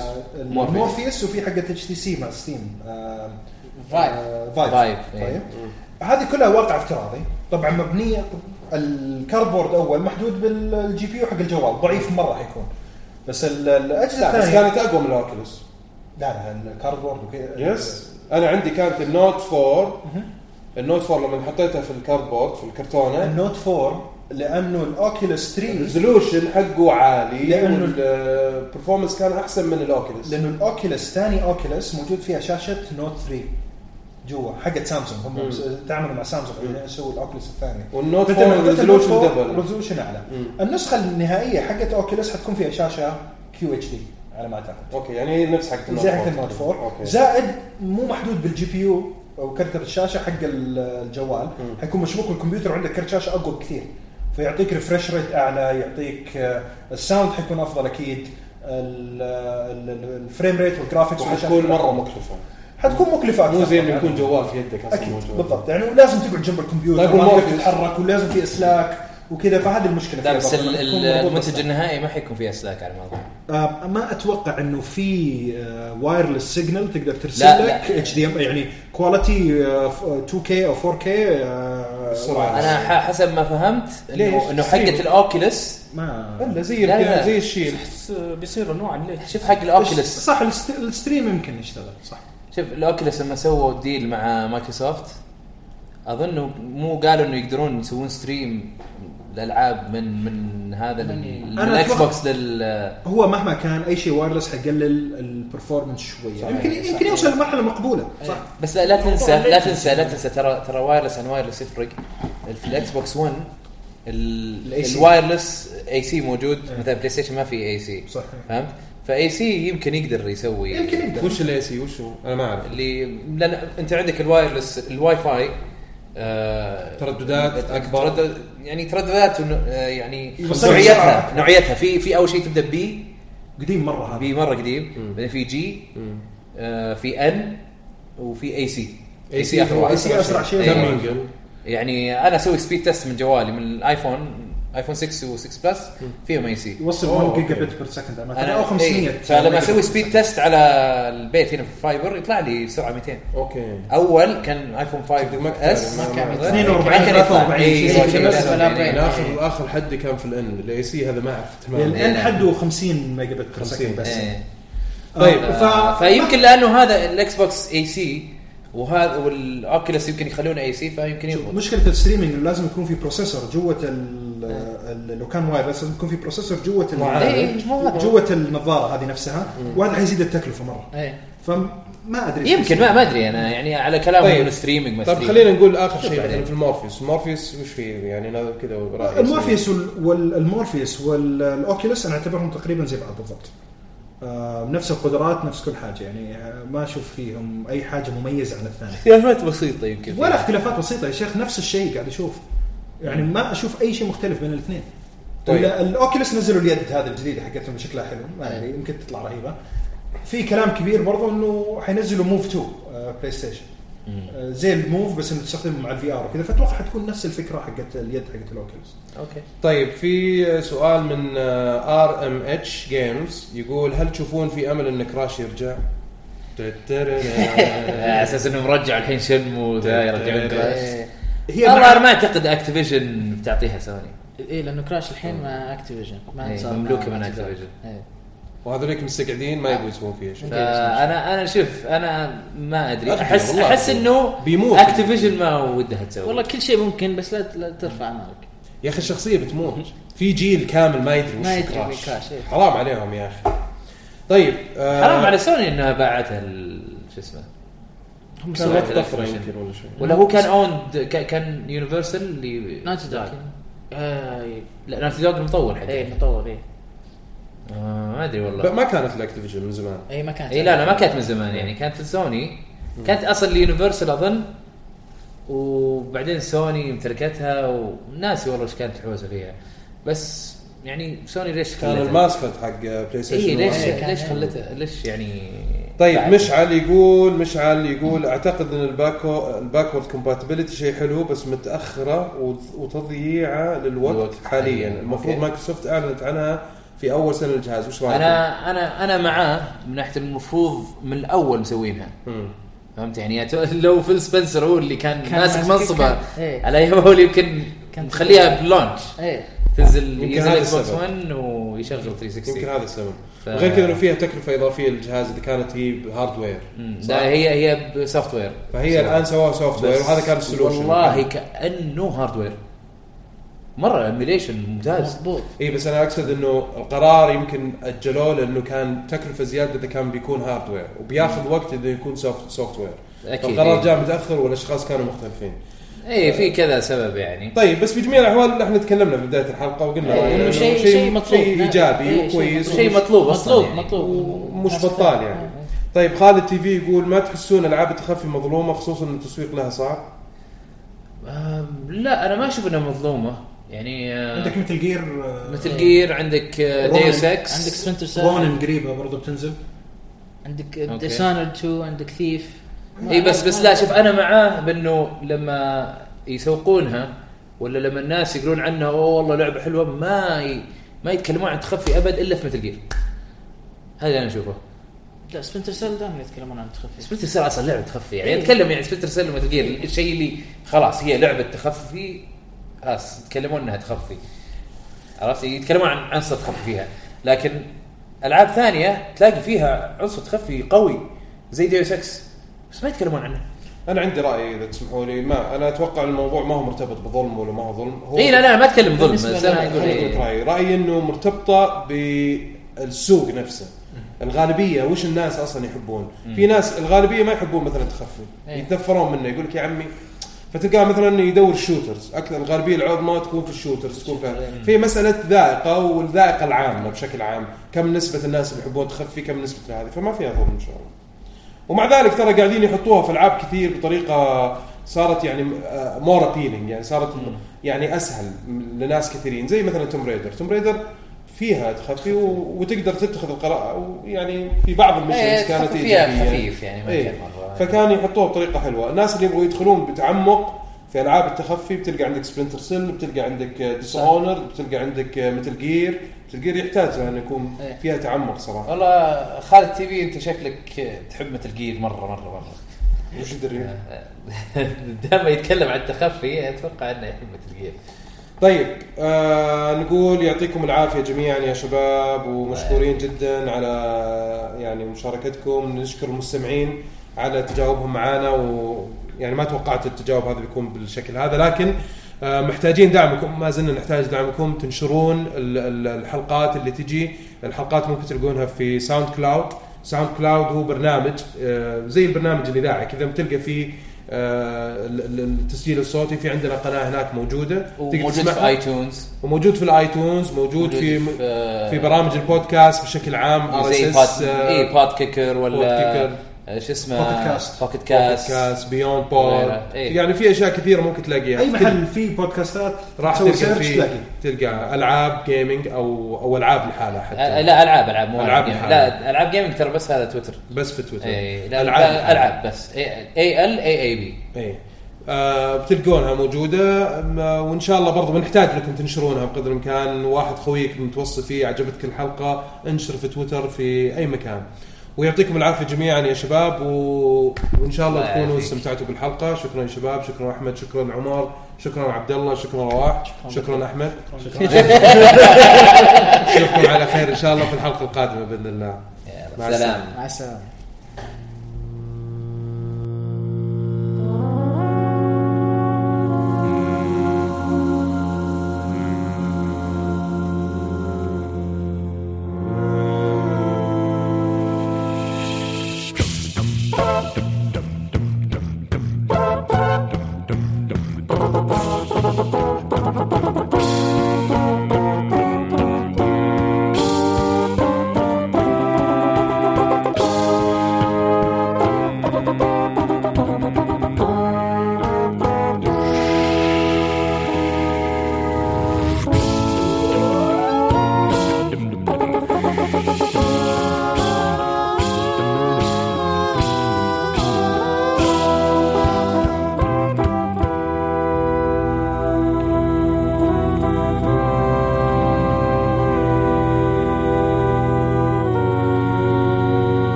مورفيوس. مورفيوس وفي حقه اتش تي سي مع ستيم آه، فايف آه، فايف فايف، إيه. طيب هذه كلها واقع افتراضي طبعا مبنيه الكاربورد اول محدود بالجي بي يو حق الجوال ضعيف مره حيكون بس ال- الاجهزه لا بس الثانيه كانت اقوى من الاوكيولس لا لا الكاربورد وكذا يس انا عندي كانت النوت 4 النوت 4 لما حطيتها في الكاربورد في الكرتونه النوت 4 لانه الاوكيولس 3 الريزولوشن حقه عالي لأنه- والبرفورمانس كان احسن من الاوكيولس لانه الاوكيولس ثاني اوكيولس موجود فيها شاشه نوت 3 جوا حقت سامسونج هم تعاملوا مع سامسونج عشان يسووا الاوكيولس الثاني والنوت فأنت لما 4 قلت النوت ريزولوشن 4 دبل ريزولوشن اعلى مم. النسخه النهائيه حقت اوكيولس حتكون فيها شاشه كيو اتش دي على ما اعتقد اوكي يعني نفس حق النوت زي حق 4 النوت 4 اوكي زائد مو محدود بالجي بي يو او كرت الشاشه حق ال- الجوال مم. حيكون مشبوك بالكمبيوتر وعندك كرت شاشه اقوى بكثير فيعطيك ريفرش ريت اعلى يعطيك آه، الساوند حيكون افضل اكيد ال- ال- ال- الفريم ريت والجرافيكس وحتكون مره مكلفه حتكون مكلفه اكثر مو زي انه طبعاً. يكون جوال في يدك اصلا اكيد موجود. بالضبط يعني ولازم تقعد جنب الكمبيوتر طيب ما والموفي؟ تقدر تتحرك ولازم في اسلاك وكذا فهذه المشكله لا فيها بس برضه، ال- تكون ال- مربوط المنتج بالسلك. النهائي ما حيكون فيه اسلاك على الموضوع آه ما اتوقع انه في آه وايرلس سيجنال تقدر ترسل لا، لك لا. اتش دي ام يعني كواليتي آه ف- 2K او 4K آه بسرعة. wireless. انا ح- حسب ما فهمت ليش؟ انه انه حقه الاوكيلس ما الا زي لا، لا. ال- زي الشيل بس بيصير نوعا ليش شوف حق الاوكيلس صح الست- الستريم يمكن يشتغل صح شوف الاوكيلس لما سووا ديل مع مايكروسوفت اظن مو قالوا انه يقدرون يسوون ستريم الالعاب من من هذا ال- من أنا الاكس أتوقع- بوكس لل هو مهما كان اي شيء وايرلس حيقلل البرفورمنس شويه يمكن يمكن يوصل لمرحله مقبوله إيه. صح بس لا, لا تنسى لا تنسى لا تنسى ترى ترى وايرلس عن وايرلس يفرق في الاكس بوكس 1 ال- إيه. AC. الوايرلس اي سي موجود مثلا بلاي ستيشن ما في اي سي صح فهمت فاي سي يمكن يقدر يسوي يمكن يقدر وش الاي سي وش هو؟ انا ما اعرف اللي لان انت عندك الوايرلس الواي فاي آه، ترددات أكبر. تردد يعني ترددات ون- آه، يعني يوصل نوعيتها بسرعة. نوعيتها في في اول شيء تبدا بي قديم مره هذا بي مره قديم بعدين في جي آه، في ان وفي اي سي AC هو واحد. AC أسرع شيء. أيوة. دمينجل يعني انا اسوي سبيد تيست من جوالي من الايفون ايفون 6 و6 بلس فيهم اي سي يوصل أوه، 1 جيجا أوكي. بت بير سكند مثلا او 500 إيه، فلما اسوي سبيد تيست على البيت هنا في فايبر يطلع لي سرعه 200 اوكي اول كان ايفون 5 اس ما كان يطلع. 42 ما كان يطلع. 43 إيه، شيء إيه، كذا. إيه، بس إيه، ولا إيه. يعني اخر اخر حدي كان في الان الاي سي هذا ما اعرف تماما إيه، الان لا. حده 50 ميجا بت بير 50 سكند بس إيه. طيب، آه، ف... فيمكن لانه هذا الاكس بوكس اي سي وهذا والاوكيلس يمكن يخلونه اي سي فيمكن يضبط مشكله الستريمنج إنه لازم يكون في بروسيسور جوه ال- ال- لو كان وايرلس لازم يكون في بروسيسور جوه إيه، إيه، مو هذا. جوه النظاره هذه نفسها وهذا حيزيد التكلفه مره إيه. فما ادري يمكن ما ما ادري انا يعني على كلامه طيب. انه ستريمنج ما طيب streaming. خلينا نقول اخر شيء بعدين. مثلا في المورفيوس المورفيوس وش فيه يعني انا كذا رايي المورفيوس والمورفيوس والاوكيولس انا اعتبرهم تقريبا زي بعض بالضبط آه، نفس القدرات نفس كل حاجه يعني آه، ما اشوف فيهم اي حاجه مميزه عن الثاني اختلافات بسيطه يمكن ولا اختلافات بسيطه يا شيخ نفس الشيء قاعد اشوف يعني ما اشوف اي شيء مختلف بين الاثنين طيب. طيب الاوكيولس نزلوا اليد هذه الجديده حقتهم شكلها حلو ما ادري يمكن تطلع رهيبه في كلام كبير برضو انه حينزلوا موف 2 آه، بلاي ستيشن آه، زي الموف بس انه تستخدمه مع الفي ار وكذا فاتوقع حتكون نفس الفكره حقت اليد حقت الاوكيولس اوكي طيب في سؤال من ار ام اتش جيمز يقول هل تشوفون في امل ان كراش يرجع؟ على اساس انه مرجع الحين شنمو إيه. ذا يرجعون كراش هي والله مع ما اعتقد اكتيفيجن بتعطيها سوني اي لانه كراش إيه، الحين مع اكتيفيجن ما إيه، انصار مع مملوكه من Activision. اكتيفيجن إيه. وهذوليك مستقعدين ما يبغوا يسوون فيها شيء فانا انا شوف انا ما ادري أغبياء احس والله. احس انه بيموت. اكتيفيجن ما ودها تسوي والله كل شيء ممكن بس لا لا ترفع امالك يا اخي الشخصيه بتموت في جيل كامل ما يدري وش ما يدري كراش. وين كراش، إيه. حرام عليهم يا اخي طيب آه، حرام على سوني انها باعتها ال- شو اسمه هم كان سووا وقت طفره يمكن ولا شيء ولا هو كان اوند كان يونيفرسال اللي ناتي دوغ آه، إيه، لا ناتي دوغ المطور حقه اي مطور اي آه ما ادري ب- والله ما كانت الاكتيفيجن من زمان اي ما كانت اي لا لا ما كانت من زمان يعني كانت سوني كانت اصلا ليونيفرسال اظن وبعدين سوني امتلكتها وناسي والله ايش كانت الحوسه فيها بس يعني سوني ليش كان خلتها؟ الماسكت حق بلاي ستيشن اي ليش واحد. إيه، كان ليش يعني. خلتها ليش يعني طيب بعد- مشعل يقول مشعل يقول اعتقد ان الباكو الباكورد كومباتبيلتي شيء حلو بس متاخره وت- وتضييعه للوقت الوقت. حاليا أيوة. المفروض أوكي. مايكروسوفت اعلنت عنها في اول سنه للجهاز وش رايك؟ انا انا انا معاه من ناحيه المفروض من الاول مسوينها فهمت يعني أت- لو فيل سبنسر هو اللي كان, كان ماسك ماسك- منصبه كان- إيه. على أيامه هو اللي يمكن كان- مخليها بلونش اي تنزل يمكن ينزل هذا اكس بوكس السبب. 1 ويشغل يمكن 360 هذا السبب ف- وغير كذا انه فيها تكلفه اضافيه للجهاز اذا كانت هي بهاردوير مم. صح؟ لا هي هي بسوفت وير فهي الان سواها سوفت وير بس وهذا كان السولوشن والله كانه هاردوير مره ايميليشن ممتاز مضبوط اي إيه، بس انا اقصد انه القرار يمكن اجلوه لانه كان تكلفه زياده اذا كان بيكون هاردوير وبياخذ وقت اذا يكون سوفت سوفت وير أكيد، القرار إيه. جاء متاخر والاشخاص كانوا مختلفين اي في كذا سبب يعني طيب بس بجميع الاحوال احنا تكلمنا في بدايه الحلقه وقلنا إيه، إنه شيء- شيء مطلوب. شيء إيه، ايجابي شيء وكويس شيء مطلوب اصلا مطلوب يعني. مطلوب ومش بطال يعني طيب خالد تي في يقول ما تحسون العاب التخفي مظلومه خصوصا ان التسويق لها صعب آم، لا انا ما اشوف انها مظلومه يعني آه، عندك مثل آه، جير مثل جير عندك آه، رونن. ديوس عندك اكس سبنتر سيل رونن قريبه برضو بتنزل عندك أوكي. ديسانر 2 عندك ثيف اي بس بس لا شوف انا معاه بانه لما يسوقونها ولا لما الناس يقولون عنها اوه والله لعبه حلوه ما ي... ما يتكلمون عن تخفي ابد الا في مثل جير هذا اللي انا اشوفه لا سبنتر سيل دائما يتكلمون عن تخفي سبلتر سيل اصلا لعبه تخفي يعني إيه. اتكلم يعني سبلتر سيل ومثل جير الشيء اللي خلاص هي لعبه تخفي خلاص يتكلمون انها تخفي عرفت يتكلمون عن عنصر تخفي فيها لكن العاب ثانيه تلاقي فيها عنصر تخفي قوي زي ديو 6 بس ما يتكلمون عنه انا عندي راي اذا تسمحوا لي ما انا اتوقع الموضوع ما هو مرتبط بظلم ولا ما هو ظلم هو إيه، اي إيه، لا لا ما اتكلم ظلم بس بالنسبة انا لنا- اقول خليني أقولك إيه. رايي رايي انه مرتبطه بالسوق نفسه الغالبيه وش الناس اصلا يحبون في ناس الغالبيه ما يحبون مثلا تخفي إيه. يتنفرون منه يقول لك يا عمي فتلقاه مثلا يدور شوترز اكثر الغالبيه العظمى تكون في الشوترز تكون فيها في مساله ذائقه والذائقه العامه بشكل عام كم نسبه الناس اللي يحبون تخفي كم نسبه هذه فما فيها ظلم ان شاء الله ومع ذلك ترى قاعدين يحطوها في العاب كثير بطريقه صارت يعني مور ابيلينج يعني صارت يعني اسهل لناس كثيرين زي مثلا توم ريدر توم ريدر فيها تخفي و- وتقدر تتخذ القرار ويعني في بعض المشنز إيه، كانت تخفي فيها إيجابية. خفيف يعني ما إيه. كان مرة. فكان يحطوها بطريقه حلوه الناس اللي يبغوا يدخلون بتعمق في العاب التخفي بتلقى عندك سبلنتر سيل بتلقى عندك ديس اونر بتلقى عندك آه، متل جير متل جير يحتاج ان يكون إيه. فيها تعمق صراحه والله خالد تي في انت شكلك تحب مثل جير مره مره مره <laughs> إيه. وش دري دائما يتكلم عن التخفي اتوقع انه يحب مثل جير طيب آه نقول يعطيكم العافيه جميعا يا شباب ومشكورين جدا على يعني مشاركتكم نشكر المستمعين على تجاوبهم معنا ويعني ما توقعت التجاوب هذا بيكون بالشكل هذا لكن آه محتاجين دعمكم ما زلنا نحتاج دعمكم تنشرون ال- ال- الحلقات اللي تجي الحلقات ممكن تلقونها في ساوند كلاود ساوند كلاود هو برنامج آه زي البرنامج الاذاعي كذا بتلقى فيه آه ال- ال- التسجيل الصوتي في عندنا قناه هناك موجوده تقدر وموجود تسمعها. في اي تونز وموجود في الايتونز موجود في آه، في آه، برامج البودكاست بشكل عام ار زي اس باد إيه، اس اي باد كيكر ولا كيكر. آه، شو اسمه بوكيت كاست. بوكيت كاست بودكاست بيوند بود وغيرها. إيه. يعني في اشياء كثيره ممكن تلاقيها اي تل- محل فيه بودكاستات راح تسوي تلقى search في تلاقي. تلقى العاب جيمنج او او العاب لحالها آه، حتى لا العاب العاب مو ألعاب العاب جيمنج. الحالة. لا العاب جيمنج ترى بس هذا تويتر بس في تويتر اي إيه، لا ألعاب. العاب العاب بس إيه، اي ال اي اي بي اي إيه. آه بتلقونها موجوده أم- وان شاء الله برضو بنحتاج لكم تنشرونها بقدر الامكان واحد خويك متوصف فيه عجبتك الحلقه انشر في تويتر في اي مكان ويعطيكم العافيه جميعا يا شباب و... وان شاء الله الله تكونوا يعافيك. استمتعتوا بالحلقه شكرا يا شباب شكرا احمد شكرا عمر شكرا عبد الله شكرا رواح شكرا احمد <laughs> نشوفكم على خير ان شاء الله في الحلقه القادمه باذن الله مع السلامة. سلام مع السلامه